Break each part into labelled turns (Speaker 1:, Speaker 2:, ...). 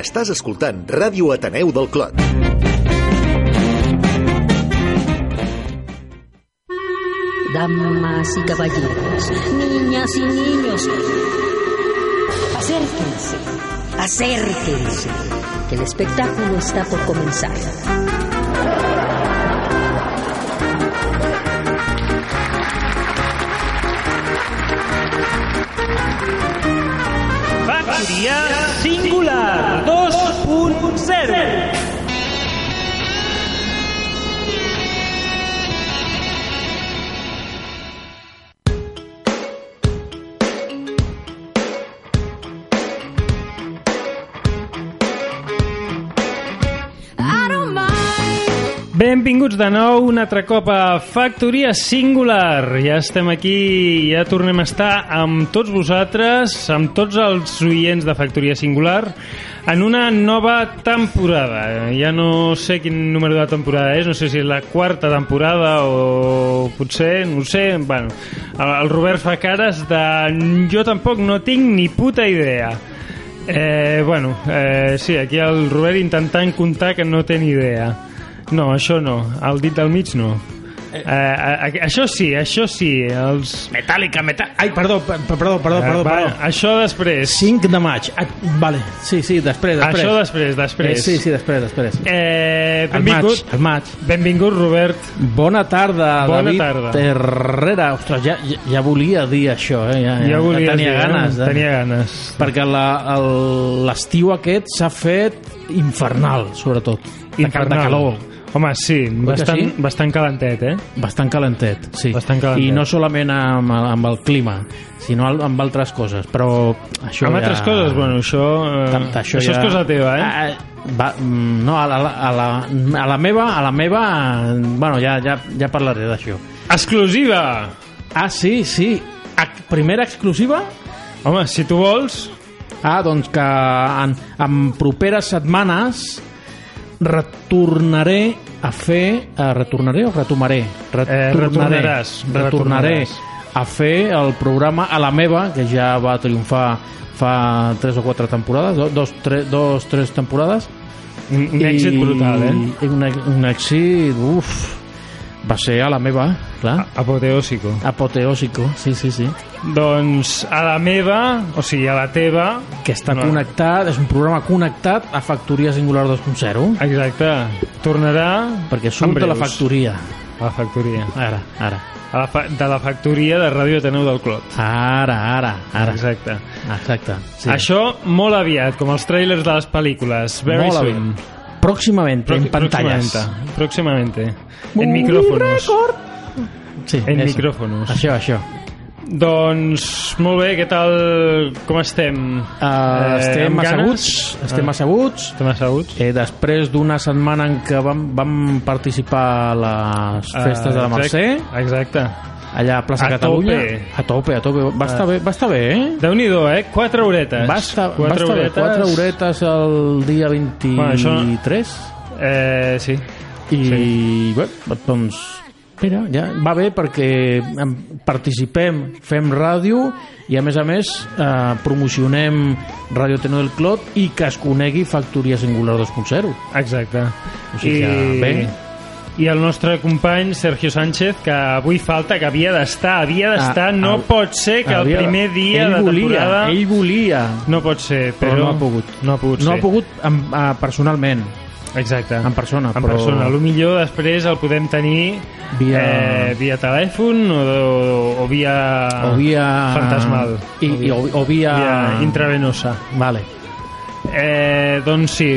Speaker 1: Estàs escoltant Ràdio Ateneu del Clot.
Speaker 2: Damas y caballeros, niñas y niños, acérquense, acérquense, que el espectáculo está por comenzar.
Speaker 3: Factoria Singular 2.0 Benvinguts de nou un altre cop a Factoria Singular. Ja estem aquí, ja tornem a estar amb tots vosaltres, amb tots els oients de Factoria Singular, en una nova temporada. Ja no sé quin número de temporada és, no sé si és la quarta temporada o potser, no ho sé, bueno, el el Robert fa cares de... Jo tampoc no tinc ni puta idea. Eh, bueno, eh, sí, aquí el Robert intentant comptar que no té ni idea. No, això no. El dit del mig no. Eh, eh, això sí, això sí. Els...
Speaker 4: Metàl·lica, metà... Ai, perdó, pe- perdó, perdó, perdó,
Speaker 3: Eh, va,
Speaker 4: perdó.
Speaker 3: Això després.
Speaker 4: 5 de maig. Ah, vale, sí, sí, després, després. Eh,
Speaker 3: Això després, després.
Speaker 4: Sí, sí, després, després.
Speaker 3: Eh,
Speaker 4: El maig,
Speaker 3: benvingut,
Speaker 4: el maig.
Speaker 3: benvingut, Robert.
Speaker 4: Bona tarda,
Speaker 3: Bona
Speaker 4: David
Speaker 3: tarda.
Speaker 4: Herrera. Ostres, ja, ja, ja volia dir això, eh? Ja,
Speaker 3: Ja volia
Speaker 4: tenia
Speaker 3: dir, Eh?
Speaker 4: ganes. De...
Speaker 3: Tenia ganes.
Speaker 4: Perquè la- el- l'estiu aquest s'ha fet infernal, sobretot. De cal- De calor.
Speaker 3: Home, sí, bastant,
Speaker 4: sí?
Speaker 3: bastant calentet, eh?
Speaker 4: Bastant calentet, sí.
Speaker 3: Bastant calentet.
Speaker 4: I no solament amb, amb el clima, sinó al- amb altres coses. Però això
Speaker 3: Amb
Speaker 4: ja...
Speaker 3: altres coses, bueno, això... Eh,
Speaker 4: Tant, això,
Speaker 3: això
Speaker 4: ja...
Speaker 3: és cosa teva, eh?
Speaker 4: Ah, va, mm, no, a la, a, la, a la meva, a la meva... Bueno, ja, ja, ja parlaré d'això.
Speaker 3: Exclusiva!
Speaker 4: Ah, sí, sí. Ac- primera exclusiva?
Speaker 3: Home, si tu vols...
Speaker 4: Ah, doncs que en, en properes setmanes retornaré a fer... Eh, retornaré o retomaré?
Speaker 3: Eh, retornaràs,
Speaker 4: Retornaré
Speaker 3: retornaràs.
Speaker 4: a fer el programa a la meva, que ja va triomfar fa tres o quatre temporades, do- dos, tre, dos tres temporades,
Speaker 3: Un un èxit brutal, eh?
Speaker 4: I un, èx- un èxit, uf, va ser a la meva, clar.
Speaker 3: Ah. Apoteòsico.
Speaker 4: Apoteòsico, sí, sí, sí.
Speaker 3: Doncs a la meva, o sigui, a la teva...
Speaker 4: Que està
Speaker 3: No.
Speaker 4: connectat, és un programa connectat a Factoria Singular 2.0,
Speaker 3: Exacte. Tornarà...
Speaker 4: perquè
Speaker 3: en
Speaker 4: surt de la
Speaker 3: breus.
Speaker 4: factoria.
Speaker 3: A la factoria.
Speaker 4: Ara, ara.
Speaker 3: A la fa de la factoria de Ràdio Ateneu del Clot.
Speaker 4: Ara, ara, ara.
Speaker 3: Exacte.
Speaker 4: Exacte.
Speaker 3: Sí. Això molt aviat, com els trailers de les pel·lícules. Very
Speaker 4: Molt
Speaker 3: soon.
Speaker 4: aviat. Pròximament, en
Speaker 3: Pro-
Speaker 4: pantalles.
Speaker 3: Próximamente. Próximamente. En micrófonos.
Speaker 4: Sí,
Speaker 3: En
Speaker 4: eso.
Speaker 3: micrófonos.
Speaker 4: Això, això.
Speaker 3: Doncs molt bé, què tal? Com estem?
Speaker 4: Uh, estem
Speaker 3: Eh, amb ganes?
Speaker 4: asseguts, estem
Speaker 3: Ah,
Speaker 4: asseguts,
Speaker 3: estem asseguts.
Speaker 4: Eh, després d'una setmana en què vam, vam participar a les festes de la
Speaker 3: Ah,
Speaker 4: Mercè,
Speaker 3: Exacte. exacte.
Speaker 4: allà a plaça
Speaker 3: A
Speaker 4: Catalunya,
Speaker 3: tope.
Speaker 4: a tope, a tope, va estar bé, va estar bé, eh?
Speaker 3: Déu-n'hi-do, eh? Quatre horetes.
Speaker 4: Va estar, va
Speaker 3: quatre
Speaker 4: estar bé,
Speaker 3: horetes.
Speaker 4: quatre horetes el dia 23
Speaker 3: Bueno, Eh, sí.
Speaker 4: i bé, doncs mira, ja va bé perquè em, participem, fem ràdio i a més a més eh, promocionem Ràdio Teno del Clot i que es conegui Factoria Singular 2.0
Speaker 3: Exacte.
Speaker 4: O sigui que bé.
Speaker 3: I el nostre company Sergio Sánchez, que avui falta, que havia d'estar, havia d'estar,
Speaker 4: Ah,
Speaker 3: no
Speaker 4: ah,
Speaker 3: pot ser que
Speaker 4: Havia-
Speaker 3: el primer dia
Speaker 4: ell
Speaker 3: de
Speaker 4: volia,
Speaker 3: temporada...
Speaker 4: Ell volia,
Speaker 3: No pot ser,
Speaker 4: però,
Speaker 3: però...
Speaker 4: no ha pogut.
Speaker 3: No ha pogut
Speaker 4: No
Speaker 3: ser.
Speaker 4: ha pogut amb, uh, personalment,
Speaker 3: Exacte.
Speaker 4: en persona,
Speaker 3: En
Speaker 4: però...
Speaker 3: persona. A lo millor després el podem tenir
Speaker 4: Via-
Speaker 3: eh, via telèfon o, o, o via...
Speaker 4: O via...
Speaker 3: Ah, Fantasmal.
Speaker 4: I, i, o, o via...
Speaker 3: Via intravenosa.
Speaker 4: Vale.
Speaker 3: Eh, doncs sí.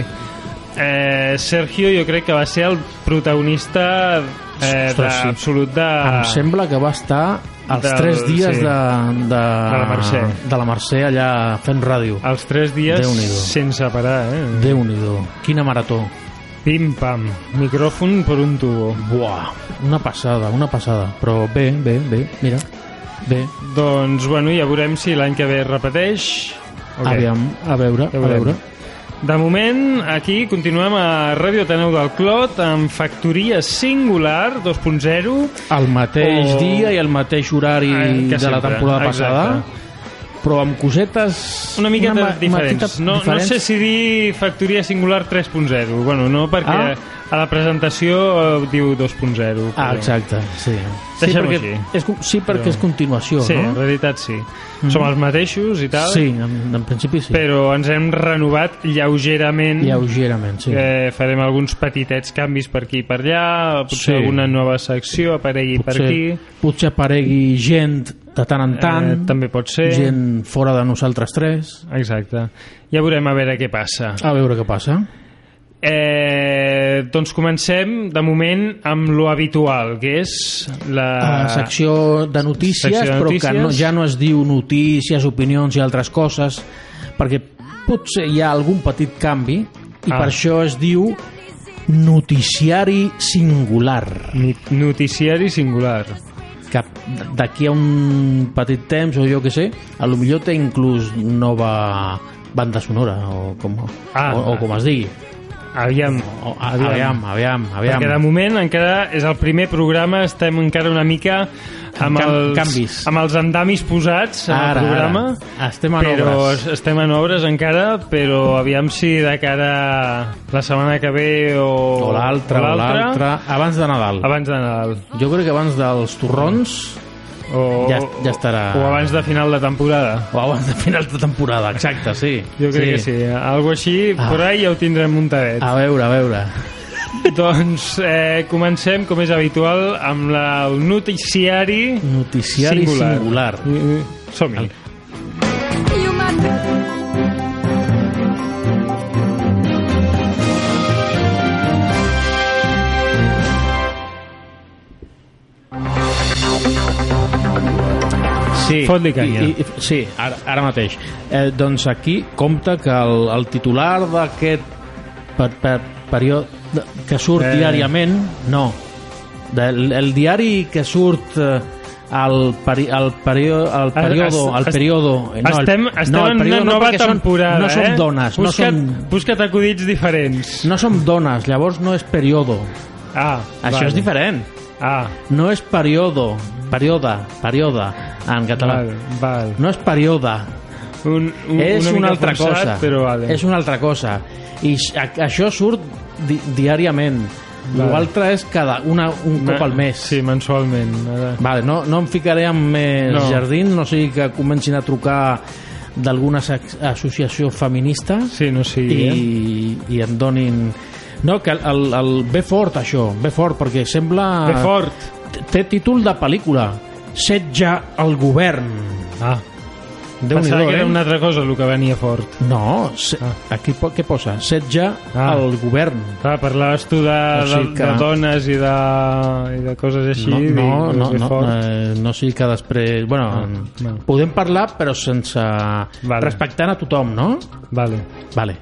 Speaker 3: Eh, Sergio jo crec que va ser el protagonista eh,
Speaker 4: Ostres,
Speaker 3: de-
Speaker 4: sí.
Speaker 3: absolut de...
Speaker 4: Em sembla que va estar els
Speaker 3: Ah. Del-
Speaker 4: tres dies
Speaker 3: sí.
Speaker 4: de, de, de,
Speaker 3: la Mercè. Ah.
Speaker 4: de la Mercè allà fent ràdio.
Speaker 3: Els tres dies
Speaker 4: Déu-n'hi-do.
Speaker 3: sense parar, eh?
Speaker 4: Déu-n'hi-do. Quina marató.
Speaker 3: Pim-pam. Micròfon per un tubo.
Speaker 4: Buah, una passada, una passada. Però bé, bé, bé, mira. Bé,
Speaker 3: Doncs, bueno, ja veurem si l'any que ve es repeteix. o què.
Speaker 4: aviam, a veure,
Speaker 3: Ja
Speaker 4: a
Speaker 3: veurem.
Speaker 4: veure.
Speaker 3: De moment, aquí continuem a Ràdio Ateneu del Clot amb Factoria Singular 2.0
Speaker 4: El mateix
Speaker 3: O-
Speaker 4: dia i el mateix horari
Speaker 3: eh, que
Speaker 4: de la
Speaker 3: sempre.
Speaker 4: temporada
Speaker 3: Exacte.
Speaker 4: passada. però amb cosetes...
Speaker 3: Una miqueta
Speaker 4: ma-
Speaker 3: diferents.
Speaker 4: maqueta
Speaker 3: No,
Speaker 4: diferents.
Speaker 3: no sé si dir factoria singular 3.0. Bueno, no, perquè
Speaker 4: Ah.
Speaker 3: a la presentació eh, diu 2.0.
Speaker 4: Ah,
Speaker 3: però-
Speaker 4: exacte, sí. Sí
Speaker 3: Deixem-ho
Speaker 4: perquè,
Speaker 3: així.
Speaker 4: és, sí, perquè és continuació,
Speaker 3: Sí, en
Speaker 4: no? Mhm.
Speaker 3: realitat sí. Som els mateixos i tal,
Speaker 4: Sí, en, en principi sí.
Speaker 3: però ens hem renovat lleugerament.
Speaker 4: Lleugerament, sí.
Speaker 3: Eh, farem alguns petitets canvis per aquí i per allà, potser
Speaker 4: Sí.
Speaker 3: alguna nova secció aparegui per aquí.
Speaker 4: potser aparegui gent de tant en tant,
Speaker 3: Eh, també pot ser.
Speaker 4: gent fora de nosaltres tres.
Speaker 3: Exacte. Ja veurem a veure què passa.
Speaker 4: A veure què passa.
Speaker 3: Eh, doncs comencem, de moment, amb lo habitual, que és la...
Speaker 4: a Ah, secció de notícies,
Speaker 3: Ah, secció de
Speaker 4: però que
Speaker 3: notícies.
Speaker 4: no, ja no es diu notícies, opinions i altres coses, perquè potser hi ha algun petit canvi i
Speaker 3: Ah.
Speaker 4: per això es diu noticiari singular
Speaker 3: Ni- Noticiari singular.
Speaker 4: que d'aquí a un petit temps o jo que sé, a lo millor té inclús nova banda sonora o com,
Speaker 3: Ah.
Speaker 4: o, o com es digui
Speaker 3: Oh, Aviam.
Speaker 4: o, Oh, aviam, aviam, aviam
Speaker 3: Perquè de moment encara és el primer programa, estem encara una mica amb,
Speaker 4: En cam-
Speaker 3: els,
Speaker 4: canvis.
Speaker 3: amb els andamis posats en el programa.
Speaker 4: ara. estem en
Speaker 3: però
Speaker 4: obres
Speaker 3: estem en obres encara, però aviam si de cara a la setmana que ve o,
Speaker 4: o l'altre, o l'altre, abans de Nadal
Speaker 3: abans de Nadal.
Speaker 4: Jo crec que abans dels torrons
Speaker 3: O,
Speaker 4: Ja- ja estarà.
Speaker 3: O abans de final de temporada.
Speaker 4: o abans de final de temporada, exacte, sí.
Speaker 3: Jo crec que sí, algo així,
Speaker 4: Ah.
Speaker 3: ah. però ja ho tindrem muntadet.
Speaker 4: A veure, a veure.
Speaker 3: Doncs eh, comencem, com és habitual, amb la, el noticiari,
Speaker 4: Noticiari singular.
Speaker 3: Mm, mm, Som-hi.
Speaker 4: Sí.
Speaker 3: Fot-li canya.
Speaker 4: I, i, sí, ara, ara mateix. Eh, doncs aquí compta que el, el titular d'aquest per, per, període que surt
Speaker 3: Eh.
Speaker 4: eh. diàriament, no, del, el diari que surt eh, al peri, al período al
Speaker 3: Es-
Speaker 4: período
Speaker 3: Ah, es-
Speaker 4: al
Speaker 3: es-
Speaker 4: período eh, no, el-
Speaker 3: estem estem
Speaker 4: no, el
Speaker 3: en una
Speaker 4: período no,
Speaker 3: nova
Speaker 4: perquè són-
Speaker 3: temporada,
Speaker 4: no
Speaker 3: eh?
Speaker 4: són dones
Speaker 3: Busca't,
Speaker 4: no són,
Speaker 3: busca't acudits diferents.
Speaker 4: no són dones, llavors no és período
Speaker 3: Ah,
Speaker 4: això
Speaker 3: vale.
Speaker 4: és diferent
Speaker 3: Ah,
Speaker 4: no és período període, període en català
Speaker 3: val, val.
Speaker 4: no és període
Speaker 3: Un, un,
Speaker 4: és
Speaker 3: mica
Speaker 4: una altra
Speaker 3: forçat,
Speaker 4: cosa
Speaker 3: Però vale.
Speaker 4: és una altra cosa i x- a- això surt di diàriament
Speaker 3: Vale.
Speaker 4: l'altre és cada una, un
Speaker 3: Ma-
Speaker 4: cop al mes
Speaker 3: Sí, mensualment. Ara.
Speaker 4: vale, no, no em ficaré en més
Speaker 3: No.
Speaker 4: no. jardins no sigui que comencin a trucar d'alguna sac- associació feminista
Speaker 3: Sí, no sigui... eh?
Speaker 4: i, i em donin no, que el, el, el ve fort això ve fort perquè sembla
Speaker 3: Ve fort.
Speaker 4: T- té títol de pel·lícula setja el govern
Speaker 3: Ah,
Speaker 4: déu nhi
Speaker 3: pensava que
Speaker 4: eh?
Speaker 3: era una altra cosa el que venia fort.
Speaker 4: no, se... aquí po- què posa? setja
Speaker 3: Ah.
Speaker 4: el govern
Speaker 3: Clar, parlaves tu de,
Speaker 4: O sigui
Speaker 3: de,
Speaker 4: que-
Speaker 3: de dones i de, i de coses així.
Speaker 4: no,
Speaker 3: dic,
Speaker 4: no,
Speaker 3: doncs
Speaker 4: no,
Speaker 3: ve
Speaker 4: no,
Speaker 3: fort.
Speaker 4: eh, no sigui que després bueno, ah,
Speaker 3: no.
Speaker 4: podem parlar però sense vale. respectant a tothom no?
Speaker 3: Vale.
Speaker 4: Vale.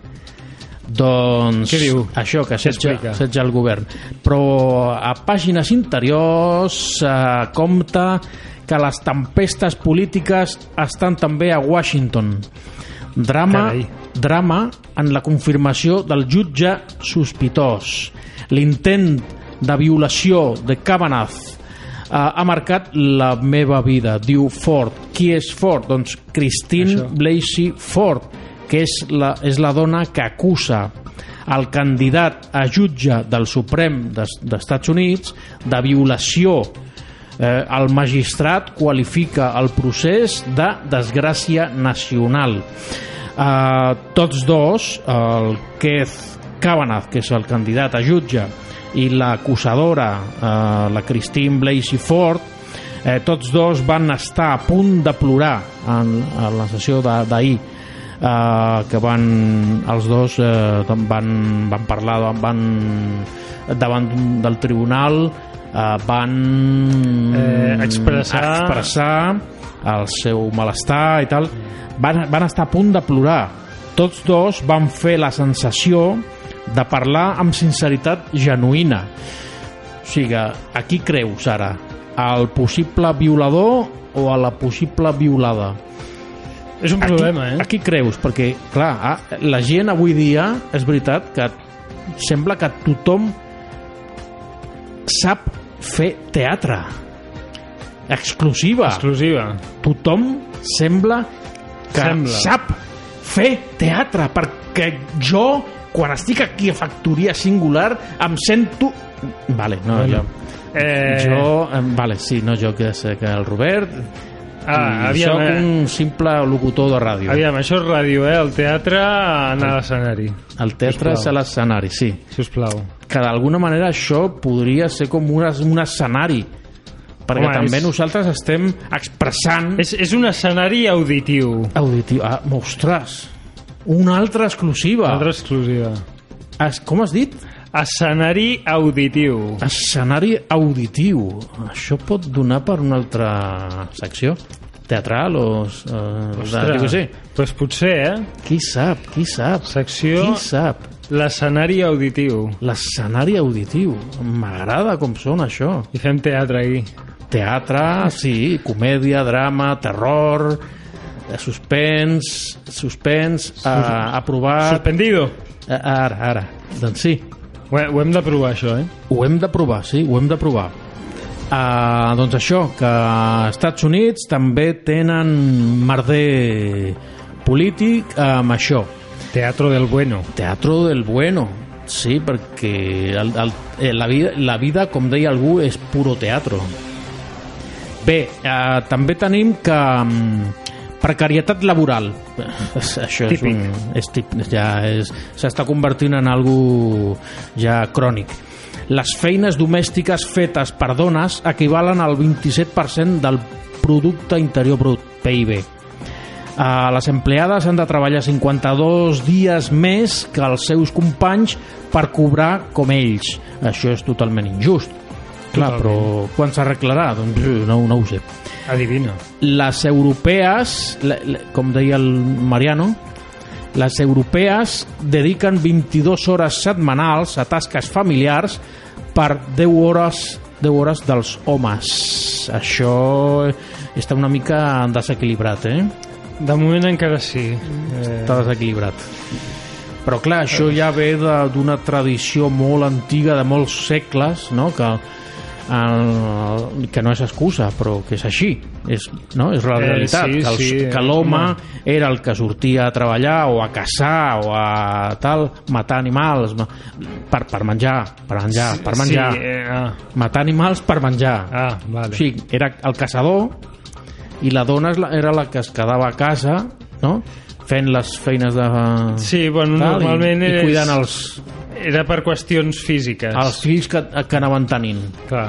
Speaker 4: Doncs
Speaker 3: Què diu?
Speaker 4: això que setja,
Speaker 3: explica?
Speaker 4: setja el govern. Però a pàgines interiors eh, compta que les tempestes polítiques estan també a Washington. Drama,
Speaker 3: Carai.
Speaker 4: drama en la confirmació del jutge sospitós. L'intent de violació de Kavanaugh eh, ha marcat la meva vida, diu Ford. Qui és Ford? Doncs Christine
Speaker 3: Això.
Speaker 4: Blasey Ford, que és la, és la dona que acusa el candidat a jutge del Suprem des- d'Estats Units de violació. Eh, el magistrat qualifica el procés de desgràcia nacional. Eh, tots dos, el Keith Kavanaugh, que és el candidat a jutge, i l'acusadora, eh, la Christine Blasey Ford, Eh, tots dos van estar a punt de plorar en, en la sessió de- d'ahir eh, que van els dos eh, doncs van, van parlar van, van davant d'un- del tribunal eh, van
Speaker 3: Eh, expressar-
Speaker 4: expressar el seu malestar i tal van, van estar a punt de plorar tots dos van fer la sensació de parlar amb sinceritat genuïna o sigui, a qui creus ara? Al possible violador o a la possible violada?
Speaker 3: És un
Speaker 4: A qui-
Speaker 3: problema, eh?
Speaker 4: A qui creus? Perquè, clar, a- la gent avui dia, és veritat que sembla que tothom sap fer teatre. Exclusiva.
Speaker 3: Exclusiva.
Speaker 4: Tothom sembla que
Speaker 3: Sembla.
Speaker 4: sap fer teatre, perquè jo, quan estic aquí a Factoria Singular, em sento... Vale, no,
Speaker 3: Bueno.
Speaker 4: jo...
Speaker 3: Eh,
Speaker 4: Jo, em- vale, sí, no jo, que sé que el Robert...
Speaker 3: Ah,
Speaker 4: i
Speaker 3: aviam,
Speaker 4: soc
Speaker 3: eh.
Speaker 4: un simple locutor de ràdio.
Speaker 3: Aviam, això és ràdio, eh? El teatre anar a l'escenari,
Speaker 4: El teatre és
Speaker 3: Sisplau.
Speaker 4: a l'escenari, sí.
Speaker 3: si us plau.
Speaker 4: Que d'alguna manera això podria ser com un, es- un escenari, perquè
Speaker 3: Home,
Speaker 4: també
Speaker 3: és-
Speaker 4: nosaltres estem expressant
Speaker 3: És, és un escenari auditiu,
Speaker 4: auditiu. Ah, ostres! Una altra exclusiva.
Speaker 3: una altra exclusiva.
Speaker 4: Es, com has dit?
Speaker 3: Escenari auditiu.
Speaker 4: Escenari auditiu. Això pot donar per una altra secció? Teatral o... Eh, de- jo què sé.
Speaker 3: Doncs potser, eh?
Speaker 4: Qui sap, qui sap?
Speaker 3: Secció
Speaker 4: Qui sap?
Speaker 3: l'escenari auditiu.
Speaker 4: L'escenari auditiu. M'agrada com sona això.
Speaker 3: I fem teatre aquí.
Speaker 4: Teatre, sí, comèdia, drama, terror, eh, suspens, suspens, eh, aprovat...
Speaker 3: Suspendido.
Speaker 4: Eh, ara, ara. Doncs sí,
Speaker 3: Ho, he- ho hem de provar, això, eh?
Speaker 4: Ho hem de provar, sí, ho hem de provar. Uh, doncs això, que als Estats Units també tenen merder polític amb això.
Speaker 3: Teatro del bueno.
Speaker 4: Teatro del bueno, sí, perquè el, el, eh, la, vida, la vida, com deia algú, és puro teatro. Bé, eh, també tenim que mm, precarietat laboral. Això és
Speaker 3: Típic.
Speaker 4: un... És típic, ja és... S'està convertint en algú ja crònic. Les feines domèstiques fetes per dones equivalen al 27% del producte interior brut, PIB. Eh, les empleades han de treballar 52 dies més que els seus companys per cobrar com ells. Això és totalment injust. Clar,
Speaker 3: Totalment.
Speaker 4: però quan s'arreglarà? Doncs eh, no, no ho sé.
Speaker 3: Adivina.
Speaker 4: Les europees, la- la- com deia el Mariano, les europees dediquen 22 hores setmanals a tasques familiars per 10 hores 10 hores dels homes. Això eh, està una mica desequilibrat, eh?
Speaker 3: De moment encara sí. Eh,
Speaker 4: Està desequilibrat. Però clar, això ja ve de- d'una tradició molt antiga de molts segles, no? Que, el, que no és excusa, però que és així. És, no? és la
Speaker 3: Eh,
Speaker 4: realitat.
Speaker 3: sí,
Speaker 4: que els-
Speaker 3: sí,
Speaker 4: que
Speaker 3: eh,
Speaker 4: l'home
Speaker 3: home.
Speaker 4: era el que sortia a treballar o a caçar o a tal, matar animals ma- per, per menjar, per menjar, per menjar.
Speaker 3: Sí, eh, ah,
Speaker 4: Matar animals per menjar.
Speaker 3: ah, vale.
Speaker 4: O sigui, era el caçador i la dona és la- era la que es quedava a casa, no? fent les feines de...
Speaker 3: Sí, bueno,
Speaker 4: tal,
Speaker 3: normalment
Speaker 4: i,
Speaker 3: és-
Speaker 4: I cuidant els,
Speaker 3: Era per qüestions físiques.
Speaker 4: els fills que, que anaven tenint.
Speaker 3: Clar.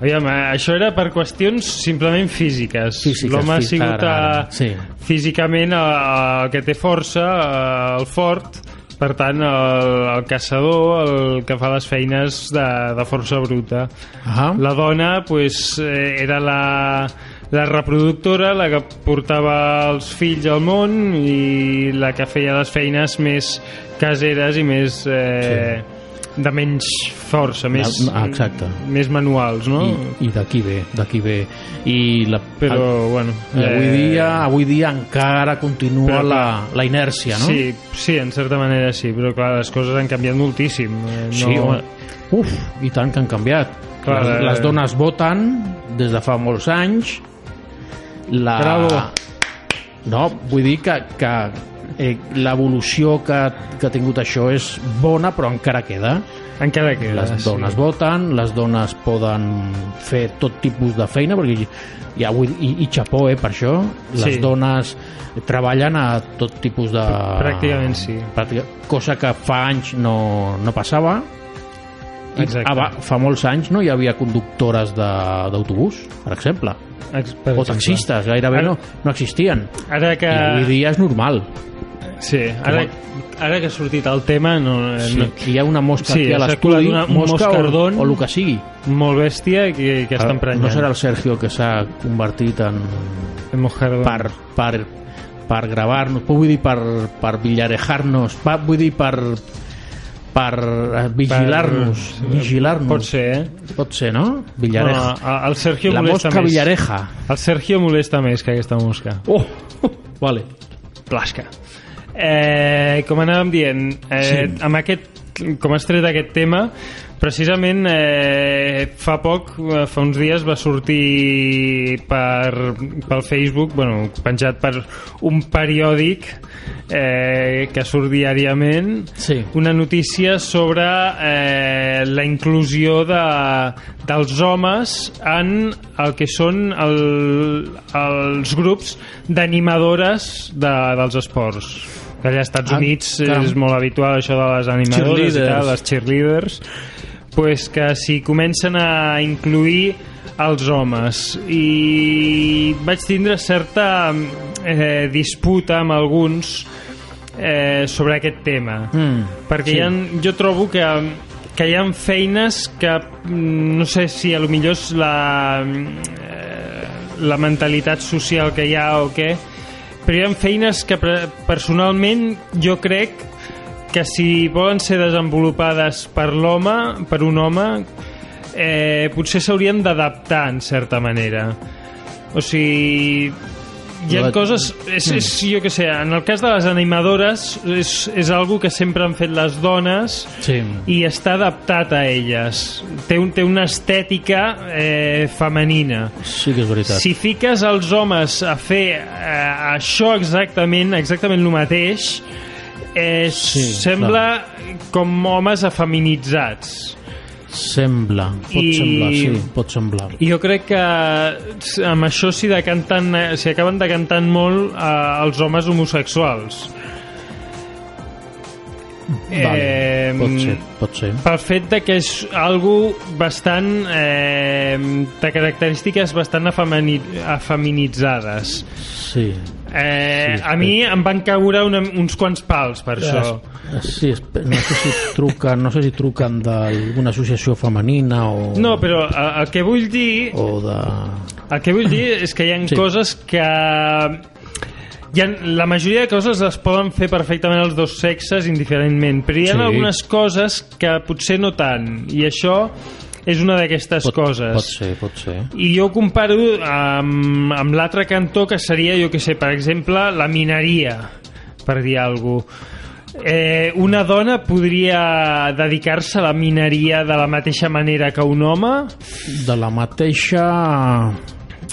Speaker 3: Aviam, eh, això era per qüestions simplement físiques.
Speaker 4: Físiques,
Speaker 3: L'home ha
Speaker 4: fí-
Speaker 3: sigut
Speaker 4: ara, ara,
Speaker 3: a,
Speaker 4: sí.
Speaker 3: físicament eh, el que té força, eh, el fort, per tant, el, el caçador, el que fa les feines de, de força bruta.
Speaker 4: Ah. La...
Speaker 3: La dona pues, eh, era la, la reproductora, la que portava els fills al món i la que feia les feines més caseres i més... Eh, de menys força, més,
Speaker 4: Ah, exacte.
Speaker 3: més manuals, no?
Speaker 4: I, i d'aquí ve, d'aquí ve. I la,
Speaker 3: Però, bueno... eh,
Speaker 4: i avui, dia, avui dia encara continua
Speaker 3: però,
Speaker 4: la, la inèrcia, no?
Speaker 3: Sí, sí, en certa manera sí, però clar, les coses han canviat moltíssim. eh, No...
Speaker 4: Sí, home. Uf, i tant que han canviat.
Speaker 3: Clar,
Speaker 4: les,
Speaker 3: eh.
Speaker 4: les dones voten des de fa molts anys. La...
Speaker 3: Bravo.
Speaker 4: No, vull dir que, que eh, l'evolució que, que ha tingut això és bona, però encara queda.
Speaker 3: Encara queda,
Speaker 4: Les
Speaker 3: sí.
Speaker 4: dones voten, les dones poden fer tot tipus de feina, perquè i, avui, i, i xapó, eh, per això. Les
Speaker 3: Sí.
Speaker 4: dones treballen a tot tipus de...
Speaker 3: Pràcticament sí.
Speaker 4: Pràctica, cosa que fa anys no, no passava.
Speaker 3: Exacte.
Speaker 4: Ah, va, fa molts anys no hi havia conductores de- d'autobús, per exemple.
Speaker 3: Ex- per
Speaker 4: O
Speaker 3: exemple.
Speaker 4: taxistes, gairebé no, no existien.
Speaker 3: Ara que... Eh,
Speaker 4: I avui dia és normal.
Speaker 3: Sí, ara, ara que ha sortit el tema no, eh,
Speaker 4: Sí,
Speaker 3: no,
Speaker 4: hi ha una mosca
Speaker 3: Sí,
Speaker 4: aquí a
Speaker 3: ha
Speaker 4: l'estudi,
Speaker 3: circulat una- un
Speaker 4: mosca o,
Speaker 3: moscardón.
Speaker 4: o el que sigui. Ah,
Speaker 3: molt bèstia que, que està emprenyant. Eh,
Speaker 4: No serà el Sergio que s'ha convertit en...
Speaker 3: el Mojardón.
Speaker 4: per, per, per gravar-nos, vull dir per, per villarejar-nos, va, vull dir per per eh, vigilar-nos,
Speaker 3: Per-
Speaker 4: vigilar-nos.
Speaker 3: Pot ser, eh?
Speaker 4: Pot ser, no?
Speaker 3: No,
Speaker 4: Villareja.
Speaker 3: a- el Sergio
Speaker 4: la
Speaker 3: molesta
Speaker 4: mosca
Speaker 3: més.
Speaker 4: villareja.
Speaker 3: El Sergio molesta més que aquesta mosca.
Speaker 4: Oh, vale.
Speaker 3: Plasca. Eh, com anàvem dient, eh,
Speaker 4: Sí.
Speaker 3: amb aquest com has tret aquest tema, precisament eh, fa poc, eh, fa uns dies, va sortir per, pel Facebook, bueno, penjat per un periòdic eh, que surt diàriament,
Speaker 4: Sí.
Speaker 3: una notícia sobre eh, la inclusió de, dels homes en el que són el, els grups d'animadores de, dels esports. Allà als Estats
Speaker 4: Ah,
Speaker 3: Units
Speaker 4: caram.
Speaker 3: és molt habitual això de les animadores, i tal, les cheerleaders, pues que s'hi comencen a incluir els homes i vaig tindre certa eh, disputa amb alguns eh, sobre aquest tema
Speaker 4: Mm,
Speaker 3: perquè
Speaker 4: sí.
Speaker 3: hi ha, jo trobo que que hi ha feines que mm, no sé si a lo millor és la, eh, la mentalitat social que hi ha o què però hi ha feines que pre- personalment jo crec que si volen ser desenvolupades per l'home, per un home eh, potser s'haurien d'adaptar en certa manera o sigui hi ha
Speaker 4: La-
Speaker 3: coses és, és, jo que sé, en el cas de les animadores és, és algo que sempre han fet les dones
Speaker 4: Sí.
Speaker 3: i està adaptat a elles té, un, té una estètica eh, femenina
Speaker 4: Sí que és veritat.
Speaker 3: si fiques els homes a fer eh, això exactament, exactament el mateix, eh,
Speaker 4: Sí,
Speaker 3: sembla com homes afeminitzats.
Speaker 4: Sembla, pot
Speaker 3: I-
Speaker 4: semblar, sí, pot semblar.
Speaker 3: I jo crec que s- amb això s'hi decanten, eh, s'hi acaben decantant molt eh, els homes homosexuals.
Speaker 4: Vale,
Speaker 3: Em,
Speaker 4: pot ser, pot ser.
Speaker 3: Eh, pel fet de que és algo bastant eh, de característiques bastant afemini afeminitzades
Speaker 4: Sí.
Speaker 3: Eh,
Speaker 4: Sí,
Speaker 3: a mi em van caure una, uns quants pals per això.
Speaker 4: Es- Sí, es- no sé si truquen, no sé si truquen d'alguna associació femenina o...
Speaker 3: No, però eh, el que vull dir,
Speaker 4: o de...
Speaker 3: el que vull dir és que hi ha
Speaker 4: Sí.
Speaker 3: coses que hi ha, la majoria de coses es poden fer perfectament els dos sexes indiferentment, però hi ha
Speaker 4: Sí.
Speaker 3: algunes coses que potser no tant, i això és una d'aquestes
Speaker 4: Pot,
Speaker 3: coses.
Speaker 4: pot ser, pot ser.
Speaker 3: I jo ho comparo amb, amb l'altre cantó que seria, jo que sé, per exemple, la mineria, per dir alguna cosa. Eh, una dona podria dedicar-se a la mineria de la mateixa manera que un home?
Speaker 4: De la mateixa...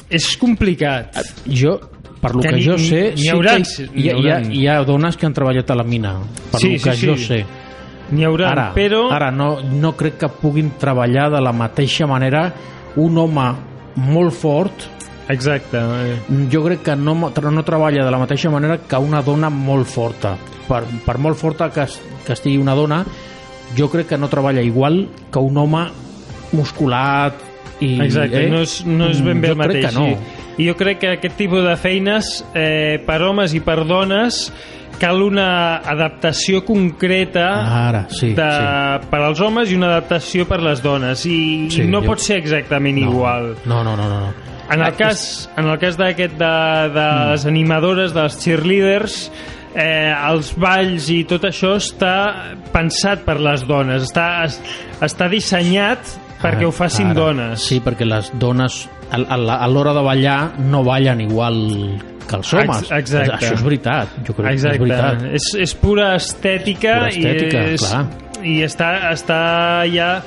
Speaker 3: És complicat.
Speaker 4: Jo, per lo
Speaker 3: Que
Speaker 4: que,
Speaker 3: n'hi-
Speaker 4: jo sé...
Speaker 3: n'hi haurà-
Speaker 4: sí que hi, hi, ha- hi, ha,
Speaker 3: n'hi haurà.
Speaker 4: hi ha dones que han treballat a la mina, per
Speaker 3: Sí,
Speaker 4: lo que
Speaker 3: sí,
Speaker 4: jo
Speaker 3: sí.
Speaker 4: sé.
Speaker 3: N'hi haurà,
Speaker 4: Ara,
Speaker 3: però...
Speaker 4: ara no, no crec que puguin treballar de la mateixa manera un home molt fort
Speaker 3: Exacte. Eh.
Speaker 4: jo crec que no, tra- no treballa de la mateixa manera que una dona molt forta. Per, per molt forta que, es, que estigui una dona, jo crec que no treballa igual que un home musculat i...
Speaker 3: Exacte,
Speaker 4: eh?
Speaker 3: no, és, no és ben bé
Speaker 4: jo
Speaker 3: el mateix.
Speaker 4: Crec que no.
Speaker 3: sí. I jo crec que aquest tipus de feines, eh, per homes i per dones, cal una adaptació concreta
Speaker 4: Ara, sí,
Speaker 3: de,
Speaker 4: sí.
Speaker 3: per als homes i una adaptació per les dones. I,
Speaker 4: Sí,
Speaker 3: i no
Speaker 4: jo-
Speaker 3: pot ser exactament
Speaker 4: No.
Speaker 3: igual.
Speaker 4: No, no, no, no. no.
Speaker 3: En el
Speaker 4: Ah, Mm.
Speaker 3: cas, en el cas d'aquest de, de les animadores, de les cheerleaders, eh, els balls i tot això està pensat per les dones, està, es- està dissenyat perquè
Speaker 4: Ara,
Speaker 3: ho facin
Speaker 4: ara.
Speaker 3: dones.
Speaker 4: Sí, perquè les dones a, a, la- a l'hora de ballar no ballen igual que els homes.
Speaker 3: Ex- exacte.
Speaker 4: Això és veritat. Jo crec
Speaker 3: Exacte.
Speaker 4: que és veritat.
Speaker 3: És, és pura estètica,
Speaker 4: Pura estètica,
Speaker 3: i, és,
Speaker 4: clar.
Speaker 3: i està, està ja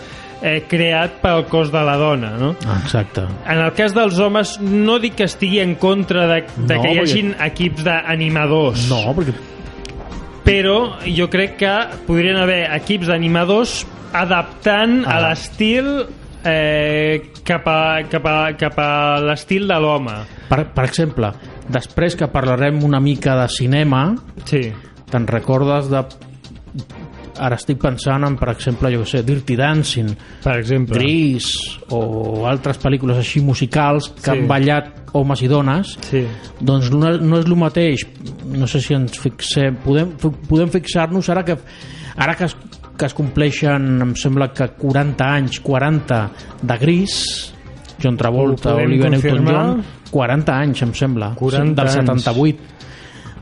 Speaker 3: eh, creat pel cos de la dona, no?
Speaker 4: Exacte.
Speaker 3: En el cas dels homes, no dic que estigui en contra de, de
Speaker 4: No,
Speaker 3: que hi
Speaker 4: perquè-
Speaker 3: hagin equips d'animadors,
Speaker 4: No, perquè
Speaker 3: però jo crec que podrien haver equips d'animadors adaptant a
Speaker 4: Ah.
Speaker 3: l'estil eh, cap a, cap a, cap a l'estil de l'home.
Speaker 4: Per, per exemple, després que parlarem una mica de cinema,
Speaker 3: Sí.
Speaker 4: te'n recordes de... Ara estic pensant en, per exemple, jo què sé, Dirty Dancing,
Speaker 3: Per exemple.
Speaker 4: Gris o altres pel·lícules així musicals que
Speaker 3: Sí.
Speaker 4: han ballat homes i dones
Speaker 3: Sí.
Speaker 4: doncs no, no és el mateix no sé si ens fixem podem, fi- podem fixar-nos ara que ara que es, que es compleixen em sembla que 40 anys 40 de gris John Travolta,
Speaker 3: Ho podem
Speaker 4: Olivia Newton-John
Speaker 3: confirmar?
Speaker 4: 40 anys em sembla
Speaker 3: 40
Speaker 4: del
Speaker 3: anys.
Speaker 4: 78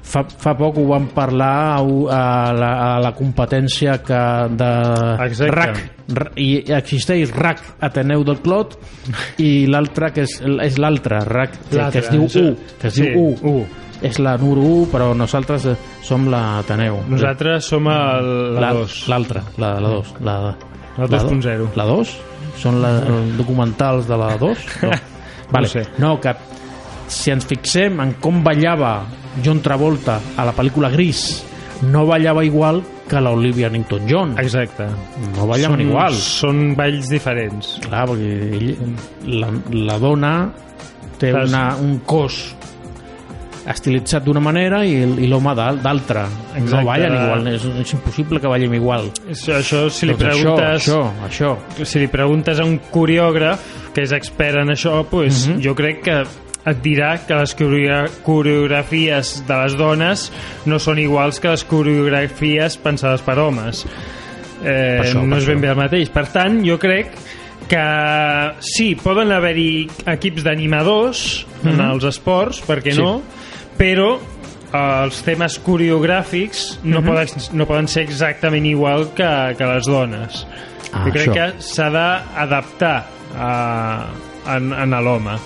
Speaker 4: Fa, fa poc ho vam parlar a, u- a, la, a la competència que de
Speaker 3: Exacte.
Speaker 4: RAC R- i existeix RAC Ateneu del Clot i l'altre que és, és l'altre RAC que, que es diu U que es
Speaker 3: sí,
Speaker 4: diu U
Speaker 3: U.
Speaker 4: és la número 1, però nosaltres eh, som la Taneu.
Speaker 3: Nosaltres som el, la 2.
Speaker 4: L'altra, la, la 2. La,
Speaker 3: La 2.0.
Speaker 4: La 2? Són la, els documentals de la 2? No.
Speaker 3: ho sé.
Speaker 4: no, que si ens fixem en com ballava John Travolta a la pel·lícula Gris, no ballava igual que l'Olivia Newton-John.
Speaker 3: Exacte.
Speaker 4: No ballaven
Speaker 3: Són-
Speaker 4: igual.
Speaker 3: Són balls diferents.
Speaker 4: Clar, perquè ell, la, la dona té
Speaker 3: Clar,
Speaker 4: una, un cos estilitzat d'una manera i, el- i l'home d'al- d'altra. No
Speaker 3: Exacte.
Speaker 4: ballen igual, és, és impossible que ballem igual.
Speaker 3: Això, això si li
Speaker 4: Doncs
Speaker 3: preguntes...
Speaker 4: Això, això,
Speaker 3: si li preguntes a un coreògraf que és expert en això, pues,
Speaker 4: Mhm.
Speaker 3: jo crec que et dirà que les corea- coreografies de les dones no són iguals que les coreografies pensades per homes. Eh,
Speaker 4: Per això, per
Speaker 3: no és ben
Speaker 4: això.
Speaker 3: bé el mateix. Per tant, jo crec que sí, poden haver-hi equips d'animadors en els esports, per què
Speaker 4: Mhm. Sí.
Speaker 3: no, però eh, els temes coreogràfics no,
Speaker 4: Mhm.
Speaker 3: poden, no poden ser exactament igual que, que les dones.
Speaker 4: Ah,
Speaker 3: Ah, jo crec
Speaker 4: això.
Speaker 3: que s'ha d'adaptar a, en, en a l'home,
Speaker 4: això.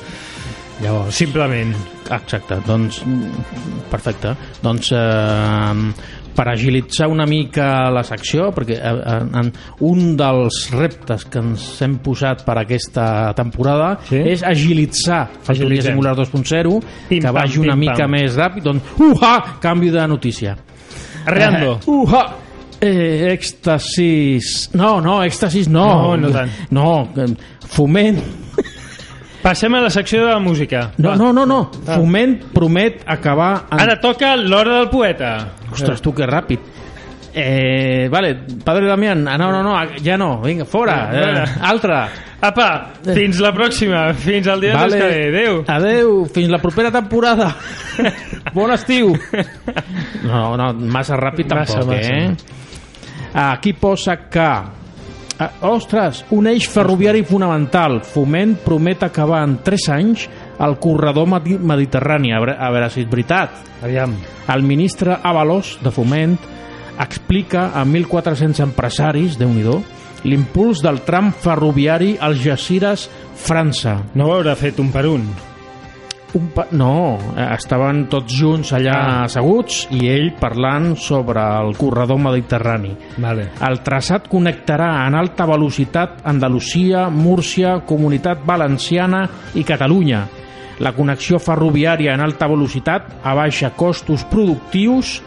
Speaker 4: Llavors,
Speaker 3: simplement.
Speaker 4: Exacte, doncs mm, perfecte. Doncs eh, per agilitzar una mica la secció, perquè eh, en, en un dels reptes que ens hem posat per aquesta temporada
Speaker 3: Sí.
Speaker 4: sí? és agilitzar Factoria
Speaker 3: Agilitzem.
Speaker 4: Singular 2.0, que
Speaker 3: Pim,
Speaker 4: vagi
Speaker 3: pam,
Speaker 4: una
Speaker 3: pim,
Speaker 4: mica
Speaker 3: pam.
Speaker 4: més ràpid. Doncs, uha, canvi de notícia.
Speaker 3: Arreando.
Speaker 4: Eh, uha! Eh, èxtasis... No, no, èxtasis no.
Speaker 3: No, no tant.
Speaker 4: No, eh, foment...
Speaker 3: Passem a la secció de la música.
Speaker 4: No,
Speaker 3: Va.
Speaker 4: no, no, no. Foment promet acabar amb
Speaker 3: Ah. Ara toca l'hora del poeta.
Speaker 4: Ostres, tu, que ràpid. Eh, vale, padre Damián, ah, no, no, no, ja no, vinga, fora,
Speaker 3: Ah, fora.
Speaker 4: eh, altra.
Speaker 3: Apa,
Speaker 4: Eh.
Speaker 3: fins la pròxima. Fins al dia vale. que ve. Adéu.
Speaker 4: Adeu, fins la propera temporada. bon estiu. No, no, massa ràpid
Speaker 3: Massa,
Speaker 4: tampoc,
Speaker 3: massa.
Speaker 4: eh? Aquí posa que... Ah, ostres, un eix ferroviari fonamental. Foment promet acabar en 3 anys el corredor medi- mediterrani. A veure, a veure si és veritat.
Speaker 3: Aviam.
Speaker 4: El ministre Avalós, de Foment, explica a 1.400 empresaris, de nhi do l'impuls del tram ferroviari al Jacires, França.
Speaker 3: No ho haurà fet un per un.
Speaker 4: Un pa... No, eh, estaven tots junts allà asseguts i ell parlant sobre el corredor mediterrani.
Speaker 3: Vale.
Speaker 4: El traçat connectarà en alta velocitat Andalusia, Múrcia, Comunitat Valenciana i Catalunya. La connexió ferroviària en alta velocitat abaixa costos productius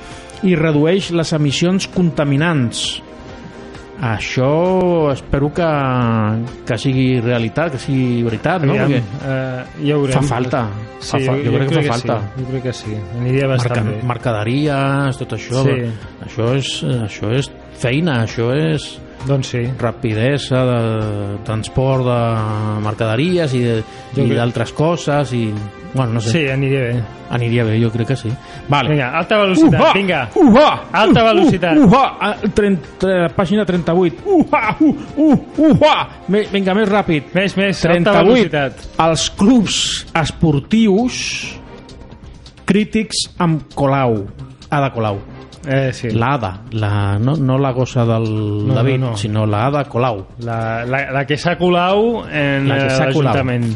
Speaker 4: i redueix les emissions contaminants. Això espero que, que sigui realitat, que sigui veritat, no?
Speaker 3: Aviam.
Speaker 4: Perquè
Speaker 3: Eh, ja ho veurem.
Speaker 4: fa falta.
Speaker 3: Sí,
Speaker 4: Fa fa... Jo, crec que fa falta.
Speaker 3: Sí, jo crec que sí. Aniria
Speaker 4: Merca,
Speaker 3: bastant bé.
Speaker 4: mercaderies, tot això.
Speaker 3: Sí.
Speaker 4: Això, és, això és feina, això és
Speaker 3: Doncs sí.
Speaker 4: rapidesa de transport de mercaderies i de-
Speaker 3: Jo
Speaker 4: i
Speaker 3: crec-
Speaker 4: d'altres coses i bueno, no sé,
Speaker 3: Sí, aniria bé.
Speaker 4: aniria bé, jo crec que sí vale.
Speaker 3: Vinga, alta velocitat,
Speaker 4: Uha!
Speaker 3: vinga.
Speaker 4: Uha!
Speaker 3: Alta
Speaker 4: Uh, uh,
Speaker 3: velocitat.
Speaker 4: Uha! Ah, trenta- pàgina 38 Uha! Uh, uh, uha! Me- Vinga, més ràpid
Speaker 3: Més, més, alta
Speaker 4: 38
Speaker 3: velocitat.
Speaker 4: els clubs esportius crítics amb Colau Ada Colau
Speaker 3: Eh, sí.
Speaker 4: la Ada, la, no, no la gossa del
Speaker 3: No,
Speaker 4: David,
Speaker 3: no, no.
Speaker 4: sinó la Ada Colau
Speaker 3: La, la, la que s'ha colau en
Speaker 4: La que s'ha
Speaker 3: eh,
Speaker 4: colau.
Speaker 3: l'Ajuntament.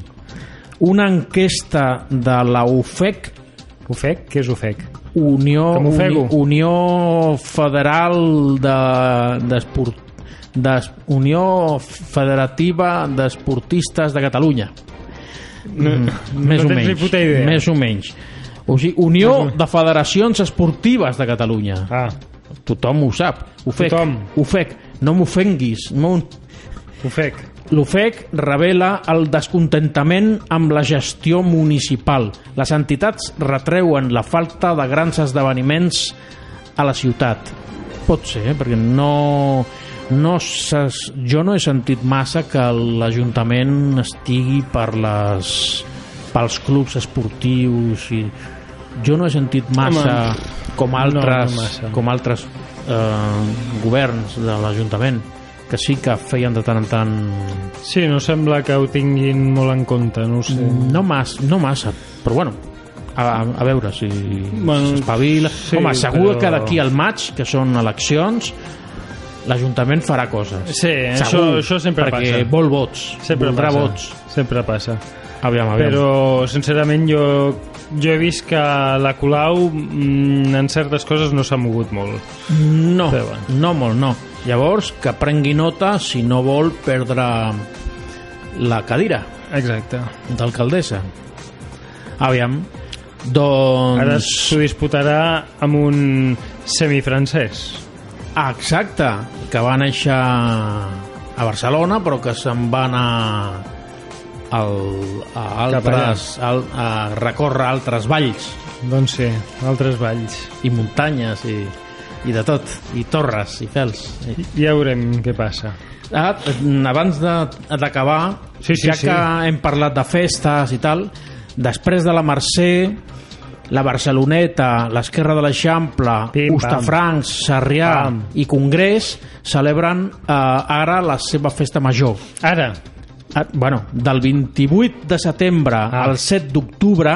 Speaker 4: una enquesta de la UFEC,
Speaker 3: Ofec? Què és Ofec?
Speaker 4: Unió,
Speaker 3: Que m'ofego.
Speaker 4: Uni- Unió Federal de, d'Esport des, Unió Federativa d'Esportistes de Catalunya. Mm, més
Speaker 3: no
Speaker 4: o
Speaker 3: tens ni
Speaker 4: menys.
Speaker 3: puta idea.
Speaker 4: Més o menys. O sigui, Unió de Federacions Esportives de Catalunya.
Speaker 3: Ah,
Speaker 4: Tothom ho sap. E Ho fec.
Speaker 3: Tothom.
Speaker 4: Ho fec. No m'ofenguis. No,
Speaker 3: Ofec.
Speaker 4: L'OFEC revela el descontentament amb la gestió municipal. Les entitats retreuen la falta de grans esdeveniments a la ciutat. Pot ser, eh? perquè no, no s'es- jo no he sentit massa que l'Ajuntament estigui per les, pels clubs esportius i jo no he sentit massa Home, com altres,
Speaker 3: no
Speaker 4: no,
Speaker 3: massa.
Speaker 4: no com altres eh, governs de l'Ajuntament que sí que feien de tant en tant
Speaker 3: Sí, no sembla que ho tinguin molt en compte, no ho sé.
Speaker 4: no, mas, no massa, però bueno a, a veure si
Speaker 3: Bueno,
Speaker 4: s'espavila
Speaker 3: sí,
Speaker 4: home, segur
Speaker 3: però-
Speaker 4: que d'aquí al maig que són eleccions l'Ajuntament farà coses
Speaker 3: Sí,
Speaker 4: segur,
Speaker 3: això, això sempre
Speaker 4: perquè
Speaker 3: passa.
Speaker 4: vol vots
Speaker 3: Sempre
Speaker 4: voldrà
Speaker 3: passa.
Speaker 4: vots
Speaker 3: Sempre passa.
Speaker 4: aviam, aviam.
Speaker 3: Però, sincerament, jo jo he vist que la Colau mm, en certes coses no s'ha mogut molt.
Speaker 4: No,
Speaker 3: Però bueno.
Speaker 4: no molt, no. Llavors, que prengui nota si no vol perdre la cadira
Speaker 3: Exacte.
Speaker 4: d'alcaldessa. Aviam, doncs...
Speaker 3: Ara s'ho disputarà amb un semifrancès.
Speaker 4: Ah, Exacte, que va néixer a Barcelona però que se'n va anar al, a,
Speaker 3: Cap
Speaker 4: altres, al, a recórrer altres valls
Speaker 3: Doncs sí, altres valls.
Speaker 4: i muntanyes i, i de tot, i torres i pèls. I...
Speaker 3: Ja veurem què passa.
Speaker 4: Ah, abans de- d'acabar,
Speaker 3: Sí, sí,
Speaker 4: ja
Speaker 3: sí.
Speaker 4: que hem parlat de festes i tal, després de la Mercè, la Barceloneta, l'Esquerra de l'Eixample,
Speaker 3: Pim,
Speaker 4: Ustafrancs, Sarrià
Speaker 3: Pam.
Speaker 4: i Congrés celebren eh, ara la seva festa major.
Speaker 3: Ara,
Speaker 4: Ah, bueno, del 28 de setembre
Speaker 3: Ah.
Speaker 4: al 7 d'octubre,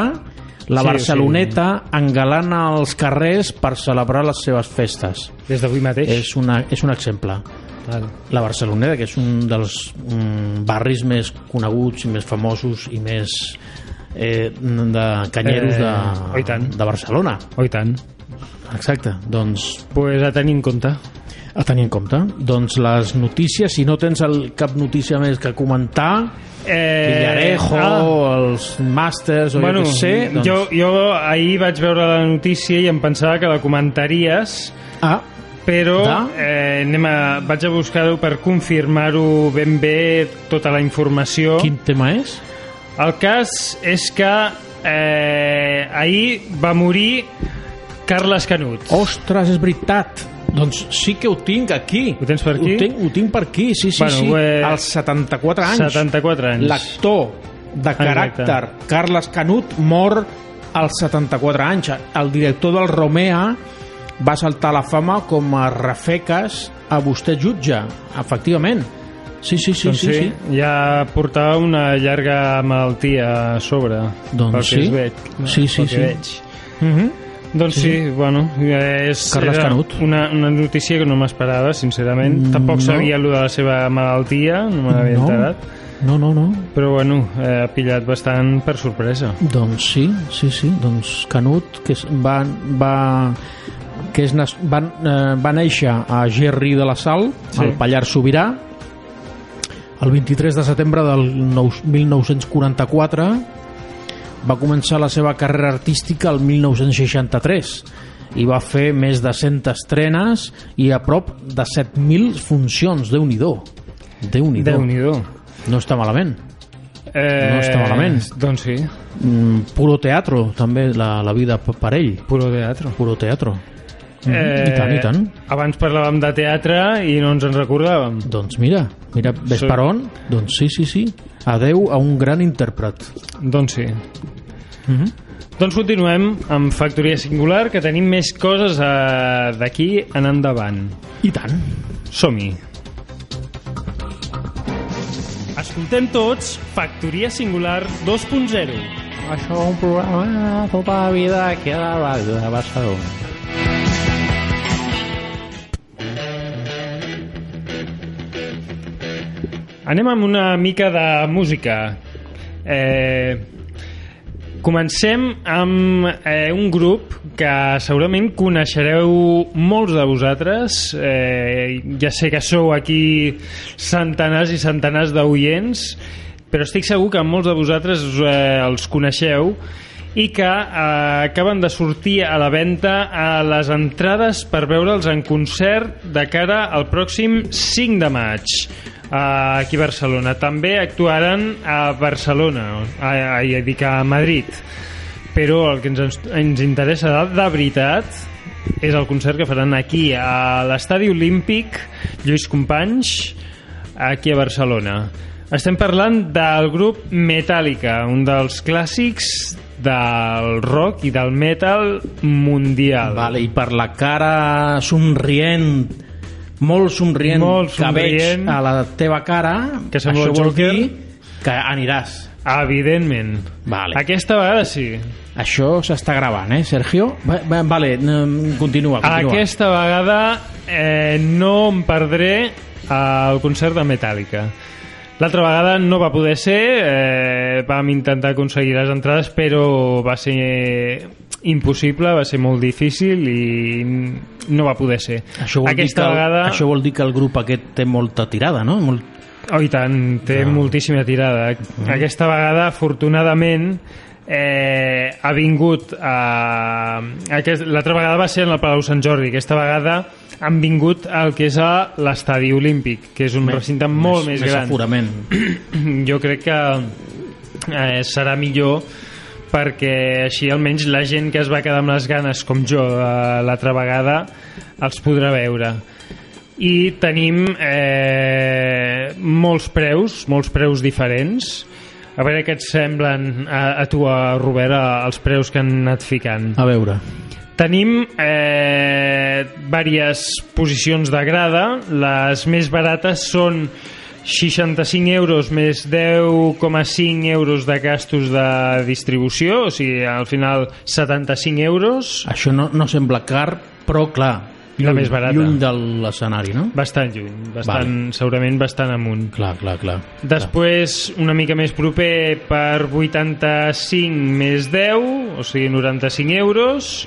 Speaker 4: la
Speaker 3: Sí,
Speaker 4: Barceloneta engalana els carrers per celebrar les seves festes.
Speaker 3: des d'avui mateix.
Speaker 4: És, una, és un exemple.
Speaker 3: Val.
Speaker 4: La Barceloneta, que és un dels mm, barris més coneguts i més famosos i més eh, de canyeros
Speaker 3: Eh,
Speaker 4: de,
Speaker 3: oi tant.
Speaker 4: de Barcelona.
Speaker 3: Oh, i tant.
Speaker 4: Exacte. Doncs
Speaker 3: Pues a tenir en compte.
Speaker 4: a tenir en compte. Doncs les notícies, si no tens el, cap notícia més que comentar,
Speaker 3: Eh,
Speaker 4: Villarejo,
Speaker 3: ah,
Speaker 4: els màsters o
Speaker 3: bueno,
Speaker 4: jo què sé... Doncs,
Speaker 3: jo, jo ahir vaig veure la notícia i em pensava que la comentaries,
Speaker 4: Ah,
Speaker 3: però
Speaker 4: Da?
Speaker 3: eh, anem a, vaig a buscar-ho per confirmar-ho ben bé, tota la informació.
Speaker 4: quin tema és?
Speaker 3: El cas és que eh, ahir va morir Carles Canut.
Speaker 4: Ostres, és veritat! Doncs sí que ho tinc aquí.
Speaker 3: Ho tens per aquí?
Speaker 4: Ho tinc, ho tinc per aquí, sí, sí,
Speaker 3: Bueno,
Speaker 4: sí.
Speaker 3: eh,
Speaker 4: Als 74 anys.
Speaker 3: 74 anys.
Speaker 4: L'actor de caràcter Carles Canut mor als 74 anys. El director del Romea va saltar a la fama com a refeques a vostè jutge, efectivament. Sí, sí, sí,
Speaker 3: doncs
Speaker 4: sí, sí.
Speaker 3: Ja portava una llarga malaltia a sobre.
Speaker 4: Doncs
Speaker 3: pel que
Speaker 4: sí.
Speaker 3: es Veig,
Speaker 4: Sí, sí,
Speaker 3: pel que
Speaker 4: sí.
Speaker 3: Veig. Doncs sí, bueno, eh, és
Speaker 4: Carles
Speaker 3: era
Speaker 4: Canut.
Speaker 3: Una, una notícia que no m'esperava, sincerament.
Speaker 4: Mm,
Speaker 3: Tampoc
Speaker 4: no.
Speaker 3: sabia allò de la seva malaltia, no me n'havia
Speaker 4: No.
Speaker 3: enterat.
Speaker 4: No, no, no.
Speaker 3: Però bueno, eh, ha pillat bastant per sorpresa.
Speaker 4: Doncs sí, sí, sí. Doncs Canut, que és, va, va, que és, nas- va, eh, va néixer a Gerri de la Sal,
Speaker 3: Sí.
Speaker 4: sí. al Pallars Sobirà, el 23 de setembre del nou- 1944 va començar la seva carrera artística el 1963 i va fer més de 100 estrenes i a prop de 7.000 funcions, déu nhi déu nhi
Speaker 3: Déu-n'hi-do.
Speaker 4: No està malament.
Speaker 3: Eh,
Speaker 4: No està malament.
Speaker 3: Doncs sí,
Speaker 4: Mm, puro teatro, també, la, la vida p- per ell.
Speaker 3: puro teatre.
Speaker 4: Puro teatro. Mm, I tant, i tant.
Speaker 3: Abans parlàvem de teatre i no ens en recordàvem.
Speaker 4: Doncs mira, mira, ves
Speaker 3: Sí.
Speaker 4: per on? Doncs sí, sí, sí. Adeu a un gran intèrpret.
Speaker 3: Doncs sí.
Speaker 4: Mm-hmm.
Speaker 3: Doncs continuem amb Factoria Singular, que tenim més coses eh, d'aquí en endavant.
Speaker 4: I tant.
Speaker 3: Som-hi! Escoltem tots Factoria Singular 2.0.
Speaker 4: Això és un programa de tota la vida que a la ràdio de Barcelona.
Speaker 3: Anem amb una mica de música. Eh, comencem amb eh, un grup que segurament coneixereu molts de vosaltres. Eh, ja sé que sou aquí centenars i centenars d'oients, però estic segur que molts de vosaltres eh, els coneixeu i que eh, acaben de sortir a la venda a les entrades per veure'ls en concert de cara al pròxim 5 de maig eh, aquí a Barcelona. També actuaran a Barcelona, a, a, a, dic a Madrid. Però el que ens, ens interessa de, de veritat és el concert que faran aquí, a l'Estadi Olímpic Lluís Companys, aquí a Barcelona. Estem parlant del grup Metallica, un dels clàssics del rock i del metal mundial.
Speaker 4: Vale, I per la cara somrient, molt somrient,
Speaker 3: Molt
Speaker 4: que
Speaker 3: somrient.
Speaker 4: veig a la teva cara,
Speaker 3: Que sembla
Speaker 4: això
Speaker 3: el
Speaker 4: vol
Speaker 3: Joker.
Speaker 4: dir que aniràs.
Speaker 3: Evidentment.
Speaker 4: Vale.
Speaker 3: Aquesta vegada sí.
Speaker 4: Això s'està gravant, eh, Sergio? Va, va, vale, n- continua, continua.
Speaker 3: Aquesta eh, vegada eh, no em perdré el concert de Metallica. L'altra vegada no va poder ser, eh, vam intentar aconseguir les entrades, però va ser impossible, va ser molt difícil i no va poder ser.
Speaker 4: Això vol,
Speaker 3: Aquesta
Speaker 4: dir que, el-
Speaker 3: vegada...
Speaker 4: això vol dir que el grup aquest té molta tirada, no? Molt...
Speaker 3: Oh, i tant, té moltíssima tirada. Aquesta vegada, afortunadament, eh, ha vingut a... Aquest... L'altra vegada va ser en el Palau Sant Jordi, aquesta vegada han vingut al que és a l'estadi olímpic, que és un recinte molt més,
Speaker 4: més
Speaker 3: gran.
Speaker 4: aforament.
Speaker 3: Jo crec que eh, serà millor perquè així almenys la gent que es va quedar amb les ganes com jo eh, l'altra vegada els podrà veure i tenim eh, molts preus molts preus diferents a veure què et semblen a, a tu, a Robert, a- els preus que han anat ficant.
Speaker 4: A veure.
Speaker 3: Tenim eh, diverses posicions de grada. Les més barates són 65 euros més 10,5 euros de gastos de distribució, o sigui, al final 75 euros,
Speaker 4: Això no, no sembla car, però clar,
Speaker 3: La més barata.
Speaker 4: lluny de l'escenari, no?
Speaker 3: bastant lluny, bastant, segurament bastant amunt.
Speaker 4: Clar, clar, clar.
Speaker 3: Després, una mica més proper per 85 més 10, o sigui, 95 euros.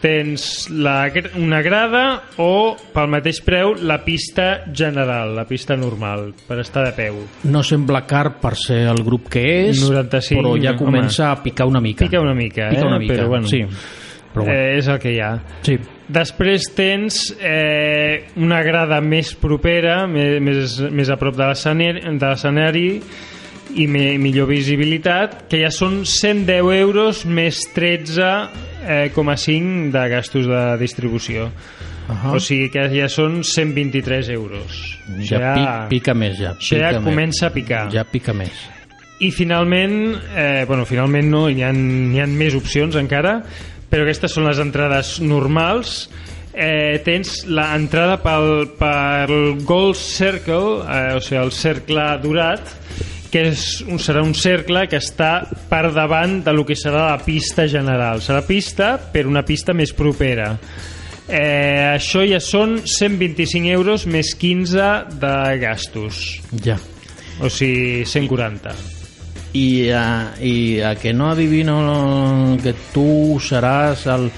Speaker 3: Tens la, gr- una grada o, pel mateix preu, la pista general, la pista normal, per estar de peu.
Speaker 4: No sembla car per ser el grup que és,
Speaker 3: 95,
Speaker 4: però ja
Speaker 3: home.
Speaker 4: comença a picar una mica.
Speaker 3: Pica una mica,
Speaker 4: Pica
Speaker 3: eh?
Speaker 4: una mica,
Speaker 3: Però bueno.
Speaker 4: sí. Però bueno,
Speaker 3: Eh, és el que hi ha.
Speaker 4: sí.
Speaker 3: Després tens eh, una grada més propera, me- més, més a prop de l'escenari de l'escenari i me, millor visibilitat, que ja són 110 euros més 13,5 de gastos de distribució.
Speaker 4: Uh -huh.
Speaker 3: O sigui que ja són 123 euros.
Speaker 4: ja, pi- pica més, ja.
Speaker 3: això ja
Speaker 4: pica més.
Speaker 3: comença a picar.
Speaker 4: Ja pica més.
Speaker 3: I finalment, eh, bueno, finalment no, hi ha, hi ha més opcions encara, però aquestes són les entrades normals. Eh, tens l'entrada pel, pel Gold Circle, eh, o sigui, el cercle dorat, que és un, serà un cercle que està per davant de lo que serà la pista general. Serà pista, però una pista més propera. Eh, això ja són 125 euros més 15 de gastos,
Speaker 4: Ja.
Speaker 3: o sigui, 140.
Speaker 4: I a, i a que no adivino que tu seràs el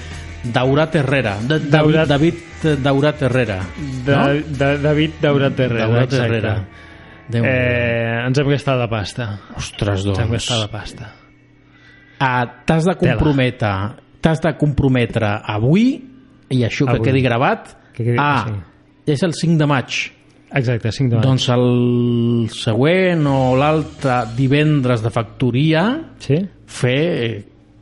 Speaker 4: Daurat Herrera. De, Daurat.
Speaker 3: Daurat.
Speaker 4: David eh, Daurat Herrera.
Speaker 3: De, de, David Daurat Herrera.
Speaker 4: Daurat
Speaker 3: exacte.
Speaker 4: Herrera. Déu eh...
Speaker 3: Eh, ens hem gastat la pasta. Ens
Speaker 4: Ostres,
Speaker 3: hem
Speaker 4: doncs.
Speaker 3: gastat la pasta.
Speaker 4: Ah, T'has
Speaker 3: Tela.
Speaker 4: de comprometre, t'has de comprometre avui, i això que
Speaker 3: Avui.
Speaker 4: quedi gravat,
Speaker 3: Que quedi-
Speaker 4: ah,
Speaker 3: sí.
Speaker 4: és el 5 de maig.
Speaker 3: Exacte, 5 de maig.
Speaker 4: Doncs el següent o l'altre divendres de factoria
Speaker 3: Sí?
Speaker 4: fer eh,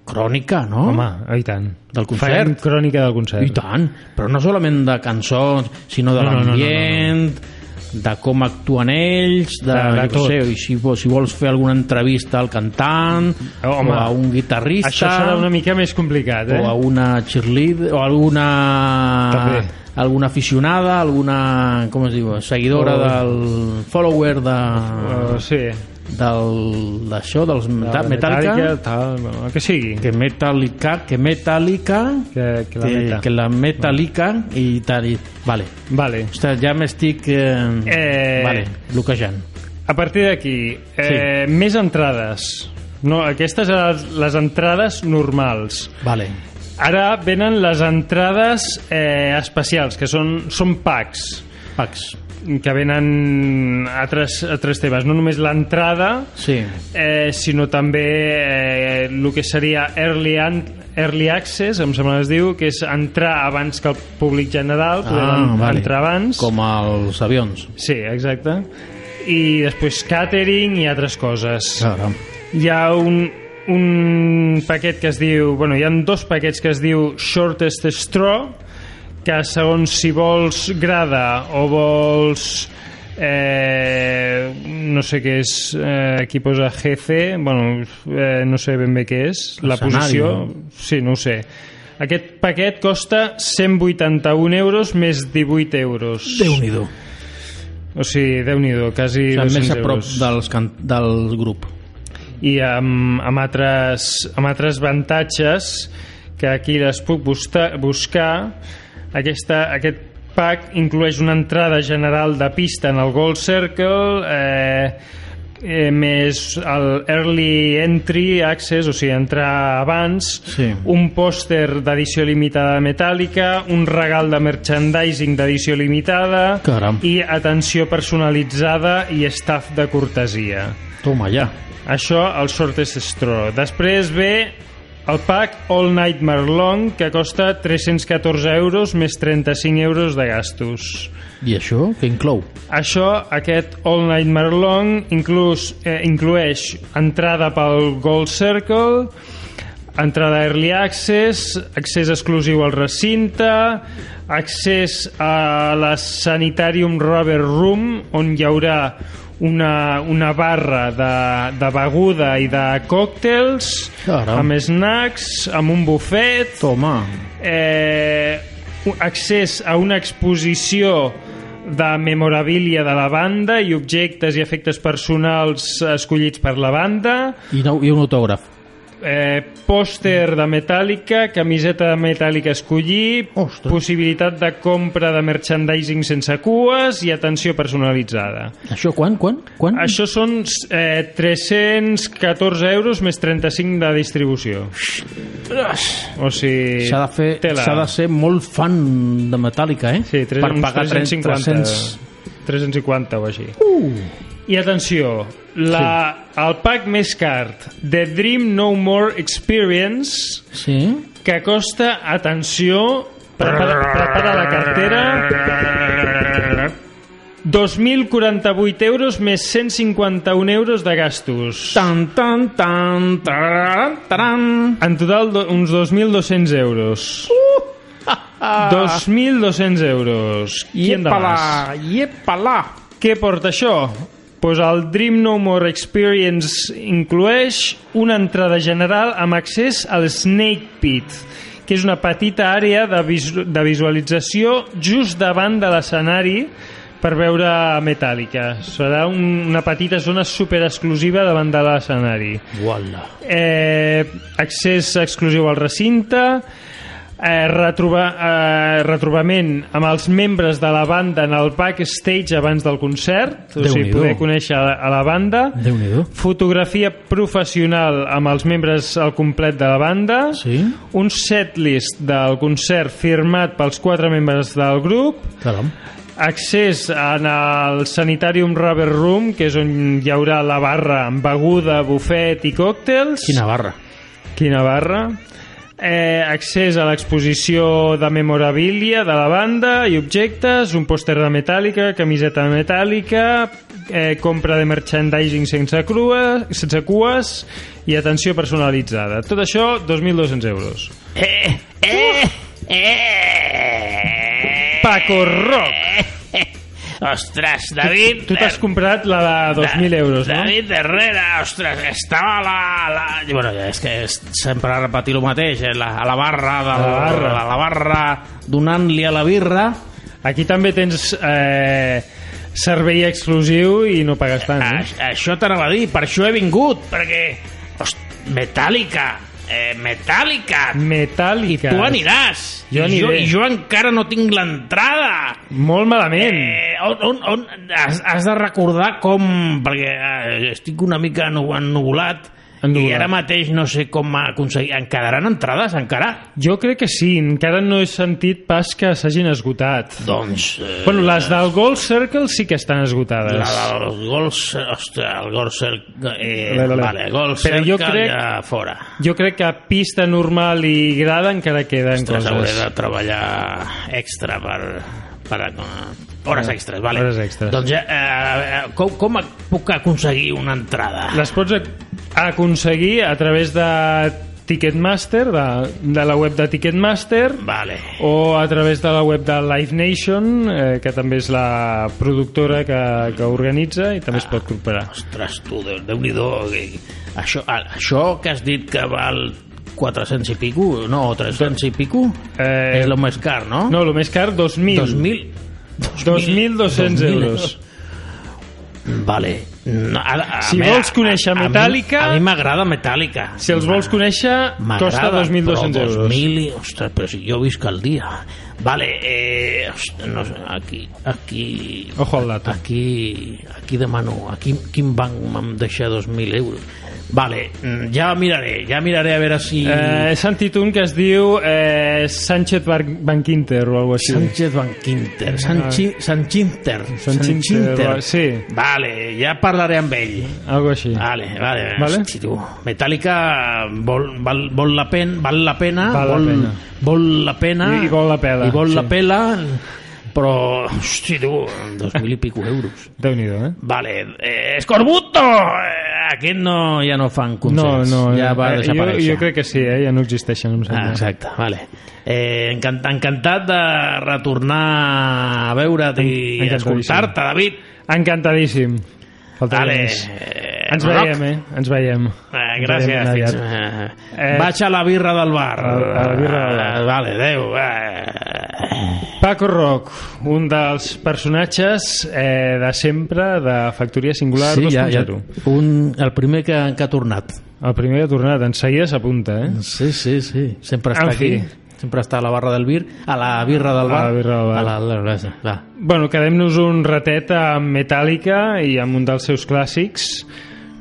Speaker 4: crònica, no?
Speaker 3: Home, oh, i tant.
Speaker 4: Del concert.
Speaker 3: Farem crònica del concert.
Speaker 4: I tant, però no solament de cançons, sinó de
Speaker 3: No, no, no, no,
Speaker 4: l'ambient, de com actuen ells, de,
Speaker 3: De- de
Speaker 4: jo
Speaker 3: tot.
Speaker 4: sé, i si, vo- si vols fer alguna entrevista al cantant,
Speaker 3: Eh, Home,
Speaker 4: o a un guitarrista,
Speaker 3: Això serà una mica més complicat, eh?
Speaker 4: o a una cheerleader, o alguna...
Speaker 3: També.
Speaker 4: alguna aficionada, alguna com es diu, seguidora
Speaker 3: O-
Speaker 4: del follower de
Speaker 3: Uh, sí.
Speaker 4: del d'això dels
Speaker 3: La
Speaker 4: Meta- Metallica,
Speaker 3: tal, bueno, el que sigui.
Speaker 4: que Metallica, que Metallica,
Speaker 3: Que, que la
Speaker 4: que,
Speaker 3: meta.
Speaker 4: que la Metallica i tal i... Vale.
Speaker 3: Vale.
Speaker 4: Ostres, ja m'estic... Eh,
Speaker 3: Eh.
Speaker 4: Vale, bloquejant.
Speaker 3: A partir d'aquí, eh, més entrades. No, aquestes eren les- les entrades normals.
Speaker 4: Vale.
Speaker 3: Ara venen les entrades eh, especials, que són, són packs,
Speaker 4: Pax.
Speaker 3: que venen a tres, a tres temes. No només l'entrada,
Speaker 4: Sí.
Speaker 3: eh, sinó també eh, el que seria Early, an Early Access, em sembla que es diu, que és entrar abans que el públic general, podem en- entrar abans.
Speaker 4: Ah, Com els avions.
Speaker 3: Sí, exacte. I després catering i altres coses
Speaker 4: Claro.
Speaker 3: hi ha un, un paquet que es diu... Bueno, hi ha dos paquets que es diu Shortest Straw, que segons si vols grada o vols... Eh, no sé què és eh, aquí posa GC bueno, eh, no sé ben bé què és la
Speaker 4: Escenari,
Speaker 3: posició,
Speaker 4: no?
Speaker 3: sí, no ho sé aquest paquet costa 181 euros més 18 euros
Speaker 4: Déu-n'hi-do.
Speaker 3: o sigui, Déu-n'hi-do, quasi
Speaker 4: O sigui,
Speaker 3: 200
Speaker 4: més a prop
Speaker 3: euros
Speaker 4: dels can... del grup.
Speaker 3: i amb, amb, altres, amb altres avantatges que aquí les puc buscar, buscar aquesta, aquest pack inclueix una entrada general de pista en el Gold Circle, eh, eh, més el Early Entry Access, o sigui, entrar abans,
Speaker 4: Sí.
Speaker 3: un pòster d'edició limitada metàl·lica, un regal de merchandising d'edició limitada
Speaker 4: Caram.
Speaker 3: i atenció personalitzada i staff de cortesia.
Speaker 4: Toma, ja.
Speaker 3: Això el Sortes Straw. Després ve el pack All Nightmare Long, que costa 314 euros més 35 euros de gastos.
Speaker 4: I això què inclou?
Speaker 3: Això, aquest All Nightmare Long, inclús, eh, inclueix entrada pel Gold Circle, entrada Early Access, accés exclusiu al recinte, accés a la Sanitarium Rubber Room, on hi haurà una, una barra de, de beguda i de còctels,
Speaker 4: Caram.
Speaker 3: amb snacks, amb un bufet,
Speaker 4: Toma.
Speaker 3: eh, u- accés a una exposició de memorabilia de la banda i objectes i efectes personals escollits per la banda,
Speaker 4: I, no, i un autògraf.
Speaker 3: eh, pòster de Metallica, camiseta de Metallica a escollir,
Speaker 4: Ostres.
Speaker 3: possibilitat de compra de merchandising sense cues i atenció personalitzada.
Speaker 4: Això quan? Quan? quan?
Speaker 3: Això són eh, 314 euros més 35 de distribució. O sigui...
Speaker 4: S'ha de, fer,
Speaker 3: tela.
Speaker 4: s'ha de ser molt fan de Metallica, eh?
Speaker 3: Sí, 3,
Speaker 4: per pagar
Speaker 3: 350.
Speaker 4: 300...
Speaker 3: 350 o així. Uh. I atenció, la, el pack més car, The Dream No More Experience,
Speaker 4: Sí?
Speaker 3: que costa, atenció, prepara, prepara la cartera, 2.048 euros més 151 euros de gastos.
Speaker 4: Tan, tan, tan, tararan, taran.
Speaker 3: En total, do, uns 2.200
Speaker 4: Uh!
Speaker 3: euros.
Speaker 4: Ah,
Speaker 3: 2.200 euros. Quien de más?
Speaker 4: Iepala, iepala.
Speaker 3: Què porta això? Pues el Dream No More Experience inclueix una entrada general amb accés al Snake Pit, que és una petita àrea de, visu de visualització just davant de l'escenari per veure Metallica. Serà un, una petita zona super exclusiva davant de l'escenari.
Speaker 4: Uala.
Speaker 3: Eh, accés exclusiu al recinte, eh, retroba, eh, retrobament amb els membres de la banda en el backstage abans del concert, o sigui,
Speaker 4: Déu-n'hi-do. Mm.
Speaker 3: poder conèixer a la, a la banda,
Speaker 4: Déu-n'hi-do.
Speaker 3: fotografia professional amb els membres al complet de la banda,
Speaker 4: Sí?
Speaker 3: un setlist del concert firmat pels quatre membres del grup,
Speaker 4: Caram.
Speaker 3: accés en el Sanitarium Rubber Room, que és on hi haurà la barra amb beguda, bufet i còctels.
Speaker 4: Quina barra.
Speaker 3: Quina barra. Eh, accés a l'exposició de memorabilia de la banda i objectes, un pòster de metàl·lica, camiseta de metàl·lica, eh, compra de merchandising sense, crua, sense cues i atenció personalitzada. Tot això, 2.200 euros. Eh, eh, eh. Paco Rock!
Speaker 5: Ostres, David... eh,
Speaker 3: Tu t'has comprat la de 2.000 euros, no?
Speaker 5: David Herrera, ostres, estava la... la... i Bueno, ja és que és sempre repetir el mateix, eh? la, a la barra, de la,
Speaker 3: A la barra.
Speaker 5: a la barra...
Speaker 4: Donant-li a la birra...
Speaker 3: Aquí també tens eh, servei exclusiu i no pagues tant,
Speaker 5: A,
Speaker 3: eh?
Speaker 5: això t'anava a dir, per això he vingut, perquè... Ost, Metallica, eh, Metallica,
Speaker 3: Metàl·lica.
Speaker 5: ah. tu aniràs.
Speaker 3: Jo
Speaker 5: I jo,
Speaker 3: aniré.
Speaker 5: I jo encara no tinc l'entrada.
Speaker 3: Molt malament.
Speaker 5: Eh, on, on, on has, has de recordar com... Perquè eh, estic una mica enu- ennubulat,
Speaker 3: Ennuvolat.
Speaker 5: i ara mateix no sé com aconseguir... En quedaran entrades encara?
Speaker 3: Jo crec que sí, encara no he sentit pas que s'hagin esgotat.
Speaker 5: Doncs... Eh,
Speaker 3: Bueno, les del Gold Circle sí que estan
Speaker 5: la
Speaker 3: esgotades.
Speaker 5: dels gols... Ostres, el gol cerc... Eh,
Speaker 3: La, la, la.
Speaker 5: Vale, gol
Speaker 3: Però jo
Speaker 5: cerca
Speaker 3: crec-
Speaker 5: ja fora.
Speaker 3: Jo crec que a pista normal i grada encara queden
Speaker 5: Ostres, Doncs hauré
Speaker 3: coses.
Speaker 5: de treballar extra per... per eh, hores extres, vale.
Speaker 3: Ah, Hores extres.
Speaker 5: Doncs ja, eh, eh, com, com puc aconseguir una entrada?
Speaker 3: Les pots ac- aconseguir a través de Ticketmaster, de, de la web de Ticketmaster,
Speaker 5: Vale.
Speaker 3: o a través de la web de Live Nation, eh, que també és la productora que, que organitza i també es pot comprar.
Speaker 5: Ah, Ostres, tu, déu, déu nhi això, a- això que has dit que val 400 i pico, no, 300 i pico,
Speaker 3: Eh,
Speaker 5: és el més car, no?
Speaker 3: No, el més car, 2.000.
Speaker 5: 2.000.
Speaker 3: 2.200 euros.
Speaker 5: Vale,
Speaker 4: No, a, a,
Speaker 3: Si
Speaker 4: a mi-
Speaker 3: vols conèixer
Speaker 4: a- a mi-
Speaker 3: Metallica-
Speaker 4: A mi m'agrada Metallica.
Speaker 3: Si els vols conèixer, costa 2.200 euros.
Speaker 4: 2.000, i- ostres, però si jo visc al dia. Vale, eh, ostres, no sé, aquí, aquí...
Speaker 3: Ojo al
Speaker 4: Ah.
Speaker 3: dato.
Speaker 4: Aquí, aquí demano, aquí, quin banc m'han deixat 2.000 euros? Vale, mm, ja miraré, ja miraré a veure si...
Speaker 3: Eh, he sentit un que es diu eh, Sánchez Ban- Banquinter o alguna cosa així.
Speaker 4: Sánchez Banquinter, Sanchi, Sanchinter,
Speaker 3: Sanchinter,
Speaker 4: Sanchinter.
Speaker 3: eh, sí.
Speaker 4: Vale, ja parlaré amb ell.
Speaker 3: Algo així.
Speaker 4: Vale, vale.
Speaker 3: Vale.
Speaker 4: Hosti, tu. Metallica vol, val, vol, la pen, val la pena,
Speaker 3: Val la
Speaker 4: vol,
Speaker 3: pena.
Speaker 4: vol la pena.
Speaker 3: I- i vol la pela,
Speaker 4: I vol
Speaker 3: sí.
Speaker 4: la pela, però, hosti, tu, dos mil i pico euros.
Speaker 3: Déu-n'hi-do, eh?
Speaker 4: Vale, eh, Escorbuto! Eh, Aquest no, ja no fan concerts.
Speaker 3: No, no,
Speaker 4: ja va
Speaker 3: eh, jo,
Speaker 4: desaparèixer.
Speaker 3: jo crec que sí, eh? ja no existeixen, em
Speaker 4: Ah,
Speaker 3: sembla.
Speaker 4: exacte, vale. Eh, encant, encantat de retornar a veure't i
Speaker 3: Encantadíssim.
Speaker 4: escoltar-te, David.
Speaker 3: Encantadíssim. Faltaria
Speaker 4: Vale.
Speaker 3: més.
Speaker 4: eh,
Speaker 3: Ens
Speaker 4: rock.
Speaker 3: veiem, eh? Ens veiem.
Speaker 4: Eh,
Speaker 3: Ens
Speaker 4: gràcies.
Speaker 3: veiem
Speaker 4: Fins,
Speaker 3: aviat.
Speaker 4: eh,
Speaker 3: Eh,
Speaker 4: vaig a la birra del bar.
Speaker 3: a- a la birra del bar.
Speaker 4: Eh, Vale, adeu. Eh.
Speaker 3: Paco Roc, un dels personatges eh, de sempre de Factoria Singular
Speaker 4: Sí,
Speaker 3: 2.0.
Speaker 4: ja, ja, un, el primer que, que ha tornat.
Speaker 3: El primer que ha tornat, en seguida s'apunta, eh?
Speaker 4: Sí, sí, sí. Sempre
Speaker 3: En
Speaker 4: està
Speaker 3: fi.
Speaker 4: aquí. Sempre està a la barra del bir, a la birra del
Speaker 3: A la
Speaker 4: bar.
Speaker 3: birra del bar.
Speaker 4: A la, la, la, la.
Speaker 3: Bueno, quedem-nos un ratet amb Metallica i amb un dels seus clàssics,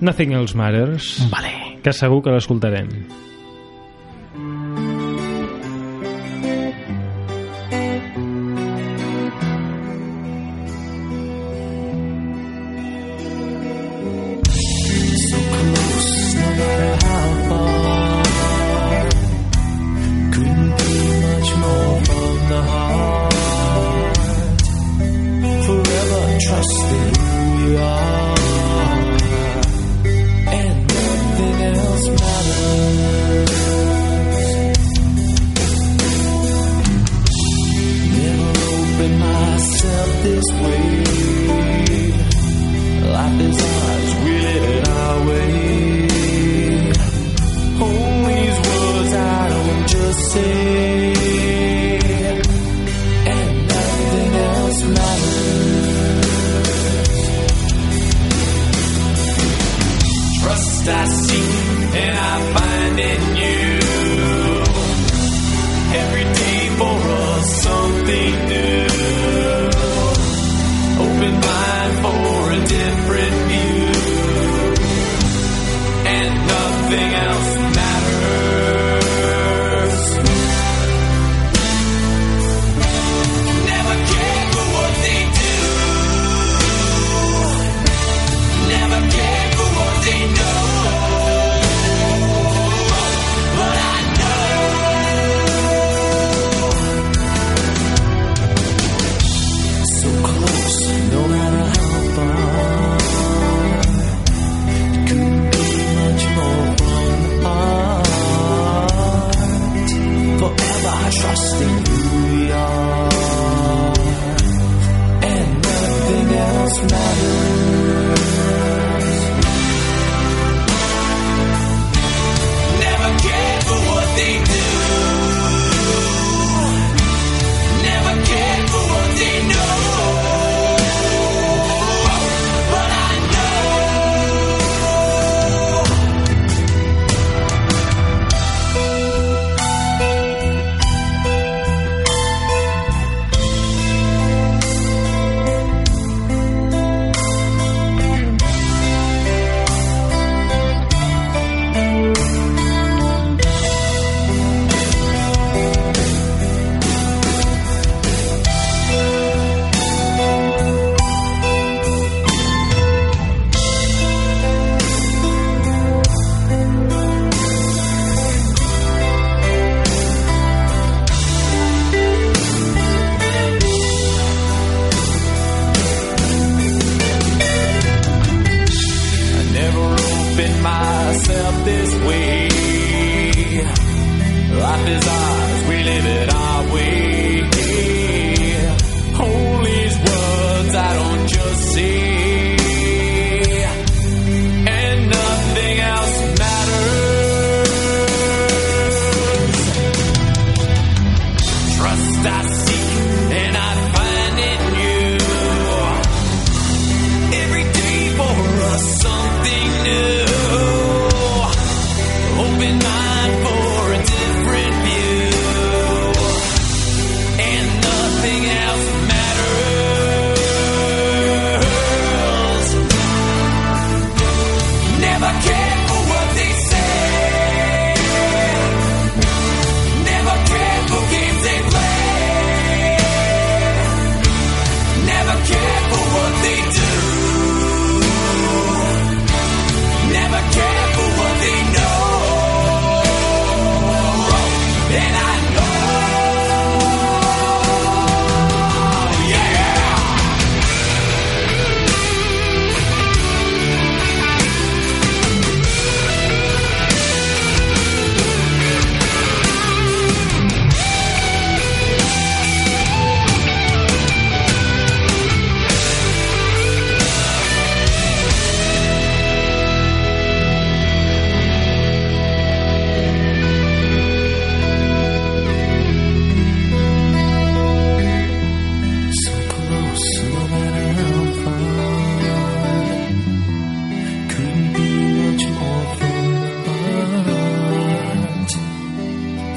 Speaker 3: Nothing Else Matters,
Speaker 4: Vale.
Speaker 3: que segur que l'escoltarem.
Speaker 6: Couldn't be much more from the heart. Forever trusting who we are, and nothing else matters.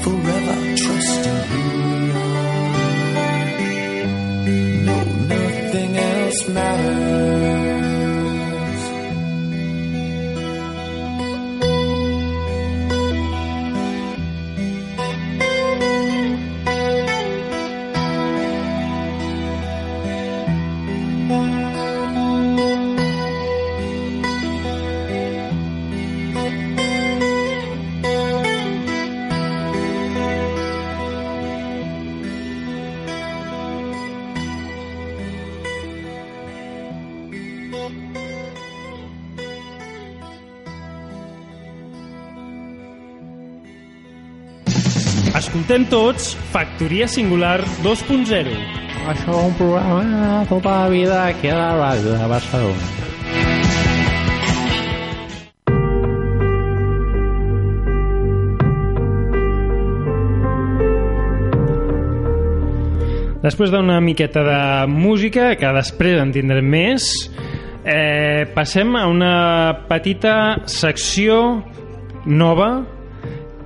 Speaker 7: forever trusting who we are. No, nothing else matters.
Speaker 3: Escoltem tots Factoria Singular 2.0.
Speaker 8: Això és un programa tota la vida aquí a la ràdio de Barcelona.
Speaker 3: Després d'una miqueta de música, que després en tindrem més, eh, passem a una petita secció nova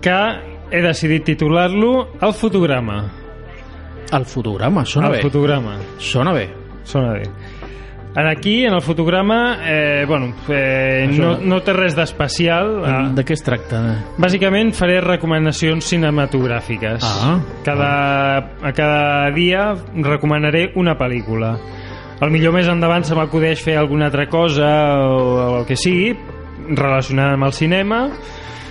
Speaker 3: que he decidit titular-lo El fotograma.
Speaker 4: El fotograma, sona
Speaker 3: El
Speaker 4: bé.
Speaker 3: fotograma.
Speaker 4: Sona bé.
Speaker 3: Sona bé. En Aquí, en el fotograma, eh, bueno, eh, no, no té res d'especial. Ah.
Speaker 4: De què es tracta?
Speaker 3: Bàsicament faré recomanacions cinematogràfiques.
Speaker 4: Ah.
Speaker 3: Cada, a cada dia recomanaré una pel·lícula. El millor més endavant se m'acudeix fer alguna altra cosa o el que sigui relacionada amb el cinema.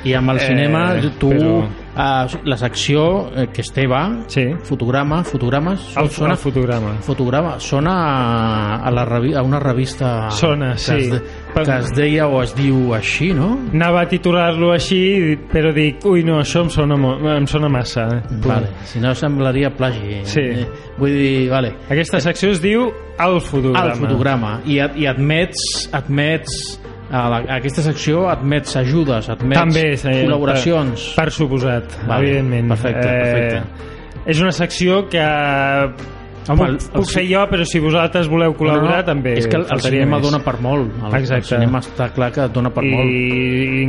Speaker 4: I amb el
Speaker 3: Eh,
Speaker 4: cinema, tu...
Speaker 3: però-
Speaker 4: eh, la secció eh, que és teva,
Speaker 3: Sí.
Speaker 4: fotograma, fotogrames...
Speaker 3: El, el fotograma.
Speaker 4: Fotograma, sona a, la revi a una revista
Speaker 3: Sona,
Speaker 4: que,
Speaker 3: sí.
Speaker 4: es de,
Speaker 3: Però-
Speaker 4: que es deia o es diu així, no?
Speaker 3: Anava a titular-lo així, però dic, ui, no, això em sona, mo- em sona massa. eh?"
Speaker 4: Vale, si no semblaria plagi.
Speaker 3: Sí.
Speaker 4: Eh, Vull dir, vale.
Speaker 3: Aquesta secció es diu El fotograma.
Speaker 4: El fotograma. I, ad- i admets, admets a, la, a aquesta secció admets ajudes, admets
Speaker 3: També, sí,
Speaker 4: col·laboracions.
Speaker 3: Per, per suposat,
Speaker 4: Vale,
Speaker 3: evidentment. Eh,
Speaker 4: perfecte, perfecte.
Speaker 3: És una secció que
Speaker 4: Home,
Speaker 3: Home,
Speaker 4: el-
Speaker 3: puc,
Speaker 4: el
Speaker 3: puc fer jo, però si vosaltres voleu col·laborar també.
Speaker 4: És que el, el
Speaker 3: faltaria
Speaker 4: cinema
Speaker 3: més.
Speaker 4: dona per molt. El, el
Speaker 3: Exacte.
Speaker 4: cinema està clar que dona per
Speaker 3: I
Speaker 4: molt.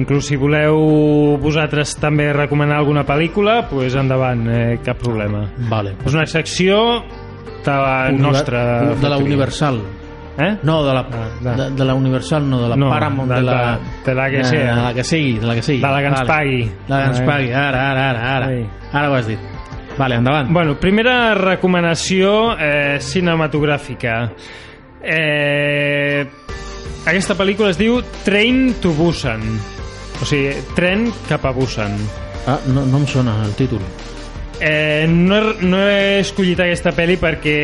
Speaker 3: inclús si voleu vosaltres també recomanar alguna pel·lícula, doncs endavant, eh, cap problema.
Speaker 4: Vale.
Speaker 3: És una secció de la nostra...
Speaker 4: de la Universal.
Speaker 3: Eh?
Speaker 4: No, de la,
Speaker 3: de-
Speaker 4: de, de la Universal, no, de la
Speaker 3: No,
Speaker 4: Paramount,
Speaker 3: de-
Speaker 4: de, la,
Speaker 3: de- de la que
Speaker 4: de-
Speaker 3: sigui.
Speaker 4: De la que sigui, de la que sigui.
Speaker 3: De la que ens
Speaker 4: Vale.
Speaker 3: pagui.
Speaker 4: De la que ens
Speaker 3: Eh.
Speaker 4: pagui, ara, ara, ara, ara.
Speaker 3: Ai.
Speaker 4: Ara ho has dit. Vale, endavant.
Speaker 3: Bueno, primera recomanació eh, cinematogràfica. Eh, aquesta pel·lícula es diu Train to Busan. O sigui, tren cap a Busan.
Speaker 4: Ah, no, no em sona el títol.
Speaker 3: Eh, no, he, no he escollit aquesta pel·li perquè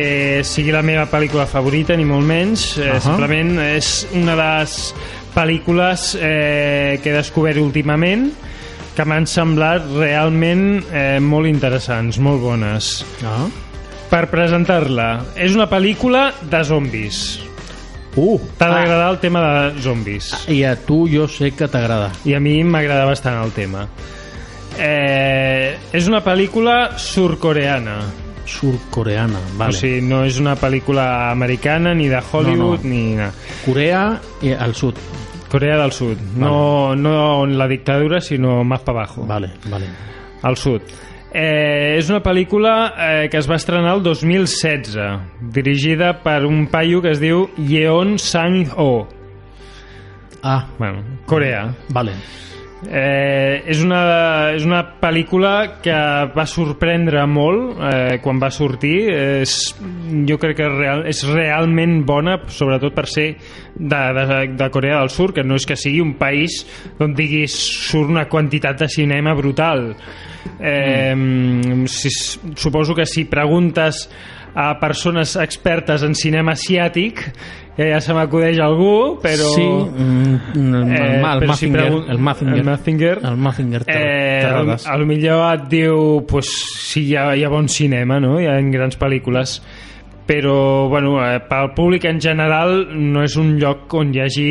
Speaker 3: sigui la meva pel·lícula favorita, ni molt menys. Eh, uh
Speaker 4: Ahà.
Speaker 3: -huh. Simplement és una de les pel·lícules eh, que he descobert últimament que m'han semblat realment eh, molt interessants, molt bones
Speaker 4: Ah.
Speaker 3: per presentar-la. És una pel·lícula de zombis.
Speaker 4: Uh,
Speaker 3: T'ha d'agradar el tema de zombis.
Speaker 4: I a tu jo sé que t'agrada.
Speaker 3: I a mi m'agrada bastant el tema. Eh, és una pel·lícula surcoreana.
Speaker 4: Surcoreana,
Speaker 3: Vale.
Speaker 4: vale.
Speaker 3: O sigui, no és una pel·lícula americana, ni de Hollywood,
Speaker 4: No, no.
Speaker 3: ni... Na.
Speaker 4: Corea i al sud.
Speaker 3: Corea del Sud. No, no en la dictadura, sinó más para abajo.
Speaker 4: Vale, vale.
Speaker 3: al sud. Eh, és una pel·lícula eh, que es va estrenar el 2016, dirigida per un paio que es diu Yeon Sang-ho,
Speaker 4: Ah,
Speaker 3: bueno, Corea.
Speaker 4: vale.
Speaker 3: Eh, és, una, és una pel·lícula que va sorprendre molt eh, quan va sortir. És, jo crec que real, és realment bona, sobretot per ser de, de, de Corea del Sud, que no és que sigui un país on diguis surt una quantitat de cinema brutal. Eh, si, suposo que si preguntes a persones expertes en cinema asiàtic, que ja se m'acudeix algú, però...
Speaker 4: Sí, mm, el,
Speaker 3: Eh,
Speaker 4: el, el,
Speaker 3: però si
Speaker 4: Mazinger,
Speaker 3: pregun-
Speaker 4: el Mazinger.
Speaker 3: el Mazinger.
Speaker 4: El Mazinger.
Speaker 3: Eh, al,
Speaker 4: t'agrades.
Speaker 3: al millor et diu pues, si hi ha, hi ha bon cinema no? hi ha grans pel·lícules però bueno, eh, pel públic en general no és un lloc on hi hagi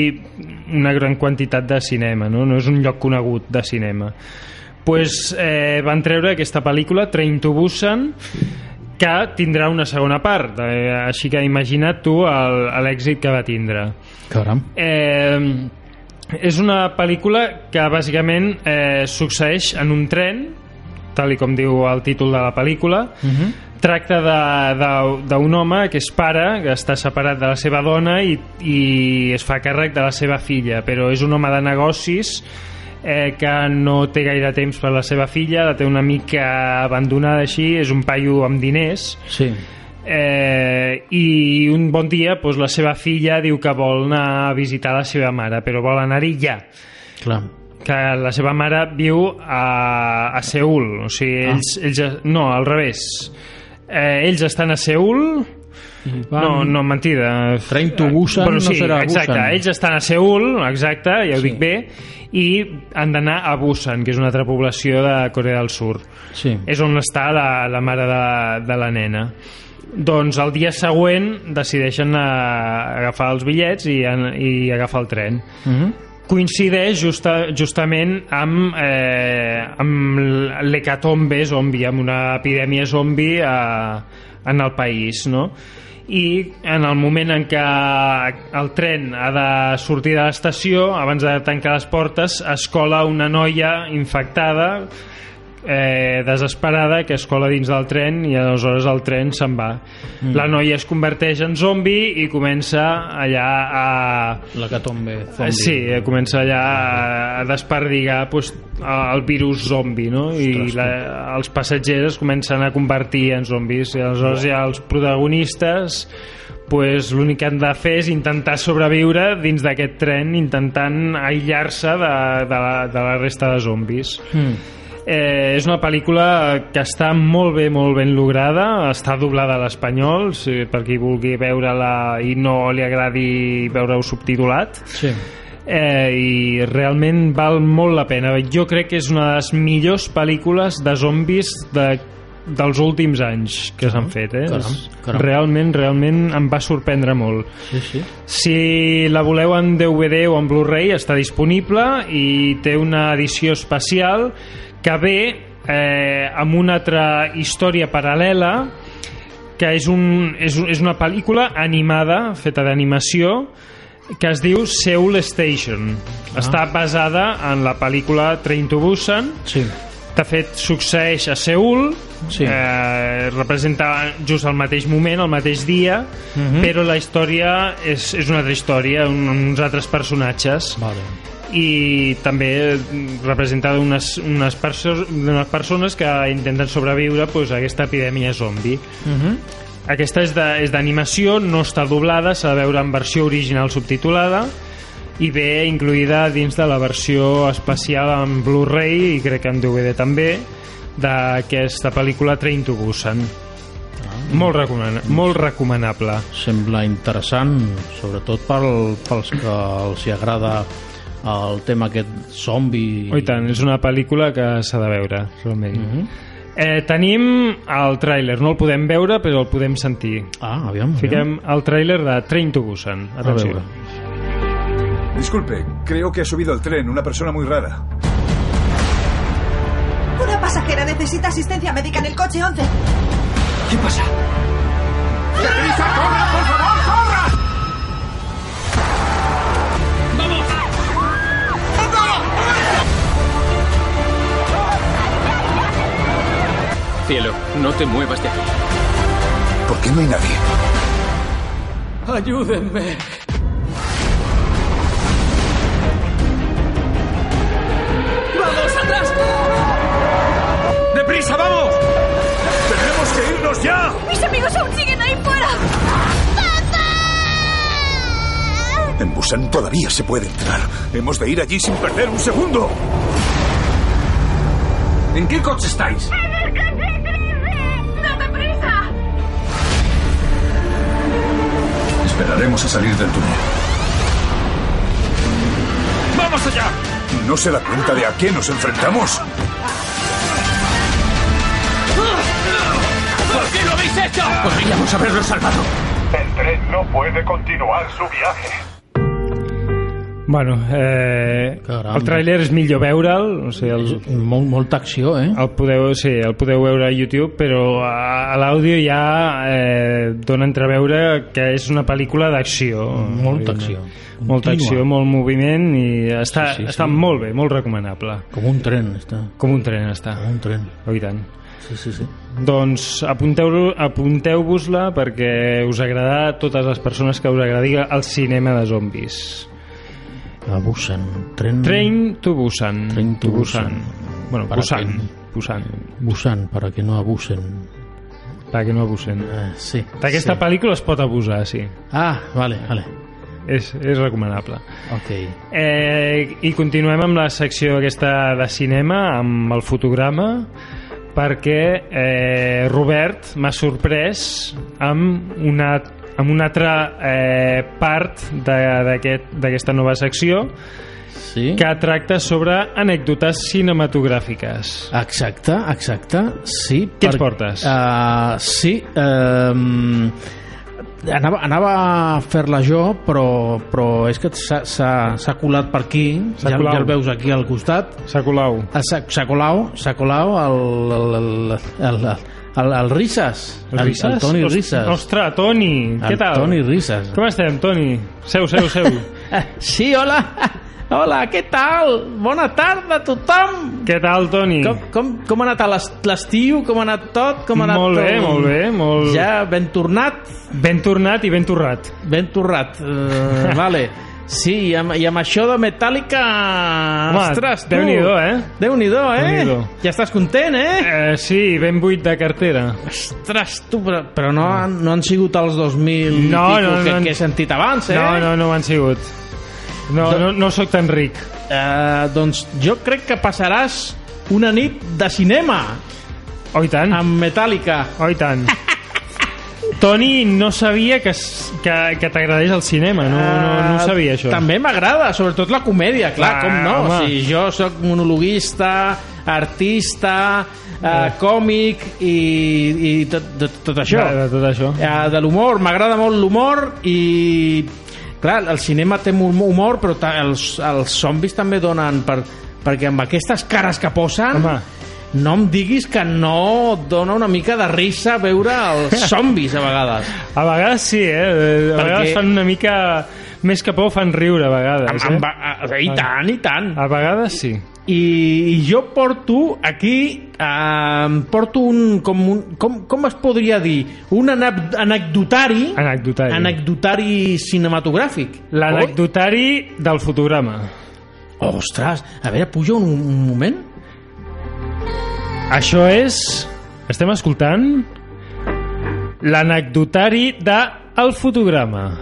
Speaker 3: una gran quantitat de cinema no, no és un lloc conegut de cinema pues, eh, van treure aquesta pel·lícula Train to Busan que tindrà una segona part eh, així que imagina't tu el- l'èxit que va tindre
Speaker 4: Caram.
Speaker 3: Eh, és una pel·lícula que bàsicament eh, succeeix en un tren, tal i com diu el títol de la pel·lícula. Tracta de- de- d'un home que és pare, que està separat de la seva dona i, i es fa càrrec de la seva filla, però és un home de negocis eh, que no té gaire temps per la seva filla, la té una mica abandonada així, és un paio amb diners,
Speaker 4: Sí.
Speaker 3: Eh, I un bon dia doncs, la seva filla diu que vol anar a visitar la seva mare, però vol anar-hi ja.
Speaker 4: Clar.
Speaker 3: Que la seva mare viu a, a Seul. O sigui, ells, ells, no, al revés. Eh, ells estan a Seul... No, no, mentida. Eh,
Speaker 4: Train to Busan
Speaker 3: Bueno,
Speaker 4: no
Speaker 3: sí,
Speaker 4: serà
Speaker 3: exacte.
Speaker 4: Busan.
Speaker 3: Ells estan a Seul, exacte, ja ho
Speaker 4: Sí.
Speaker 3: dic bé, i han d'anar a Busan, que és una altra població de Corea del Sur
Speaker 4: Sí.
Speaker 3: és on està la, la mare de, de la nena doncs el dia següent decideixen a, agafar els bitllets i, an- i agafar el tren
Speaker 4: Mhm.
Speaker 3: coincideix justa, justament amb, eh, amb l'hecatombe zombi, amb una epidèmia zombi a, en el país, no? I en el moment en què el tren ha de sortir de l'estació, abans de tancar les portes, es cola una noia infectada, eh, desesperada, que es cola dins del tren i aleshores el tren se'n va. Mm. La noia es converteix en zombi i comença allà a
Speaker 4: La que tombe
Speaker 3: Eh, Sí, eh, comença allà a- a desperdigar pues, a- el virus zombi, no? I la, els passatgers es comencen a convertir en zombis. I aleshores ja els protagonistes pues, l'únic que han de fer és intentar sobreviure dins d'aquest tren intentant aïllar-se de, de, la, de la resta de zombis.
Speaker 4: Mm.
Speaker 3: Eh, és una pel·lícula que està molt bé, molt ben lograda, està doblada a l'espanyol, si per qui vulgui veure-la i no li agradi veure-ho subtitulat
Speaker 4: Sí.
Speaker 3: eh, i realment val molt la pena. Jo crec que és una de les millors pel·lícules de zombis de, dels últims anys que s'han fet. Eh?
Speaker 4: Caram,
Speaker 3: És-
Speaker 4: caram.
Speaker 3: Realment, realment em va sorprendre molt.
Speaker 4: Sí, sí.
Speaker 3: Si la voleu en DVD o en Blu-ray està disponible i té una edició especial que ve eh, amb una altra història paral·lela que és, un, és, un- és una pel·lícula animada, feta d'animació que es diu Seoul Station està basada en la pel·lícula Train to Busan
Speaker 4: Sí.
Speaker 3: de fet, succeeix a Seul,
Speaker 4: Sí.
Speaker 3: eh, representa just al mateix moment, al mateix dia,
Speaker 4: Mhm.
Speaker 3: però la història és, és una altra història, un, uns altres personatges,
Speaker 4: Vale.
Speaker 3: i també mm, representa unes, unes, perso unes persones que intenten sobreviure pues, a aquesta epidèmia zombi.
Speaker 4: Mhm.
Speaker 3: Aquesta és de- és d'animació, no està doblada, s'ha de veure en versió original subtitulada i ve incluïda dins de la versió especial en Blu-ray i crec que en DVD també d'aquesta pel·lícula Train to Busan.
Speaker 4: Ah.
Speaker 3: Molt, recomana molt recomanable.
Speaker 4: Sembla interessant, sobretot pel, pels que els hi agrada el tema aquest zombi.
Speaker 3: Oh, I tant, és una pel·lícula que s'ha de veure, realment.
Speaker 4: Mhm.
Speaker 3: eh, tenim el tràiler, no el podem veure, però el podem sentir.
Speaker 4: Ah, aviam, aviam.
Speaker 3: Fiquem el tràiler de Train to Busan.
Speaker 4: A veure.
Speaker 3: Atenció.
Speaker 9: Disculpe, creo que ha subido al tren una persona muy rara.
Speaker 10: Una pasajera necesita asistencia médica en el coche 11.
Speaker 9: ¿Qué pasa?
Speaker 11: Cielo, no te muevas de aquí.
Speaker 9: ¿Por qué no hay nadie?
Speaker 11: Ayúdenme. ¡Vamos atrás!
Speaker 9: ¡Deprisa, vamos! ¡Tenemos que irnos ya!
Speaker 12: ¡Mis amigos aún siguen ahí fuera!
Speaker 9: En Busan todavía se puede entrar. Hemos de ir allí sin perder un segundo. ¿En qué coche estáis?
Speaker 12: ¡El coche 13! ¡Dame prisa!
Speaker 9: Esperaremos a salir del túnel.
Speaker 11: ¡Vamos allá!
Speaker 9: ¿No se da cuenta de a qué nos enfrentamos?
Speaker 11: ¿Por qué lo habéis hecho? Podríamos haberlo salvado.
Speaker 13: El tren no puede continuar su viaje.
Speaker 3: Bueno, eh,
Speaker 4: Caram.
Speaker 3: el tràiler és millor veure'l, o sigui, el,
Speaker 4: Molt, molta acció, eh?
Speaker 3: el podeu, sí, el podeu veure a YouTube, però a, a l'àudio ja eh, dona a entreveure que és una pel·lícula d'acció.
Speaker 4: Molta acció.
Speaker 3: Molta
Speaker 4: Contínua.
Speaker 3: acció, molt moviment i està, sí, sí, està molt bé, molt recomanable.
Speaker 4: Com un tren, està.
Speaker 3: Com un tren està.
Speaker 4: Com un tren.
Speaker 3: Oh, i tant.
Speaker 4: Sí, sí, sí.
Speaker 3: Doncs apunteu-lo- apunteu-vos-la apunteu perquè us agradarà a totes les persones que us agradi el cinema de zombis.
Speaker 4: A Busan. Tren...
Speaker 3: Train to Busan.
Speaker 4: Mm. Train to
Speaker 3: Bueno,
Speaker 4: Para
Speaker 3: Busan.
Speaker 4: tren.
Speaker 3: Busan.
Speaker 4: Busan, para que no abusen.
Speaker 3: Para que no abusen.
Speaker 4: Eh, sí.
Speaker 3: D'aquesta
Speaker 4: sí.
Speaker 3: pel·lícula es pot abusar, sí.
Speaker 4: Ah, vale, vale.
Speaker 3: És, és recomanable.
Speaker 4: Ok.
Speaker 3: Eh, I continuem amb la secció aquesta de cinema, amb el fotograma, perquè eh, Robert m'ha sorprès amb una, amb una altra eh, part de- d'aquest- d'aquesta aquest, nova secció
Speaker 4: Sí.
Speaker 3: que tracta sobre anècdotes cinematogràfiques.
Speaker 4: Exacte, exacte, sí.
Speaker 3: Què ens portes?
Speaker 4: Uh, sí, eh, anava, anava a fer-la jo, però, però és que s'ha- s'ha s'ha colat per aquí,
Speaker 3: S'ha
Speaker 4: ja,
Speaker 3: colat.
Speaker 4: ja el veus aquí al costat.
Speaker 3: Sacolau.
Speaker 4: A Sa- Sacolau, Sacolau, el, el, el, el, el, el Risas. El, el Toni
Speaker 3: Os-
Speaker 4: Risas.
Speaker 3: Ostres, Toni,
Speaker 4: El
Speaker 3: què tal?
Speaker 4: Toni Risas.
Speaker 3: Com estem, Toni? Seu, seu, seu.
Speaker 4: Ah, Sí, hola. Hola, què tal? Bona tarda a tothom.
Speaker 3: què tal, Toni?
Speaker 4: Com, com, com ha anat l'est- l'estiu? Com ha anat tot? Com ha anat
Speaker 3: Molt bé,
Speaker 4: tot?
Speaker 3: molt bé, molt-
Speaker 4: Ja ben tornat,
Speaker 3: Ben tornat i ben torrat.
Speaker 4: ben torrat. Uh, vale. Sí, i amb, i amb això de Metallica...
Speaker 3: Home,
Speaker 4: ostres, tu!
Speaker 3: Déu-n'hi-do, eh?
Speaker 4: Déu-n'hi-do, eh?
Speaker 3: Déu-n'hi-do.
Speaker 4: Ja estàs content, eh?
Speaker 3: Eh, sí, ben buit de cartera.
Speaker 4: Ostres, tu, però, però no, han, no han sigut els 2000 i
Speaker 3: No,
Speaker 4: pico
Speaker 3: no,
Speaker 4: que,
Speaker 3: no.
Speaker 4: que he sentit abans, eh?
Speaker 3: No, no, no m'han sigut. No, no, no sóc tan ric.
Speaker 4: Eh, doncs jo crec que passaràs una nit de cinema
Speaker 3: Oh, i tant.
Speaker 4: amb Metallica.
Speaker 3: Oh, i tant. Toni, no sabia que, s- que, que t'agradés el cinema. No, no, no ho sabia, això.
Speaker 4: Eh, Ah, També m'agrada, sobretot la comèdia, clar,
Speaker 3: Ah,
Speaker 4: com no?
Speaker 3: home.
Speaker 4: O sigui, jo sóc monologuista, artista, eh, còmic i, i tot, tot, tot això.
Speaker 3: De, de tot això.
Speaker 4: Eh, de l'humor, m'agrada molt l'humor i... Clar, el cinema té molt humor, però ta, els, els zombis també donen per, perquè amb aquestes cares que posen...
Speaker 3: Home.
Speaker 4: No em diguis que no et dona una mica de risa veure els zombis a vegades.
Speaker 3: A vegades sí, eh? A
Speaker 4: Perquè-
Speaker 3: vegades fan una mica... Més que por fan riure, a vegades.
Speaker 4: Amb, amb,
Speaker 3: Eh?
Speaker 4: a, I tant, i tant.
Speaker 3: A vegades sí.
Speaker 4: i, i jo porto aquí eh, porto un com, un com com es podria dir un anab- anecdotari
Speaker 3: Anecdotari.
Speaker 4: anecdotari cinematogràfic
Speaker 3: L'anecdotari del fotograma.
Speaker 4: Oi? ostres, a veure, puja un, un moment
Speaker 3: Això és... Estem escoltant... L'anecdotari de el fotograma.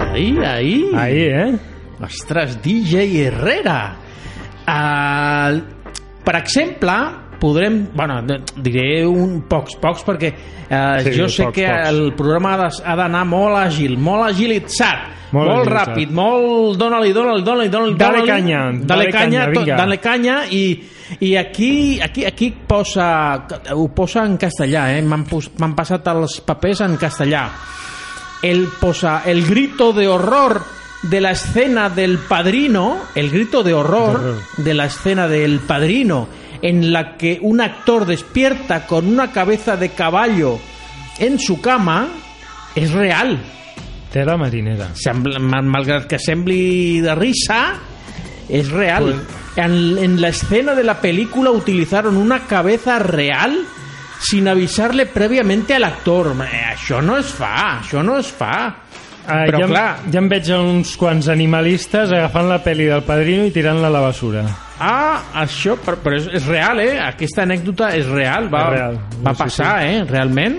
Speaker 4: ahí, ahí,
Speaker 3: Ahí, eh?
Speaker 4: ostres, DJ Herrera uh, per exemple podrem, bueno, d- diré un pocs, pocs perquè eh,
Speaker 3: Sí,
Speaker 4: jo sé
Speaker 3: pocs,
Speaker 4: que
Speaker 3: pocs.
Speaker 4: el programa ha de- ha d'anar molt àgil, molt
Speaker 3: Molt
Speaker 4: agilitzat molt, molt
Speaker 3: agilitzat.
Speaker 4: ràpid, molt dona-li, dona-li, dona-li, dona-li
Speaker 3: Dale
Speaker 4: dona-li.
Speaker 3: canya, dale
Speaker 4: dale canya,
Speaker 3: canya,
Speaker 4: to-
Speaker 3: vinga.
Speaker 4: dale canya i, i aquí, aquí, aquí posa, ho posa en castellà eh? m'han pos- m'han passat els papers en castellà el posa el grito de horror de la escena del padrino, el grito de horror de la escena del padrino, en la que un actor despierta con una cabeza de caballo en su cama, es real.
Speaker 3: Tela marinera.
Speaker 4: Sembla- ma- malgrat que sembli de risa, es real. En, en la escena de la película utilizaron una cabeza real sin avisarle previamente al actor. Eh, Això no es fa, això no es fa.
Speaker 3: Ah,
Speaker 4: Però
Speaker 3: ja, em-
Speaker 4: clar,
Speaker 3: ja em veig a uns quants animalistes agafant la peli del padrino i tirant-la a la basura.
Speaker 4: Ah, això, però, però és, és real, eh? Aquesta anècdota és real, va,
Speaker 3: És real.
Speaker 4: va
Speaker 3: Sí, sí,
Speaker 4: passar, eh? Realment.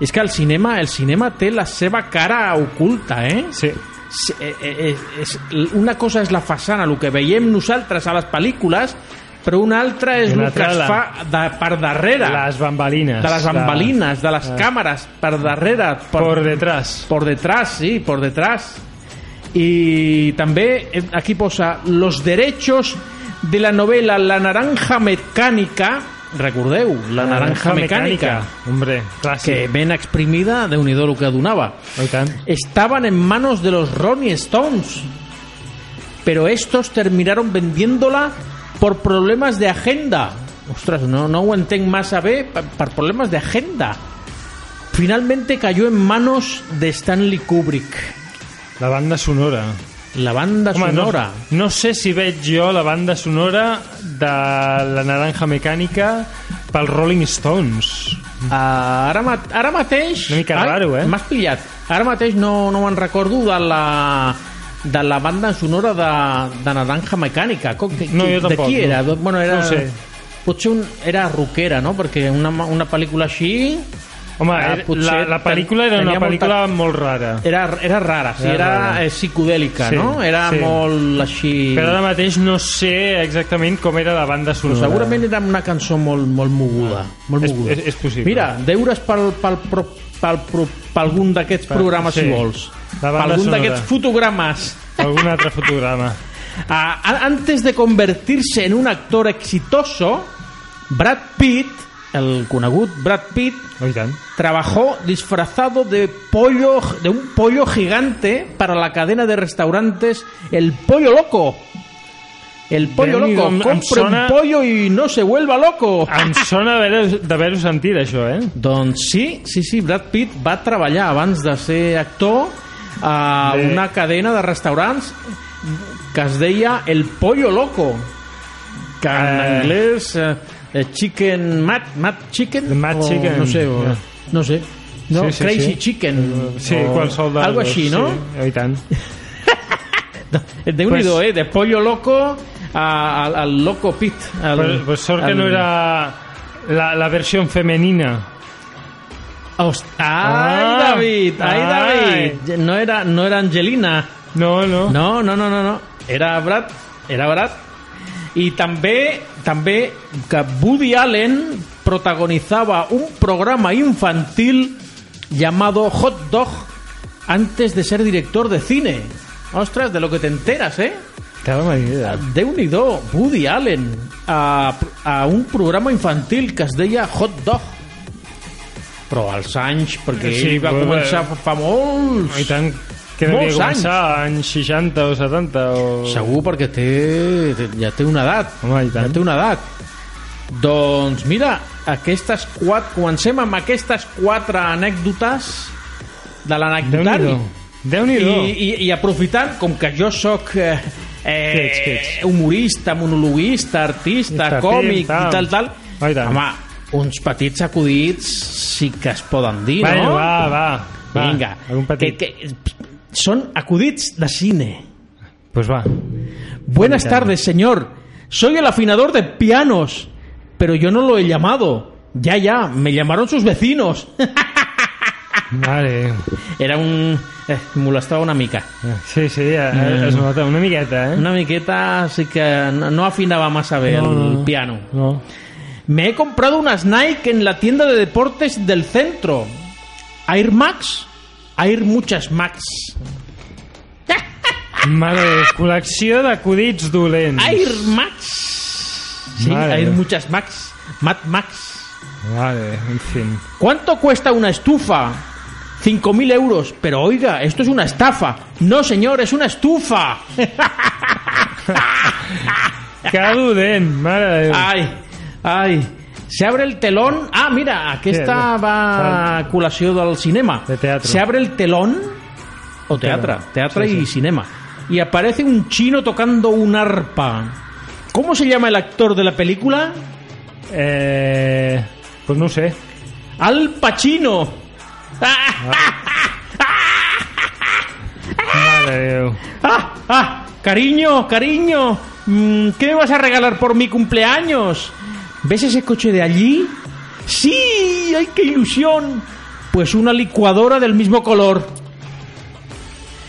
Speaker 4: És que el cinema, el cinema té la seva cara oculta, eh?
Speaker 3: Sí.
Speaker 4: Sí, eh, eh, és, és, una cosa és la façana, el que veiem nosaltres a les pel·lícules, però una altra és
Speaker 3: I una
Speaker 4: el que
Speaker 3: altra
Speaker 4: es
Speaker 3: la-
Speaker 4: fa de, per darrere,
Speaker 3: Les bambalines.
Speaker 4: de les ambalines, de les càmeres, per darrere,
Speaker 3: Ah. Por, detrás.
Speaker 4: por detrás, sí, por detrás. Y también eh, aquí posa los derechos de la novela La Naranja Mecánica recordeu, la naranja mecànica,
Speaker 3: Hombre, clàssic.
Speaker 4: que ben exprimida, de nhi do el que donava.
Speaker 3: I tant.
Speaker 4: Estaban en manos de los Ronnie Stones, pero estos terminaron vendiéndola por problemas de agenda. Ostras, no, no aguanten más a B por problemas de agenda. Finalmente cayó en manos de Stanley Kubrick.
Speaker 3: La banda sonora.
Speaker 4: La banda
Speaker 3: Home,
Speaker 4: sonora.
Speaker 3: No, no sé si veig jo la banda sonora de la naranja mecànica pels Rolling Stones.
Speaker 4: Ah, ara, mat ara mateix...
Speaker 3: Una mica raro, eh?
Speaker 4: M'has pillat. Ara mateix no, no me'n recordo de la de la banda sonora de, de Naranja Mecànica. Com, de,
Speaker 3: No,
Speaker 4: qui-
Speaker 3: jo tampoc,
Speaker 4: De qui
Speaker 3: no.
Speaker 4: era? Do- Bueno, era...
Speaker 3: No ho sé.
Speaker 4: Potser un, era rockera, no? Perquè una, ma- una pel·lícula així...
Speaker 3: Home,
Speaker 4: Ah,
Speaker 3: era-
Speaker 4: potser
Speaker 3: la, la pel·lícula era
Speaker 4: ten-
Speaker 3: una
Speaker 4: tenia
Speaker 3: pel·lícula
Speaker 4: molta-
Speaker 3: molt rara.
Speaker 4: Era, era rara, sí,
Speaker 3: Era
Speaker 4: era,
Speaker 3: rara.
Speaker 4: eh, psicodèlica,
Speaker 3: Sí,
Speaker 4: no? Era
Speaker 3: sí.
Speaker 4: molt així...
Speaker 3: Però ara mateix no sé exactament com era la banda sonora.
Speaker 4: Segurament era una cançó molt, molt moguda. Molt
Speaker 3: Ah, És-
Speaker 4: moguda.
Speaker 3: és- és possible.
Speaker 4: Mira, deures pel, pel, pel, pel, pel, per algun d'aquests
Speaker 3: Per-
Speaker 4: programes,
Speaker 3: sí.
Speaker 4: si vols.
Speaker 3: La
Speaker 4: Per
Speaker 3: banda
Speaker 4: algun
Speaker 3: sonora.
Speaker 4: d'aquests fotogramas.
Speaker 3: Algun altre fotograma.
Speaker 4: Ah, a- antes de convertirse en un actor exitoso, Brad Pitt, el conegut Brad Pitt,
Speaker 3: Oh, i tant.
Speaker 4: trabajó disfrazado de pollo de un pollo gigante para la cadena de restaurantes El Pollo Loco. El pollo
Speaker 3: Déu-n'hi-do,
Speaker 4: loco,
Speaker 3: em- em
Speaker 4: compre
Speaker 3: sona-
Speaker 4: un pollo i no se vuelva loco.
Speaker 3: Em sona d'haver- d'haver-ho sentit, això, eh?
Speaker 4: Doncs sí, sí, sí, Brad Pitt va treballar abans de ser actor a
Speaker 3: Bé.
Speaker 4: una cadena de restaurants que es deia El Pollo Loco, que en
Speaker 3: Eh.
Speaker 4: anglès eh, eh, Chicken Mad, Mad Chicken,
Speaker 3: The Mad
Speaker 4: o,
Speaker 3: Chicken,
Speaker 4: no sé, o,
Speaker 3: yeah.
Speaker 4: no sé. No,
Speaker 3: Sí, sí,
Speaker 4: Crazy
Speaker 3: sí.
Speaker 4: Chicken.
Speaker 3: Sí,
Speaker 4: o
Speaker 3: qualsevol de
Speaker 4: Oh. Algo
Speaker 3: les
Speaker 4: així,
Speaker 3: dues,
Speaker 4: no?
Speaker 3: Sí, oh, i tant.
Speaker 4: De un
Speaker 3: Pues-
Speaker 4: eh? De Pollo Loco a- al, al Loco Pit. Al,
Speaker 3: Pues, pues sort que
Speaker 4: al-
Speaker 3: no era la, la versió femenina.
Speaker 4: Host-
Speaker 3: Ah,
Speaker 4: Ai, David! Ai,
Speaker 3: ai.
Speaker 4: David! No era, no era Angelina.
Speaker 3: No, no.
Speaker 4: No, no, no, no, no. Era Brad, era Brad. I també també que Woody Allen protagonitzava un programa infantil llamado Hot Dog antes de ser director de cine. Ostras, de lo que te enteras, ¿eh?
Speaker 3: Cada manera.
Speaker 4: Déu-n'hi-do, Woody Allen a, a un programa infantil que es deia Hot Dog. Però als anys, perquè
Speaker 3: Sí,
Speaker 4: sí, ell va
Speaker 3: però-
Speaker 4: començar fa- fa molts...
Speaker 3: I tant que devia
Speaker 4: Molts anys.
Speaker 3: començar anys 60 o 70 o...
Speaker 4: Segur perquè té, té, ja té una edat.
Speaker 3: Home, i tant.
Speaker 4: ja té una edat. Doncs mira, aquestes quatre, comencem amb aquestes quatre anècdotes de l'anecdotari.
Speaker 3: Déu-n'hi-do. Déu-n'hi-do.
Speaker 4: I, i, I aprofitant, com que jo sóc eh, eh,
Speaker 3: Què ets, què ets?
Speaker 4: humorista, monologuista, artista,
Speaker 3: Artista,
Speaker 4: còmic
Speaker 3: tal.
Speaker 4: i tal, tal,
Speaker 3: Ah, i tant.
Speaker 4: home, uns petits acudits sí que es poden dir,
Speaker 3: Va,
Speaker 4: no?
Speaker 3: va, va. va.
Speaker 4: Vinga,
Speaker 3: Algun petit.
Speaker 4: Que, que, són acudits de cine.
Speaker 3: Pues va.
Speaker 4: Buenas tardes, señor. Soy el afinador de pianos, pero yo no lo he llamado. Ya, ya, me llamaron sus vecinos.
Speaker 3: Vale.
Speaker 4: Era un... Eh, molestava una mica.
Speaker 3: Sí, sí, ja,
Speaker 4: Mm.
Speaker 3: es nota una miqueta, eh?
Speaker 4: Una miqueta sí que no, no afinaba más a ver
Speaker 3: No, no,
Speaker 4: el
Speaker 3: no.
Speaker 4: piano.
Speaker 3: No.
Speaker 4: Me he comprado unas Nike en la tienda de deportes del centro. Air Max. Air muchas Max.
Speaker 3: Vale, col·lecció d'acudits dolents.
Speaker 4: Air Max. Sí,
Speaker 3: Madre.
Speaker 4: Air muchas Max. Mad Max.
Speaker 3: Vale, en fi.
Speaker 4: ¿Cuánto cuesta una estufa? 5.000 euros. Pero oiga, esto es una estafa. No, señor, es una estufa.
Speaker 3: Que dolent, mare de Déu.
Speaker 4: Ay, ay. Se abre el telón. Ah, mira, aquesta
Speaker 3: Sí,
Speaker 4: va a col·lació del cinema.
Speaker 3: De teatro.
Speaker 4: Se abre el telón. O teatro.
Speaker 3: Teatro.
Speaker 4: Teatro
Speaker 3: Sí,
Speaker 4: y
Speaker 3: sí.
Speaker 4: cinema. Y aparece un chino tocando un arpa. ¿Cómo se llama el actor de la película?
Speaker 3: Eh... Pues no ho sé.
Speaker 4: Al Pacino. Ah,
Speaker 3: Mare de Déu.
Speaker 4: ¡Ah! ¡Ah! ¡Cariño! ¡Cariño! Mm, ¿Qué me vas a regalar por mi cumpleaños? ¿Ves ese coche de allí? ¡Sí! ¡Ay, qué ilusión! Pues una licuadora del mismo color.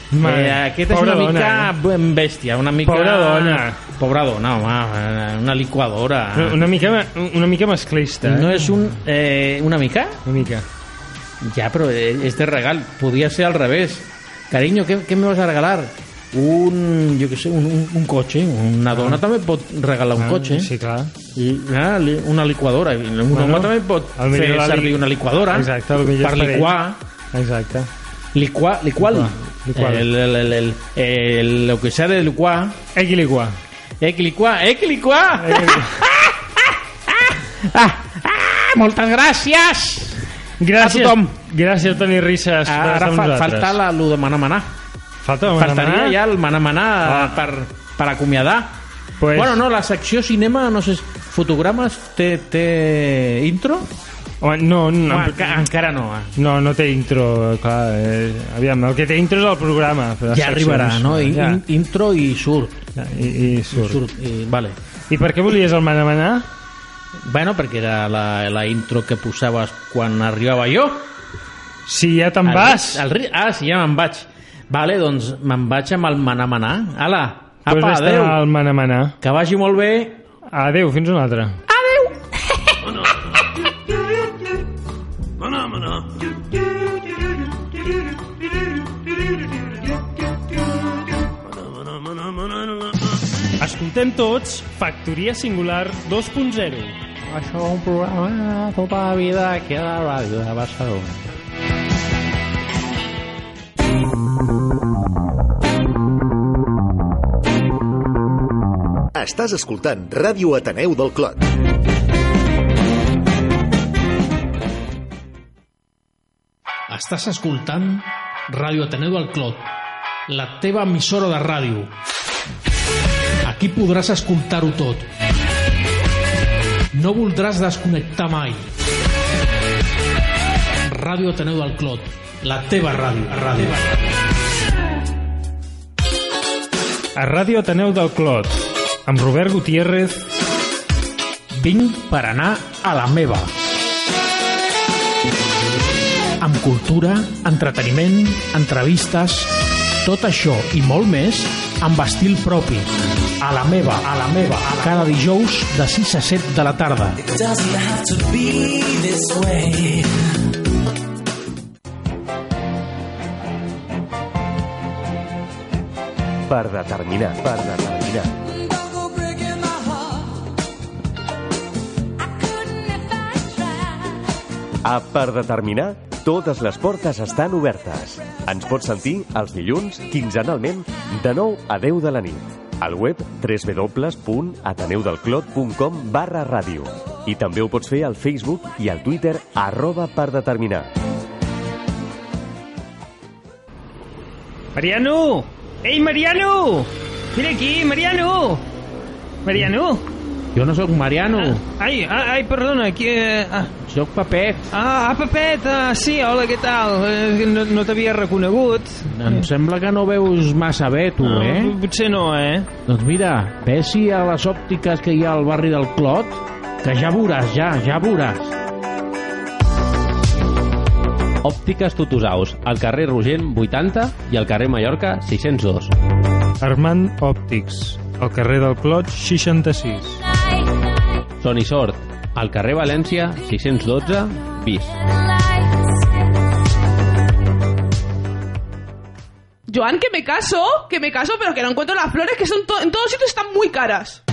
Speaker 3: Mare.
Speaker 4: Eh, aquesta és
Speaker 3: Pobra
Speaker 4: una mica
Speaker 3: Dona, eh?
Speaker 4: ben bèstia, una mica...
Speaker 3: Pobra dona.
Speaker 4: Pobra dona, home, una licuadora.
Speaker 3: eh? Una mica, ma- una mica masclista, eh?
Speaker 4: No és un... Eh, una mica?
Speaker 3: Una mica.
Speaker 4: e, Ya, pero eh, este regal podía ser al revés. Cariño, ¿qué, qué me vas a regalar? un, jo què sé, un, un, un cotxe. Una dona també pot regalar un
Speaker 3: Ah,
Speaker 4: cotxe. eh?
Speaker 3: sí, clar.
Speaker 4: I, ah, li- una liquadora. I Un
Speaker 3: Bueno,
Speaker 4: home també pot
Speaker 3: al
Speaker 4: fer
Speaker 3: millor la li-
Speaker 4: servir una liquadora
Speaker 3: Exacte, al millor
Speaker 4: per
Speaker 3: és per ell.
Speaker 4: liquar.
Speaker 3: Exacte.
Speaker 4: Licuar, licuali.
Speaker 3: Licuar.
Speaker 4: El, el, el, el, el- lo que sea de licuar. Eh,
Speaker 3: Equiligua.
Speaker 4: Equilicuar, equilicuar!
Speaker 3: Eh.
Speaker 4: ah, ah, moltes gràcies!
Speaker 3: Gràcies,
Speaker 4: A tothom.
Speaker 3: Gràcies, Toni Risses. per estar
Speaker 4: Ara
Speaker 3: amb
Speaker 4: fa,
Speaker 3: nosaltres.
Speaker 4: falta la, lo de manar manar.
Speaker 3: Falta demanar.
Speaker 4: Faltaria ja el manar manar
Speaker 3: Ah.
Speaker 4: per, per acomiadar.
Speaker 3: Pues-
Speaker 4: Bueno, no, la secció cinema, no sé, fotogrames, té, té intro?
Speaker 3: Home, No, no,
Speaker 4: No, enca encara no. eh.
Speaker 3: no, no té intro, clar. Eh, aviam, el que té intro és el programa. però les
Speaker 4: Ja arribarà,
Speaker 3: seccions,
Speaker 4: no? I,
Speaker 3: Ja,
Speaker 4: in, intro i surt.
Speaker 3: ja, i, i surt.
Speaker 4: surt i, vale.
Speaker 3: I per què volies el manamanar?
Speaker 4: Bueno, perquè era la, la intro que posaves quan arribava jo.
Speaker 3: Si ja te'n
Speaker 4: Al-
Speaker 3: vas.
Speaker 4: al ri- ah, sí, ja me'n vaig. Vale, doncs me'n vaig amb el manar manar. Ala, apa,
Speaker 3: Pues
Speaker 4: pues
Speaker 3: vés-te'n
Speaker 4: adeu.
Speaker 3: al manamanar.
Speaker 4: Que vagi molt bé.
Speaker 3: Adeu, fins una altra. Escoltem tots Factoria Singular 2.0.
Speaker 4: Això és un programa tota la vida que a la ràdio de Barcelona.
Speaker 1: Estàs escoltant Ràdio Ateneu del Clot.
Speaker 5: Estàs escoltant Ràdio Ateneu del Clot, la teva emissora de ràdio. Aquí podràs escoltar-ho tot. No voldràs desconnectar mai. Ràdio Ateneu del Clot, la teva ràdio. ràdio.
Speaker 3: A Ràdio Ateneu del Clot, amb Robert Gutiérrez.
Speaker 5: Vinc per anar a la meva. Amb cultura, entreteniment, entrevistes, tot això i molt més amb estil propi. A la meva, a la meva, a la... cada dijous de 6 a 7 de la tarda.
Speaker 13: Per determinar, per determinar. A Per determinar, totes les portes estan obertes. Ens pots sentir els dilluns, quinzenalment, de 9 a 10 de la nit. Al web www.ateneudelclot.com barra ràdio. I també ho pots fer al Facebook i al Twitter arroba per determinar.
Speaker 3: Mariano! Ei, Mariano! Mira aquí, Mariano! Mariano!
Speaker 4: Jo no sóc Mariano, ah.
Speaker 3: Ai, ah, ai, perdona, aquí... Eh, ah,
Speaker 4: sóc Papet.
Speaker 3: ah, Papet, ah, sí, hola, què tal? Eh, No, no t'havia reconegut.
Speaker 5: Eh.
Speaker 4: Em sembla que no veus massa bé, tu,
Speaker 3: No,
Speaker 4: eh?
Speaker 3: Potser no, eh?
Speaker 4: Doncs mira, vés-hi a les òptiques que hi ha al barri del Clot, que ja veuràs, ja, ja veuràs.
Speaker 14: Òptiques Tutusaus, al carrer Rogent 80 i al carrer Mallorca 602.
Speaker 3: Armand Òptics, al carrer del Clot, 66.
Speaker 14: Son i Sort, al carrer València 612 bis.
Speaker 15: Joan, que me caso, que me caso, pero que no encuentro las flores, que son to- en todos sitios están muy caras.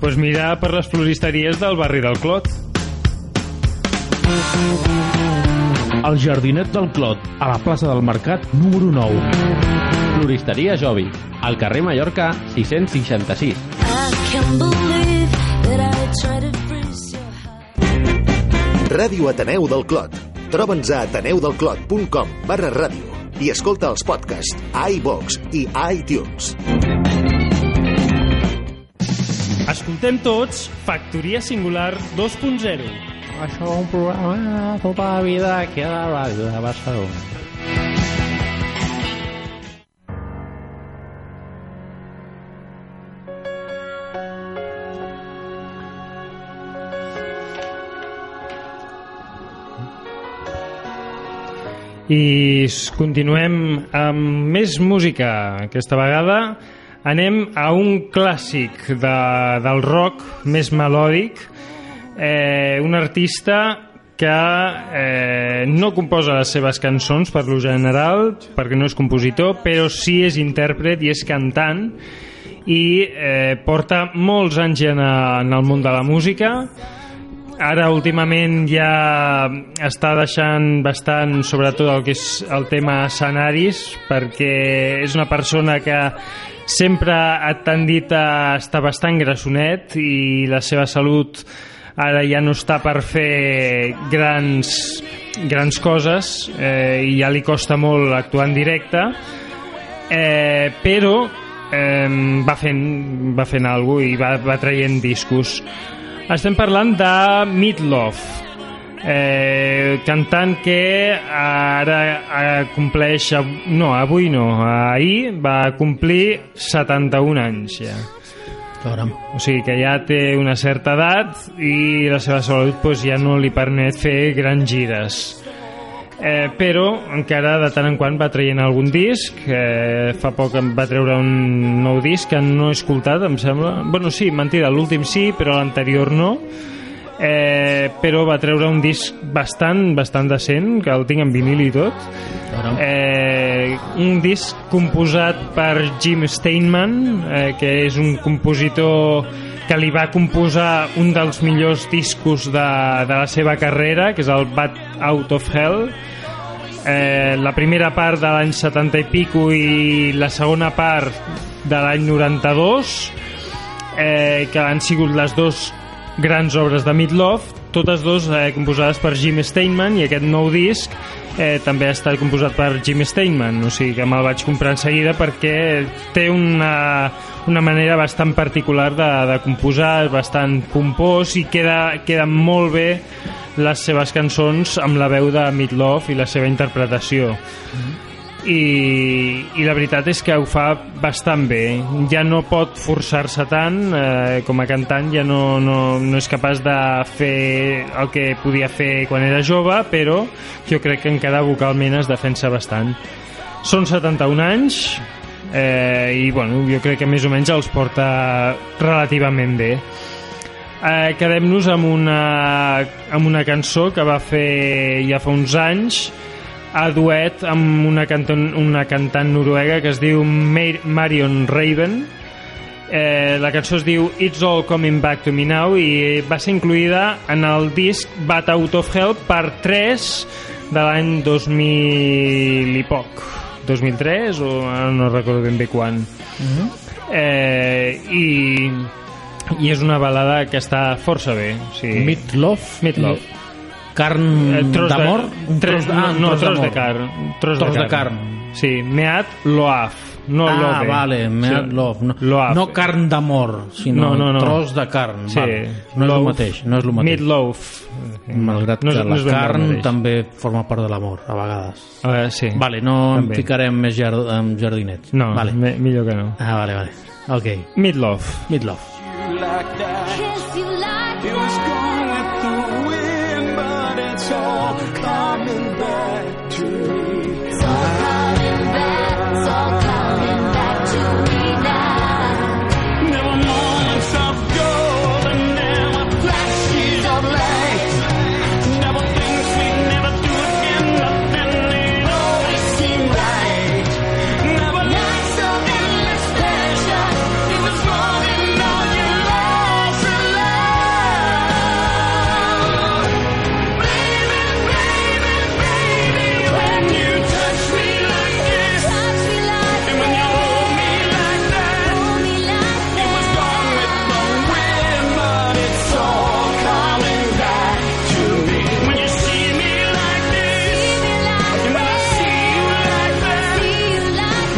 Speaker 3: Pues mira per les floristeries del barri del Clot.
Speaker 4: El jardinet del Clot, a la plaça del Mercat, número 9.
Speaker 14: Floristeria Jovi, al carrer Mallorca 666.
Speaker 1: Ràdio Ateneu del Clot. Troba'ns a ateneudelclot.com barra ràdio i escolta els podcasts a iVox i a iTunes.
Speaker 3: Escoltem tots Factoria Singular 2.0.
Speaker 4: Això és un programa tota la vida que a la ràdio de Barcelona.
Speaker 3: I s- continuem amb més música. Aquesta vegada anem a un clàssic de, del rock més melòdic. Eh, un artista que eh, no composa les seves cançons per lo general, perquè no és compositor, però sí és intèrpret i és cantant i eh, porta molts anys en, en el món de la música ara últimament ja està deixant bastant sobretot el que és el tema escenaris perquè és una persona que sempre ha tendit a estar bastant grassonet i la seva salut ara ja no està per fer grans, grans coses eh, i ja li costa molt actuar en directe eh, però eh, va fent, va fent alguna i va, va traient discos estem parlant de Meatloaf, eh, cantant que ara eh, compleix... av- No, avui no, ahir va complir 71 anys ja. O sigui que ja té una certa edat i la seva salut pues, ja no li permet fer grans gires. Eh, però encara de tant en quant va traient algun disc eh, fa poc em va treure un nou disc que no he escoltat em sembla bueno sí, mentida, l'últim sí però l'anterior no eh, però va treure un disc bastant bastant decent, que el tinc en vinil i tot eh, un disc composat per Jim Steinman eh, que és un compositor que li va composar un dels millors discos de, de la seva carrera que és el Bad Out of Hell eh, la primera part de l'any 70 i pico i la segona part de l'any 92 eh, que han sigut les dues grans obres de Meatloaf totes dues eh, composades per Jim Steinman i aquest nou disc eh, també ha estat composat per Jim Steinman o sigui que me'l vaig comprar en seguida perquè té una, una manera bastant particular de, de composar, és bastant pompós i queda, queda molt bé les seves cançons amb la veu de Meatloaf i la seva interpretació i, i la veritat és que ho fa bastant bé ja no pot forçar-se tant eh, com a cantant ja no, no, no és capaç de fer el que podia fer quan era jove però jo crec que encara vocalment es defensa bastant són 71 anys eh, i bueno, jo crec que més o menys els porta relativament bé Eh, Quedem-nos amb, una, amb una cançó que va fer ja fa uns anys a duet amb una, canton, una cantant noruega que es diu Mar Marion Raven. Eh, la cançó es diu It's All Coming Back to Me Now i va ser incluïda en el disc Bat Out of Hell per 3 de l'any 2000 i poc. 2003 o ara no recordo ben bé quan. Eh, i, I és una balada que està força bé. O sigui,
Speaker 4: Meatloaf.
Speaker 3: Meatloaf.
Speaker 4: Carn
Speaker 3: Eh, tros
Speaker 4: Mm, d'amor?
Speaker 3: De, tros,
Speaker 4: de- ah,
Speaker 3: no, no, tros de
Speaker 4: d'amor.
Speaker 3: carn. Tros,
Speaker 4: Tros
Speaker 3: de,
Speaker 4: de
Speaker 3: carn. Sí, meat loaf. No
Speaker 4: ah,
Speaker 3: love.
Speaker 4: vale, meat
Speaker 3: Sí.
Speaker 4: loaf. No,
Speaker 3: Loaf.
Speaker 4: no carn d'amor, sinó
Speaker 3: No, no, no.
Speaker 4: tros de carn.
Speaker 3: Sí.
Speaker 4: Vale. No és el
Speaker 3: Loaf.
Speaker 4: mateix, no és el mateix.
Speaker 3: Meat loaf.
Speaker 4: Malgrat
Speaker 3: No és-
Speaker 4: que
Speaker 3: no
Speaker 4: la
Speaker 3: és ben bé el
Speaker 4: carn
Speaker 3: mateix.
Speaker 4: també forma part de l'amor, a vegades.
Speaker 3: Uh, sí.
Speaker 4: Vale, no
Speaker 3: També.
Speaker 4: en ficarem més jar en jardinets.
Speaker 3: No,
Speaker 4: vale.
Speaker 3: me, millor que no.
Speaker 4: Ah, vale, vale. Ok.
Speaker 3: Meatloaf.
Speaker 4: Meatloaf.
Speaker 7: It was gone with the wind, but it's all coming back to me. It's all coming back, it's all coming back to me now. There were moments of gold and there were flashes of light. There were things we'd never do again, but then it always seemed right. There were nights of endless pleasure. It was more than all your lies were When you touch me like this, and when you hold me like that, it was gone with the wind, but it's all coming back to me. When you see me like this, and when I see you like that,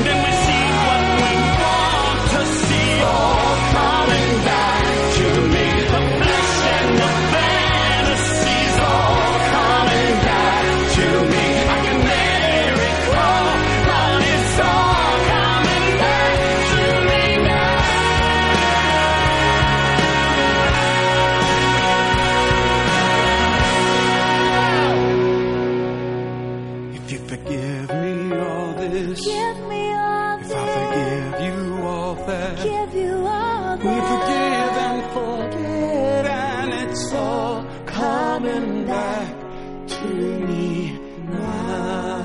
Speaker 7: then we see what we want to see. All coming back to me. The flesh and the fantasies all coming back to me. I can never recall, but it's all coming back to me now. If you forgive me all this, if I forgive you all that, we forgive and forget, and it's all coming back mí más.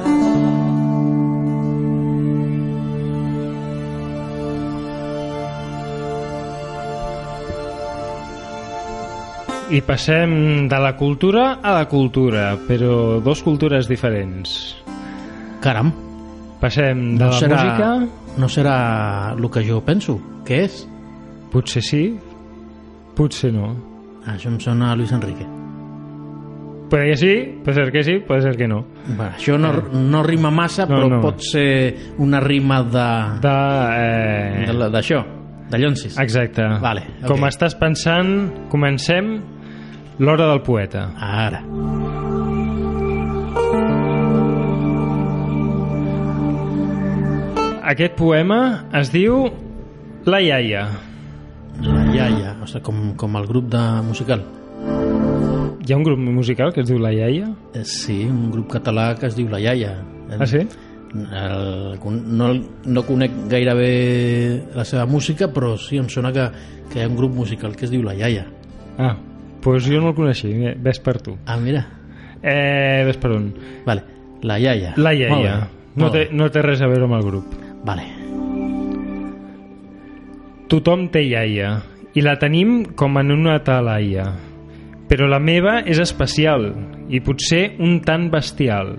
Speaker 3: I passem de la cultura a la cultura, però dos cultures diferents.
Speaker 4: Caram.
Speaker 3: Passem de
Speaker 4: No
Speaker 3: la
Speaker 4: serà,
Speaker 3: música...
Speaker 4: no serà el que jo penso, que és?
Speaker 3: Potser sí, potser no.
Speaker 4: Ah, això em sona a Luis Enrique.
Speaker 3: Pot ser que sí, pot ser que sí, pot ser que no.
Speaker 4: Va, això no, no rima massa,
Speaker 3: No,
Speaker 4: no, però
Speaker 3: no.
Speaker 4: no. pot ser una rima de...
Speaker 3: De... Eh...
Speaker 4: de la- D'això, de llonsis.
Speaker 3: Exacte.
Speaker 4: Vale,
Speaker 3: Okay. Com estàs pensant, comencem l'hora del poeta.
Speaker 4: Ara.
Speaker 3: Aquest poema es diu La iaia.
Speaker 4: La iaia, o sigui, com, com el grup de musical.
Speaker 3: Hi ha un grup musical que es diu La iaia?
Speaker 4: Eh, Sí, un grup català que es diu La iaia.
Speaker 3: Ah, sí?
Speaker 4: El, no, no conec gaire bé la seva música, però sí, em sona que, que hi ha un grup musical que es diu La iaia.
Speaker 3: Ah, doncs pues jo no el coneixia. Ves per tu.
Speaker 4: Ah, mira.
Speaker 3: Eh, ves per on.
Speaker 4: Vale, La iaia.
Speaker 3: La
Speaker 4: Molt bé,
Speaker 3: iaia. No
Speaker 4: molt
Speaker 3: té, no té res a veure amb el grup.
Speaker 4: Vale.
Speaker 3: Tothom té iaia i la tenim com en una talaia. Però la meva és especial i potser un tant bestial.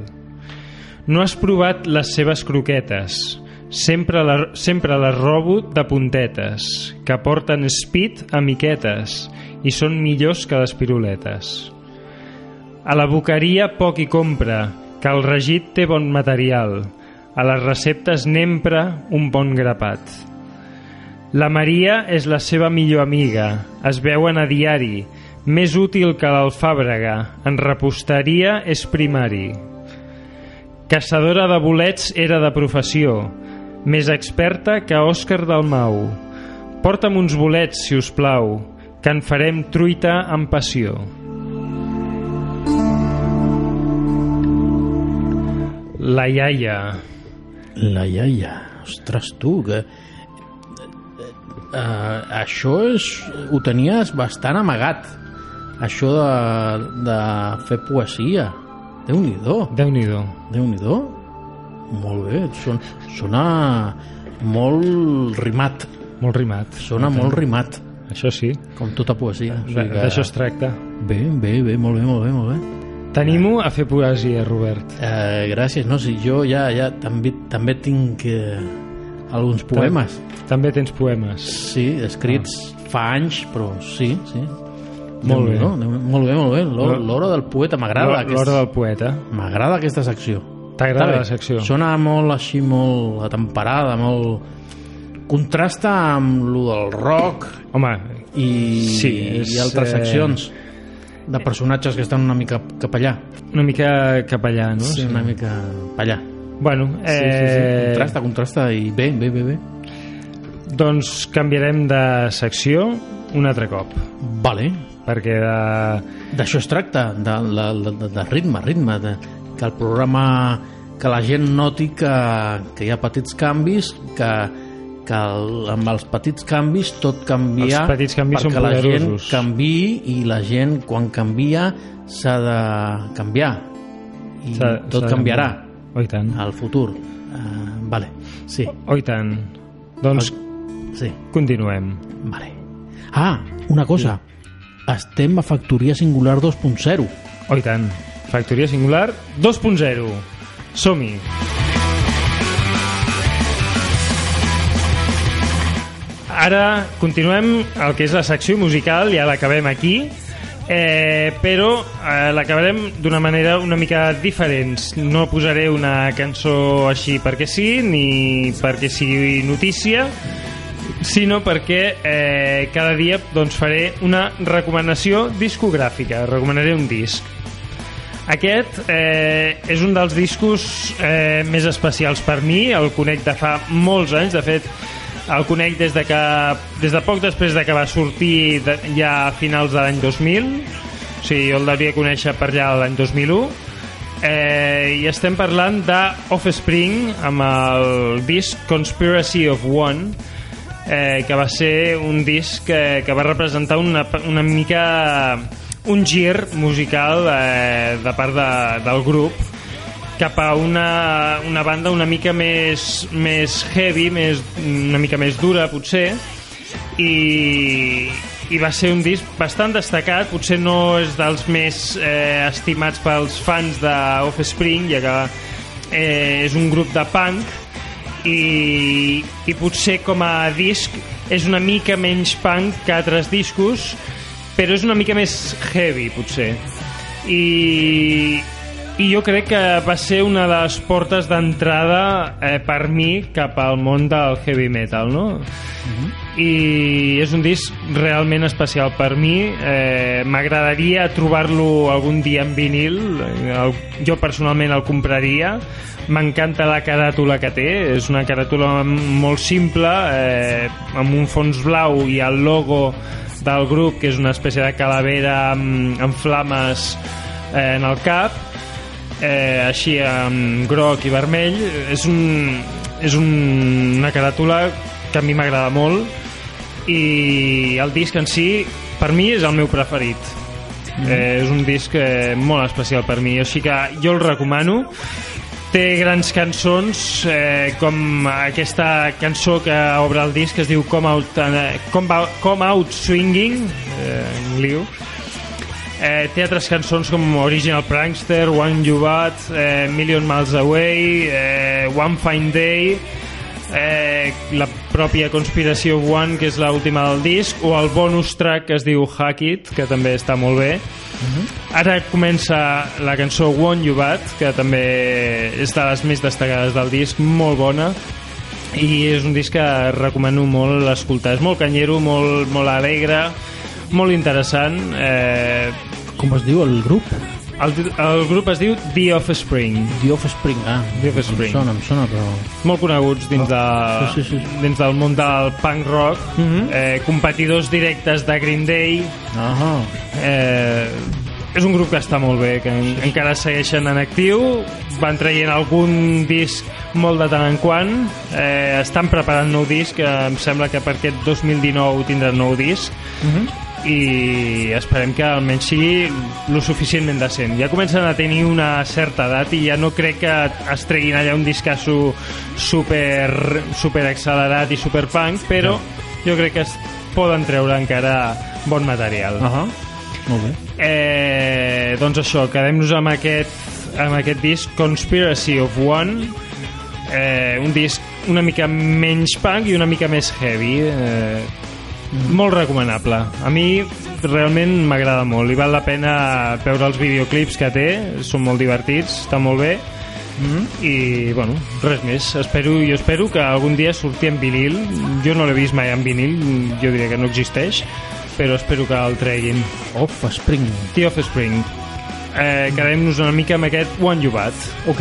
Speaker 3: No has provat les seves croquetes. Sempre, la, sempre les robo de puntetes, que porten speed a miquetes i són millors que les piruletes. A la boqueria poc hi compra, que el regit té bon material. A les receptes n'empra un bon grapat. La Maria és la seva millor amiga, es veuen a diari, més útil que l'alfàbrega, en reposteria és primari. Caçadora de bolets era de professió, més experta que Òscar Dalmau. Porta'm uns bolets, si us plau, que en farem truita amb passió. La iaia.
Speaker 4: La iaia. Ostres, tu, que... Uh, això és, ho tenies bastant amagat això de, de fer poesia Déu-n'hi-do
Speaker 3: Déu-n'hi-do
Speaker 4: Déu-n'hi-do Molt bé, son, sona molt rimat
Speaker 3: Molt rimat
Speaker 4: Sona
Speaker 3: I tant.
Speaker 4: molt rimat
Speaker 3: Això sí
Speaker 4: Com tota poesia o
Speaker 3: D- D'això es tracta.
Speaker 4: Bé, bé, bé, molt bé, molt bé, molt bé
Speaker 3: T'animo a fer poesia, Robert
Speaker 4: Eh, gràcies, no, si jo ja, ja també, també tinc eh, alguns poemes.
Speaker 3: També tens poemes.
Speaker 4: Sí, escrits
Speaker 3: Ah.
Speaker 4: fa anys, però sí, sí.
Speaker 3: Molt bé.
Speaker 4: No, Déu- molt bé, molt bé. L'hora
Speaker 3: L'ho-
Speaker 4: l'hora del poeta m'agrada.
Speaker 3: L'hora-
Speaker 4: aquest-
Speaker 3: L'hora del poeta.
Speaker 4: M'agrada aquesta secció.
Speaker 3: T'agrada
Speaker 4: Està bé.
Speaker 3: la secció?
Speaker 4: Sona molt així, molt atemperada, molt... Contrasta amb lo del rock
Speaker 3: Home,
Speaker 4: i,
Speaker 3: sí, és,
Speaker 4: i altres
Speaker 3: eh,
Speaker 4: seccions de personatges que estan una mica cap allà.
Speaker 3: Una mica cap allà, no?
Speaker 4: Sí, una mica cap allà.
Speaker 3: Bueno,
Speaker 4: Sí, sí, sí.
Speaker 3: eh,
Speaker 4: Contrasta, contrasta i bé, bé, bé, bé.
Speaker 3: doncs canviarem de secció un altre cop.
Speaker 4: Vale.
Speaker 3: Perquè de...
Speaker 4: D'això es tracta, de, de, de, de, de ritme, ritme, de, que el programa que la gent noti que, que hi ha petits canvis, que, que el, amb els petits canvis tot canvia
Speaker 3: Els petits canvis
Speaker 4: perquè
Speaker 3: són
Speaker 4: la gent
Speaker 3: poderosos.
Speaker 4: canvi i la gent quan canvia s'ha de canviar i
Speaker 3: S'ha- s'ha
Speaker 4: tot
Speaker 3: de
Speaker 4: canviarà
Speaker 3: Oh, i tant.
Speaker 4: al futur uh, vale, sí
Speaker 3: Oh, i tant. Doncs
Speaker 4: sí.
Speaker 3: continuem.
Speaker 4: Vale. Ah, una cosa. Estem a Factoria Singular 2.0.
Speaker 3: Oh, i tant. Factoria Singular 2.0. Som-hi. Ara continuem el que és la secció musical, ja l'acabem aquí, eh, però eh, l'acabarem d'una manera una mica diferent. No posaré una cançó així perquè sí, ni perquè sigui notícia, sinó perquè eh, cada dia doncs, faré una recomanació discogràfica, recomanaré un disc. Aquest eh, és un dels discos eh, més especials per mi, el conec de fa molts anys, de fet el conec des de, que, des de poc després de que va sortir de, ja a finals de l'any 2000, o sigui, jo el devia conèixer per allà l'any 2001, Eh, I estem parlant de Offspring amb el disc Conspiracy of One eh, que va ser un disc que, que va representar una, una mica un gir musical eh, de part de, del grup cap a una, una banda una mica més, més heavy, més, una mica més dura, potser, i, i va ser un disc bastant destacat, potser no és dels més eh, estimats pels fans de Offspring, ja que eh, és un grup de punk i, i potser com a disc és una mica menys punk que altres discos, però és una mica més heavy, potser. I, i jo crec que va ser una de les portes d'entrada eh, per mi cap al món del heavy metal, no? I és un disc realment especial per mi. Eh, M'agradaria trobar-lo algun dia en vinil. Eh, El, jo personalment el compraria. M'encanta la caràtula que té. És una caràtula m- molt simple, eh, amb un fons blau i el logo del grup, que és una espècie de calavera amb, amb flames eh, en el cap eh, així amb groc i vermell és, un, és un, una caràtula que a mi m'agrada molt i el disc en si per mi és el meu preferit
Speaker 16: Mhm.
Speaker 3: eh, és un disc eh, molt especial per mi així que jo el recomano té grans cançons eh, com aquesta cançó que obre el disc que es diu Come Out, eh, Come Out, Come Out Swinging eh, en liu Eh, té altres cançons com Original Prankster, One You Bat, eh, Million Miles Away, eh, One Fine Day, eh, la pròpia Conspiració One, que és l'última del disc, o el bonus track que es diu Hack It, que també està molt bé. Ara comença la cançó One You Bat, que també és de les més destacades del disc, molt bona, i és un disc que recomano molt escoltar. És molt canyero, molt, molt alegre, molt interessant. Eh,
Speaker 4: Com es diu el grup?
Speaker 3: El, el grup es diu The Offspring.
Speaker 4: The Offspring, ah.
Speaker 3: The Offspring.
Speaker 4: Em sona, em sona, però...
Speaker 3: Molt coneguts dins, de,
Speaker 4: Ah. sí, sí, Mhm.
Speaker 3: dins del món del punk rock, eh, competidors directes de Green Day.
Speaker 4: Ah
Speaker 3: eh, és un grup que està molt bé, que en, encara segueixen en actiu, van traient algun disc molt de tant en quant, eh, estan preparant nou disc, eh, em sembla que per aquest 2019 tindran nou disc, i esperem que almenys sigui lo suficientment decent. Ja comencen a tenir una certa edat i ja no crec que es treguin allà un discasso super, super accelerat i super punk, però jo crec que es poden treure encara bon material. Uh
Speaker 4: -huh. Molt bé.
Speaker 3: eh, doncs això, quedem-nos amb aquest, amb aquest disc Conspiracy of One, eh, un disc una mica menys punk i una mica més heavy. Eh, molt recomanable. A mi realment m'agrada molt i val la pena veure els videoclips que té, són molt divertits, està molt bé i bueno, res més espero, jo espero que algun dia surti en vinil jo no l'he vist mai en vinil jo diria que no existeix però espero que el treguin
Speaker 4: Offspring
Speaker 3: The Offspring eh, quedem-nos una mica amb aquest One You Bat
Speaker 4: ok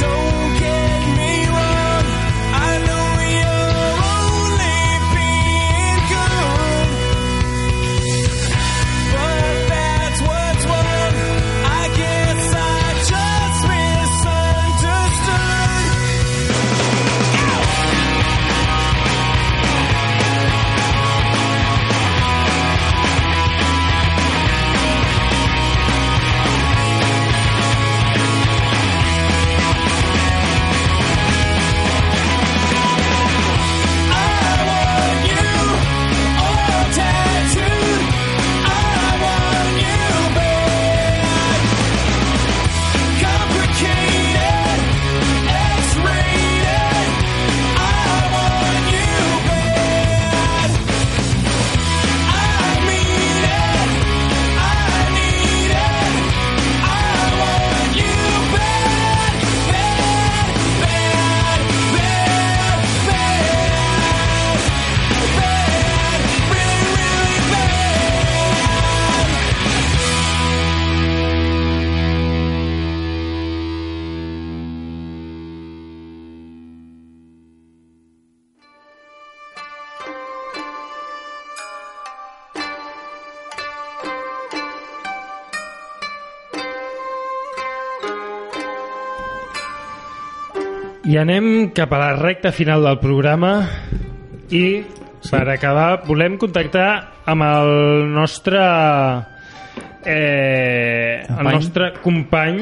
Speaker 7: Don't get me wrong,
Speaker 3: I anem cap a la recta final del programa i per acabar volem contactar amb el nostre eh, el
Speaker 4: Company.
Speaker 3: nostre company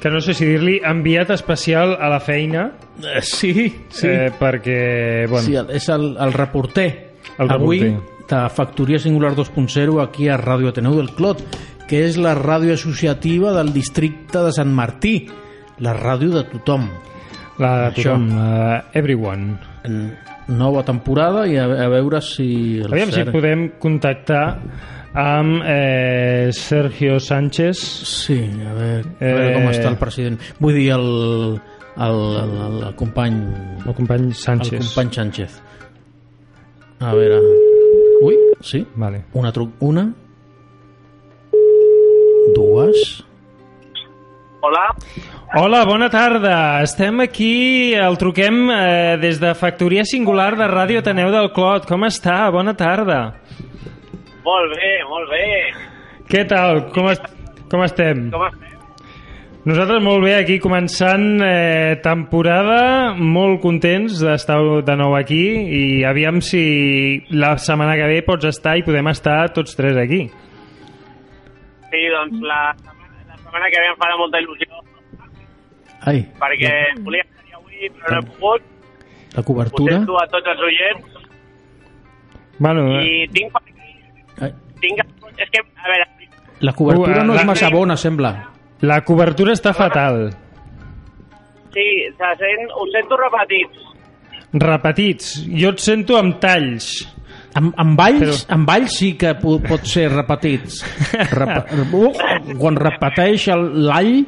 Speaker 3: que no sé si dir-li enviat especial a la feina
Speaker 4: sí, sí.
Speaker 3: eh, perquè bueno,
Speaker 4: Sí, el- és el, el reporter.
Speaker 3: El
Speaker 4: Avui,
Speaker 3: reporter.
Speaker 4: de Factoria Singular 2.0, aquí a Ràdio Ateneu del Clot, que és la ràdio associativa del districte de Sant Martí, la ràdio de tothom.
Speaker 3: La de tothom, la everyone.
Speaker 4: Nova temporada i a, a veure si... el
Speaker 3: Aviam si
Speaker 4: Sergi-
Speaker 3: podem contactar amb eh, Sergio Sánchez. Sí,
Speaker 4: a veure, a veure
Speaker 3: Eh.
Speaker 4: com està el president. Vull dir, el, el, el, el, el company...
Speaker 3: El company Sánchez.
Speaker 4: El company Sánchez. A veure... Ui, sí?
Speaker 3: Vale.
Speaker 4: Una truc... Una... Dues...
Speaker 16: Hola.
Speaker 3: Hola, bona tarda. Estem aquí, el truquem eh, des de Factoria Singular de Ràdio Ateneu del Clot. Com està? Bona tarda.
Speaker 16: Molt bé, molt bé.
Speaker 3: Què tal? Com, est com estem?
Speaker 16: Com estem?
Speaker 3: Nosaltres molt bé aquí començant eh, temporada, molt contents d'estar de nou aquí i aviam si la setmana que ve pots estar i podem estar tots tres aquí.
Speaker 16: Sí, doncs la, la setmana que ve em farà molta il·lusió
Speaker 4: Ai,
Speaker 16: perquè volia estar avui però no he pogut.
Speaker 4: la
Speaker 16: Ho
Speaker 4: cobertura...
Speaker 16: sento a tots els oients
Speaker 3: Bueno,
Speaker 16: i tinc per aquí...
Speaker 4: Ai.
Speaker 16: Tinc... És que, a veure,
Speaker 4: La cobertura
Speaker 3: Ua,
Speaker 4: no
Speaker 3: Uh,
Speaker 4: és
Speaker 3: la-
Speaker 4: massa bona, sembla.
Speaker 3: La cobertura està fatal.
Speaker 16: sí, se sent, ho sento repetit.
Speaker 3: Repetits. Jo et sento amb talls.
Speaker 4: Amb, amb valls, amb valls sí que po- pot ser repetits. Repa, uh, quan repeteix el- l'all,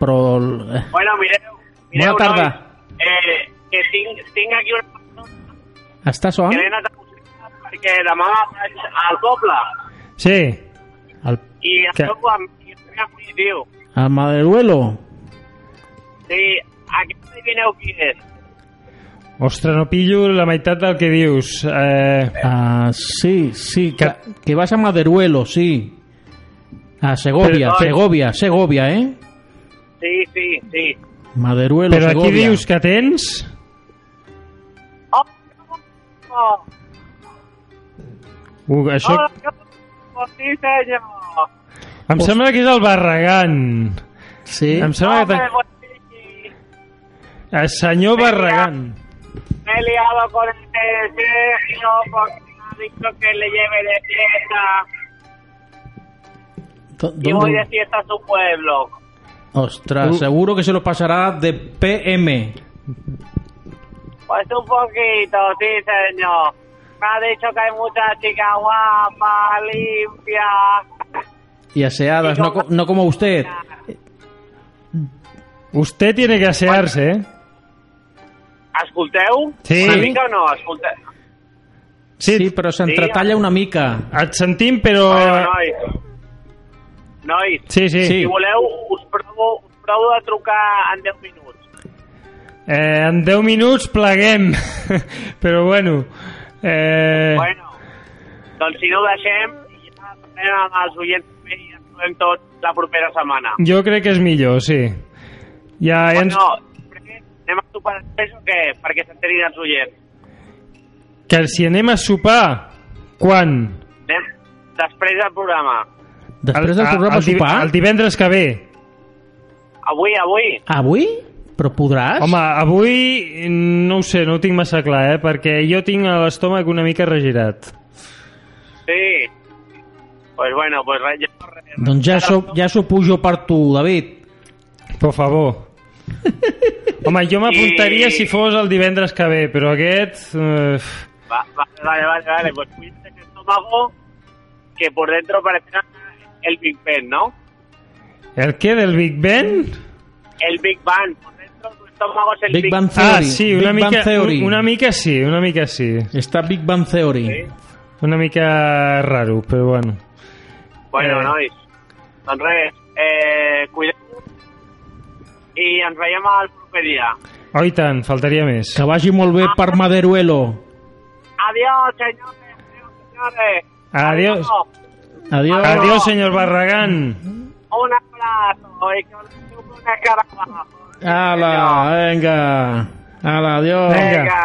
Speaker 4: però... el- eh,
Speaker 16: Bueno, mireu,
Speaker 4: Bona
Speaker 16: mireu,
Speaker 4: tarda.
Speaker 16: Nois, eh, que tinc, tinc aquí una
Speaker 4: Estàs on?
Speaker 16: que l'he anat a buscar perquè demà vaig al poble
Speaker 3: Sí.
Speaker 4: El,
Speaker 16: i el
Speaker 4: Que-
Speaker 16: poble em, i el meu fill diu
Speaker 4: el Maderuelo?
Speaker 16: sí, aquest adivineu qui és?
Speaker 3: Ostres, no pillo la meitat del que dius. Eh...
Speaker 4: Ah, sí, sí, que, que vas a Maderuelo, sí. A Segovia,
Speaker 16: Però-
Speaker 4: Segovia, Segovia, eh?
Speaker 16: Sí, sí, sí. Eh,
Speaker 4: Maderuelo,
Speaker 3: Però aquí
Speaker 4: Segovia.
Speaker 3: dius que tens...
Speaker 16: Oh,
Speaker 3: Uh, això
Speaker 16: Hola, què vol dir, senyor?
Speaker 3: em sembla que és el Barragán.
Speaker 4: Sí.
Speaker 3: Em sembla que...
Speaker 16: Home,
Speaker 3: ten-
Speaker 16: pues,
Speaker 3: El senyor Barragán.
Speaker 16: Me he liado con este Sergio porque me ha dicho que le lleve de fiesta.
Speaker 4: Do-
Speaker 16: Y voy de
Speaker 4: ¿Dónde?
Speaker 16: fiesta a su pueblo.
Speaker 3: Uh.
Speaker 4: Ostras, seguro que se lo pasará de PM.
Speaker 16: Pues un poquito, sí, señor. Me ha dicho que hay muchas chicas guapas, limpias.
Speaker 4: Y aseadas, no, co- no como usted.
Speaker 3: Usted tiene que asearse, eh?
Speaker 16: Escolteu?
Speaker 3: Sí.
Speaker 16: Una mica o no? Escolteu?
Speaker 3: Sí,
Speaker 4: sí però s'entretalla una mica.
Speaker 3: Et sentim, però...
Speaker 16: Bueno, nois. Nois.
Speaker 3: Eh. Sí, sí.
Speaker 16: Si voleu, us provo, us provo de trucar en 10 minuts.
Speaker 3: Eh, en 10 minuts pleguem. però bueno... Eh...
Speaker 16: Bueno, doncs si no ho deixem, ja parlem amb els oients també i ens trobem tots la propera setmana.
Speaker 3: Jo crec que és millor, sí. Ja, ja ens...
Speaker 16: Bueno, després anem a sopar després o què? Perquè s'enterin els oients.
Speaker 3: Que si anem a sopar, quan?
Speaker 16: Anem després del programa.
Speaker 4: Després del
Speaker 3: El-
Speaker 4: programa
Speaker 3: el, div-
Speaker 4: sopar?
Speaker 3: El divendres que ve.
Speaker 16: Avui, avui.
Speaker 4: Avui? Però podràs?
Speaker 3: Home, avui no ho sé, no ho tinc massa clar, eh? Perquè jo tinc l'estómac una mica regirat.
Speaker 16: Sí. Pues bueno, pues res, ja no res.
Speaker 4: Doncs ja, so, ja s'ho pujo per tu, David.
Speaker 3: Por favor. Home, jo m'apuntaria si fos el divendres que ve, però aquest... Eh,
Speaker 16: Va, va, vale, vale, vale. Pues cuídate el estómago, que por dentro parecerá el Big Ben, ¿no?
Speaker 3: el què, del Big Ben?
Speaker 16: El Big Bang. Por dentro tu estómago es el Big,
Speaker 3: Ah, sí, una mica, una mica sí, una mica sí.
Speaker 4: Està Big Bang Theory.
Speaker 3: Una mica raro, però bueno.
Speaker 16: Bueno,
Speaker 3: Eh.
Speaker 16: nois, doncs res, eh, cuideu i ens veiem al proper dia.
Speaker 3: Oh, i tant, faltaria més.
Speaker 4: Que vagi molt bé per Maderuelo.
Speaker 16: Adiós, senyores, adiós, senyores.
Speaker 3: Adiós.
Speaker 16: Adiós.
Speaker 4: Adiós.
Speaker 3: Adiós, senyor Barragán.
Speaker 16: Un abrazo. I que us una escarabajo.
Speaker 4: Ala, venga. Ala, adiós.
Speaker 16: Venga,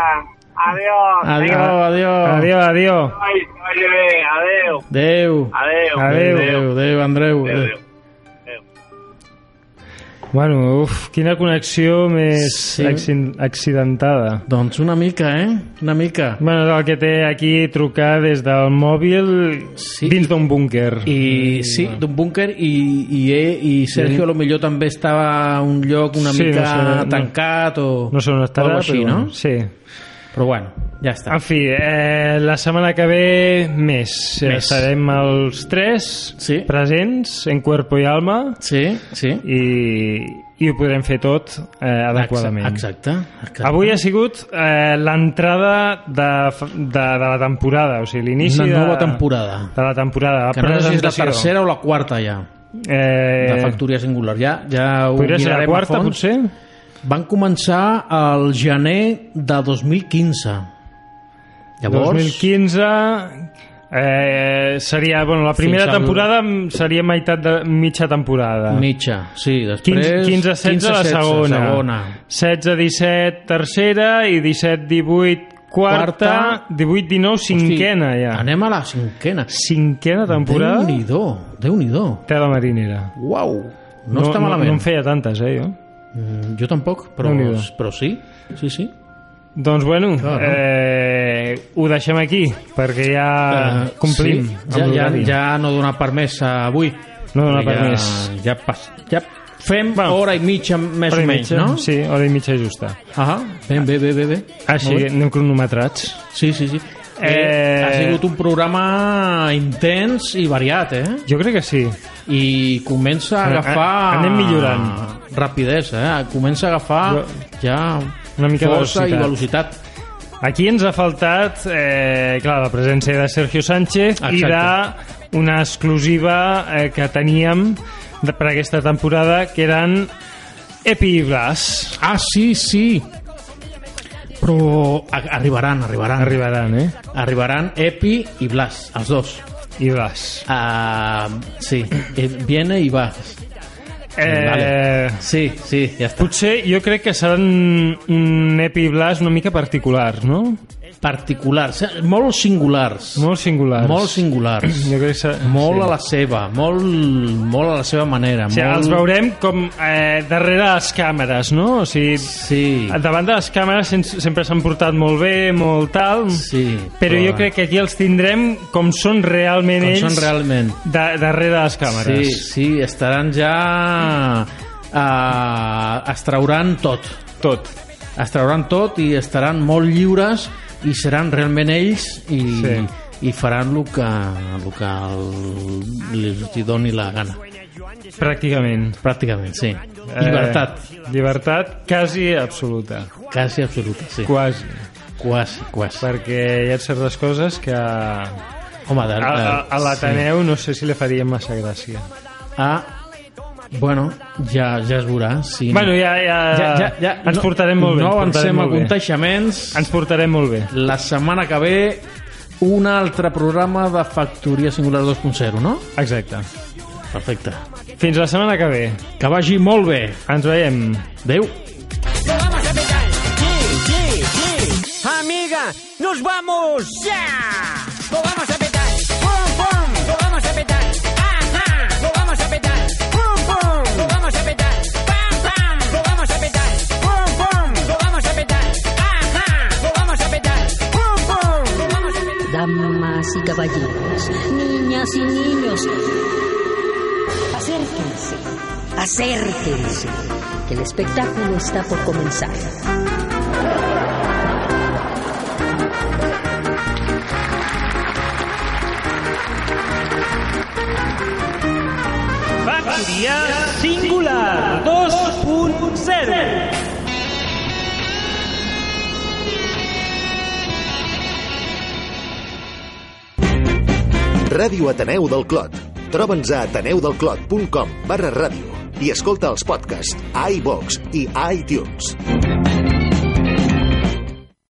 Speaker 16: adiós.
Speaker 4: Adiós,
Speaker 16: Venga.
Speaker 4: adiós.
Speaker 3: Adiós, adiós.
Speaker 16: Ai, Oye, bé, adeu.
Speaker 4: Adeu.
Speaker 16: Adeu.
Speaker 4: Adeu, adeu, adeu, Andreu.
Speaker 16: Adeu.
Speaker 4: Adeu.
Speaker 3: Bueno, uf, quina connexió més
Speaker 4: Sí.
Speaker 3: acci- accidentada.
Speaker 4: Doncs una mica, eh? Una mica.
Speaker 3: Bueno, és el que té aquí trucar des del mòbil sí. dins d'un búnquer.
Speaker 4: I sí, d'un búnquer i, i, i Sergio a lo millor també estava a un lloc una
Speaker 3: Sí,
Speaker 4: mica
Speaker 3: no sé, no-
Speaker 4: tancat o...
Speaker 3: No sé on estarà,
Speaker 4: Algo així,
Speaker 3: però
Speaker 4: no?
Speaker 3: bueno, Sí.
Speaker 4: Però bueno, ja està.
Speaker 3: En fi, eh, la setmana que ve més.
Speaker 4: Més.
Speaker 3: més. Estarem els tres sí. presents, en cuerpo i alma.
Speaker 4: Sí, sí.
Speaker 3: I, i ho podrem fer tot eh, adequadament.
Speaker 4: Exacte. exacte.
Speaker 3: Avui ha sigut eh, l'entrada de, fa- de, de la temporada, o sigui, l'inici
Speaker 4: Una
Speaker 3: de...
Speaker 4: nova temporada.
Speaker 3: De la temporada, la
Speaker 4: que no sé si és la
Speaker 3: presentació.
Speaker 4: tercera o la quarta ja.
Speaker 3: Eh,
Speaker 4: de factoria singular. Ja, ja ho
Speaker 3: Podria ser la
Speaker 4: mirarem a
Speaker 3: quarta,
Speaker 4: fons.
Speaker 3: potser?
Speaker 4: Van començar al gener de 2015. Llavors,
Speaker 3: 2015... Eh, seria, bueno, la primera
Speaker 4: Fins al-
Speaker 3: temporada mm, seria meitat de mitja temporada.
Speaker 4: mitja. Sí, després...
Speaker 3: 15-16 la
Speaker 4: 15-16,
Speaker 3: segona.
Speaker 4: segona.
Speaker 3: 16-17 tercera i 17-18 quarta,
Speaker 4: Quarta.
Speaker 3: 18-19 cinquena ja.
Speaker 4: Anem a la cinquena.
Speaker 3: Cinquena temporada?
Speaker 4: Déu-n'hi-do, Déu-n'hi-do.
Speaker 3: Tela marinera.
Speaker 4: Uau, no, està malament.
Speaker 3: No, no en feia tantes, eh, jo.
Speaker 4: Mm, Jo tampoc, però,
Speaker 3: Déu-n'hi-do.
Speaker 4: però sí, sí, sí.
Speaker 3: Doncs bueno,
Speaker 4: Clar, no?
Speaker 3: eh, ho deixem aquí, perquè ja
Speaker 4: Eh,
Speaker 3: Ah, complim.
Speaker 4: sí,
Speaker 3: amb
Speaker 4: ja, ja,
Speaker 3: l'horari.
Speaker 4: ja no dona per més eh, avui.
Speaker 3: No dona per
Speaker 4: ja,
Speaker 3: més.
Speaker 4: Ja, pas, ja fem hora i mitja més
Speaker 3: Ah. Hora
Speaker 4: o
Speaker 3: i
Speaker 4: menys,
Speaker 3: mitja,
Speaker 4: no?
Speaker 3: Sí, hora i mitja justa.
Speaker 4: Ah, ben bé, bé, bé, bé.
Speaker 3: Així,
Speaker 4: Molt bé.
Speaker 3: anem cronometrats.
Speaker 4: Sí, sí, sí.
Speaker 3: Eh,
Speaker 4: Eh... Ha sigut un programa intens i variat, eh?
Speaker 3: Jo crec que sí.
Speaker 4: I comença a
Speaker 3: A- a-
Speaker 4: agafar...
Speaker 3: anem millorant.
Speaker 4: Rapidesa, eh? Comença a agafar
Speaker 3: Jo-
Speaker 4: ja
Speaker 3: Una mica de
Speaker 4: força i
Speaker 3: velocitat.
Speaker 4: velocitat.
Speaker 3: Aquí ens ha faltat, eh, clar, la presència de Sergio Sánchez i de una exclusiva eh, que teníem de, per aquesta temporada, que eren Epi i Blas.
Speaker 4: Ah, sí, sí. Però a- arribaran, arribaran.
Speaker 3: Arribaran, eh?
Speaker 4: Arribaran Epi i Blas, els dos.
Speaker 3: I Blas.
Speaker 4: Ah, sí, eh, viene i va.
Speaker 3: Eh,
Speaker 4: Vale. Sí, sí, ja està.
Speaker 3: Potser jo crec que seran un Epi i Blas una mica particulars, no?
Speaker 4: Particulars, eh, molt singulars.
Speaker 3: Molt singulars.
Speaker 4: Molt singulars.
Speaker 3: Jo crec que se-
Speaker 4: Molt
Speaker 3: sí.
Speaker 4: a la seva, molt, molt a la seva manera.
Speaker 3: O sigui,
Speaker 4: molt...
Speaker 3: els veurem com eh, darrere les càmeres, no? O sigui,
Speaker 4: sí.
Speaker 3: davant de les càmeres sen- sempre s'han portat molt bé, molt tal,
Speaker 4: Sí,
Speaker 3: però jo crec que aquí els tindrem com són realment
Speaker 4: Com
Speaker 3: ells
Speaker 4: són realment.
Speaker 3: de, darrere de les
Speaker 4: Sí,
Speaker 3: càmeres.
Speaker 4: sí, estaran ja... Uh, es trauran tot.
Speaker 3: Tot.
Speaker 4: Es trauran tot i estaran molt lliures i seran realment ells i, sí.
Speaker 3: Sí.
Speaker 4: i faran el que, el que el, li li doni la gana.
Speaker 3: Pràcticament.
Speaker 4: Pràcticament, sí. Llibertat.
Speaker 3: Eh, llibertat quasi absoluta.
Speaker 4: Quasi absoluta, sí.
Speaker 3: Quasi.
Speaker 4: Quasi, quasi.
Speaker 3: Perquè hi ha certes coses que...
Speaker 4: Home, de,
Speaker 3: A, a, a l'Ateneu no sé si li faria massa gràcia.
Speaker 4: Ah, bueno, ja, ja es veurà. Sí.
Speaker 3: Bueno, ja, ja, ens portarem molt bé.
Speaker 4: No
Speaker 3: ens portarem
Speaker 4: avancem a
Speaker 3: molt bé.
Speaker 4: contaixements.
Speaker 3: Ens portarem molt bé.
Speaker 4: La setmana que ve, un altre programa de Factoria Singular 2.0, no?
Speaker 3: Exacte.
Speaker 4: Perfecte.
Speaker 3: Fins la setmana que ve.
Speaker 4: Que vagi molt bé.
Speaker 3: Ens veiem.
Speaker 4: Adéu.
Speaker 7: Amiga, nos vamos ya. Lo vamos a petar. Pum, pum. Lo vamos a petar. Ajá. Lo vamos a petar. Pum, pum. Lo vamos a petar. Pam, pam. Lo vamos a petar. Pum, pum. Lo vamos a petar. Ajá. Lo vamos a petar. Pum, pum. Lo vamos a petar.
Speaker 2: Damas y caballeros, niñas y niños, acérquense, acérquense, que el espectáculo está por comenzar.
Speaker 7: Factoria Singular 2.0
Speaker 1: Ràdio Ateneu del Clot. Troba'ns a ateneudelclot.com barra ràdio i escolta els podcasts a iVox i a iTunes.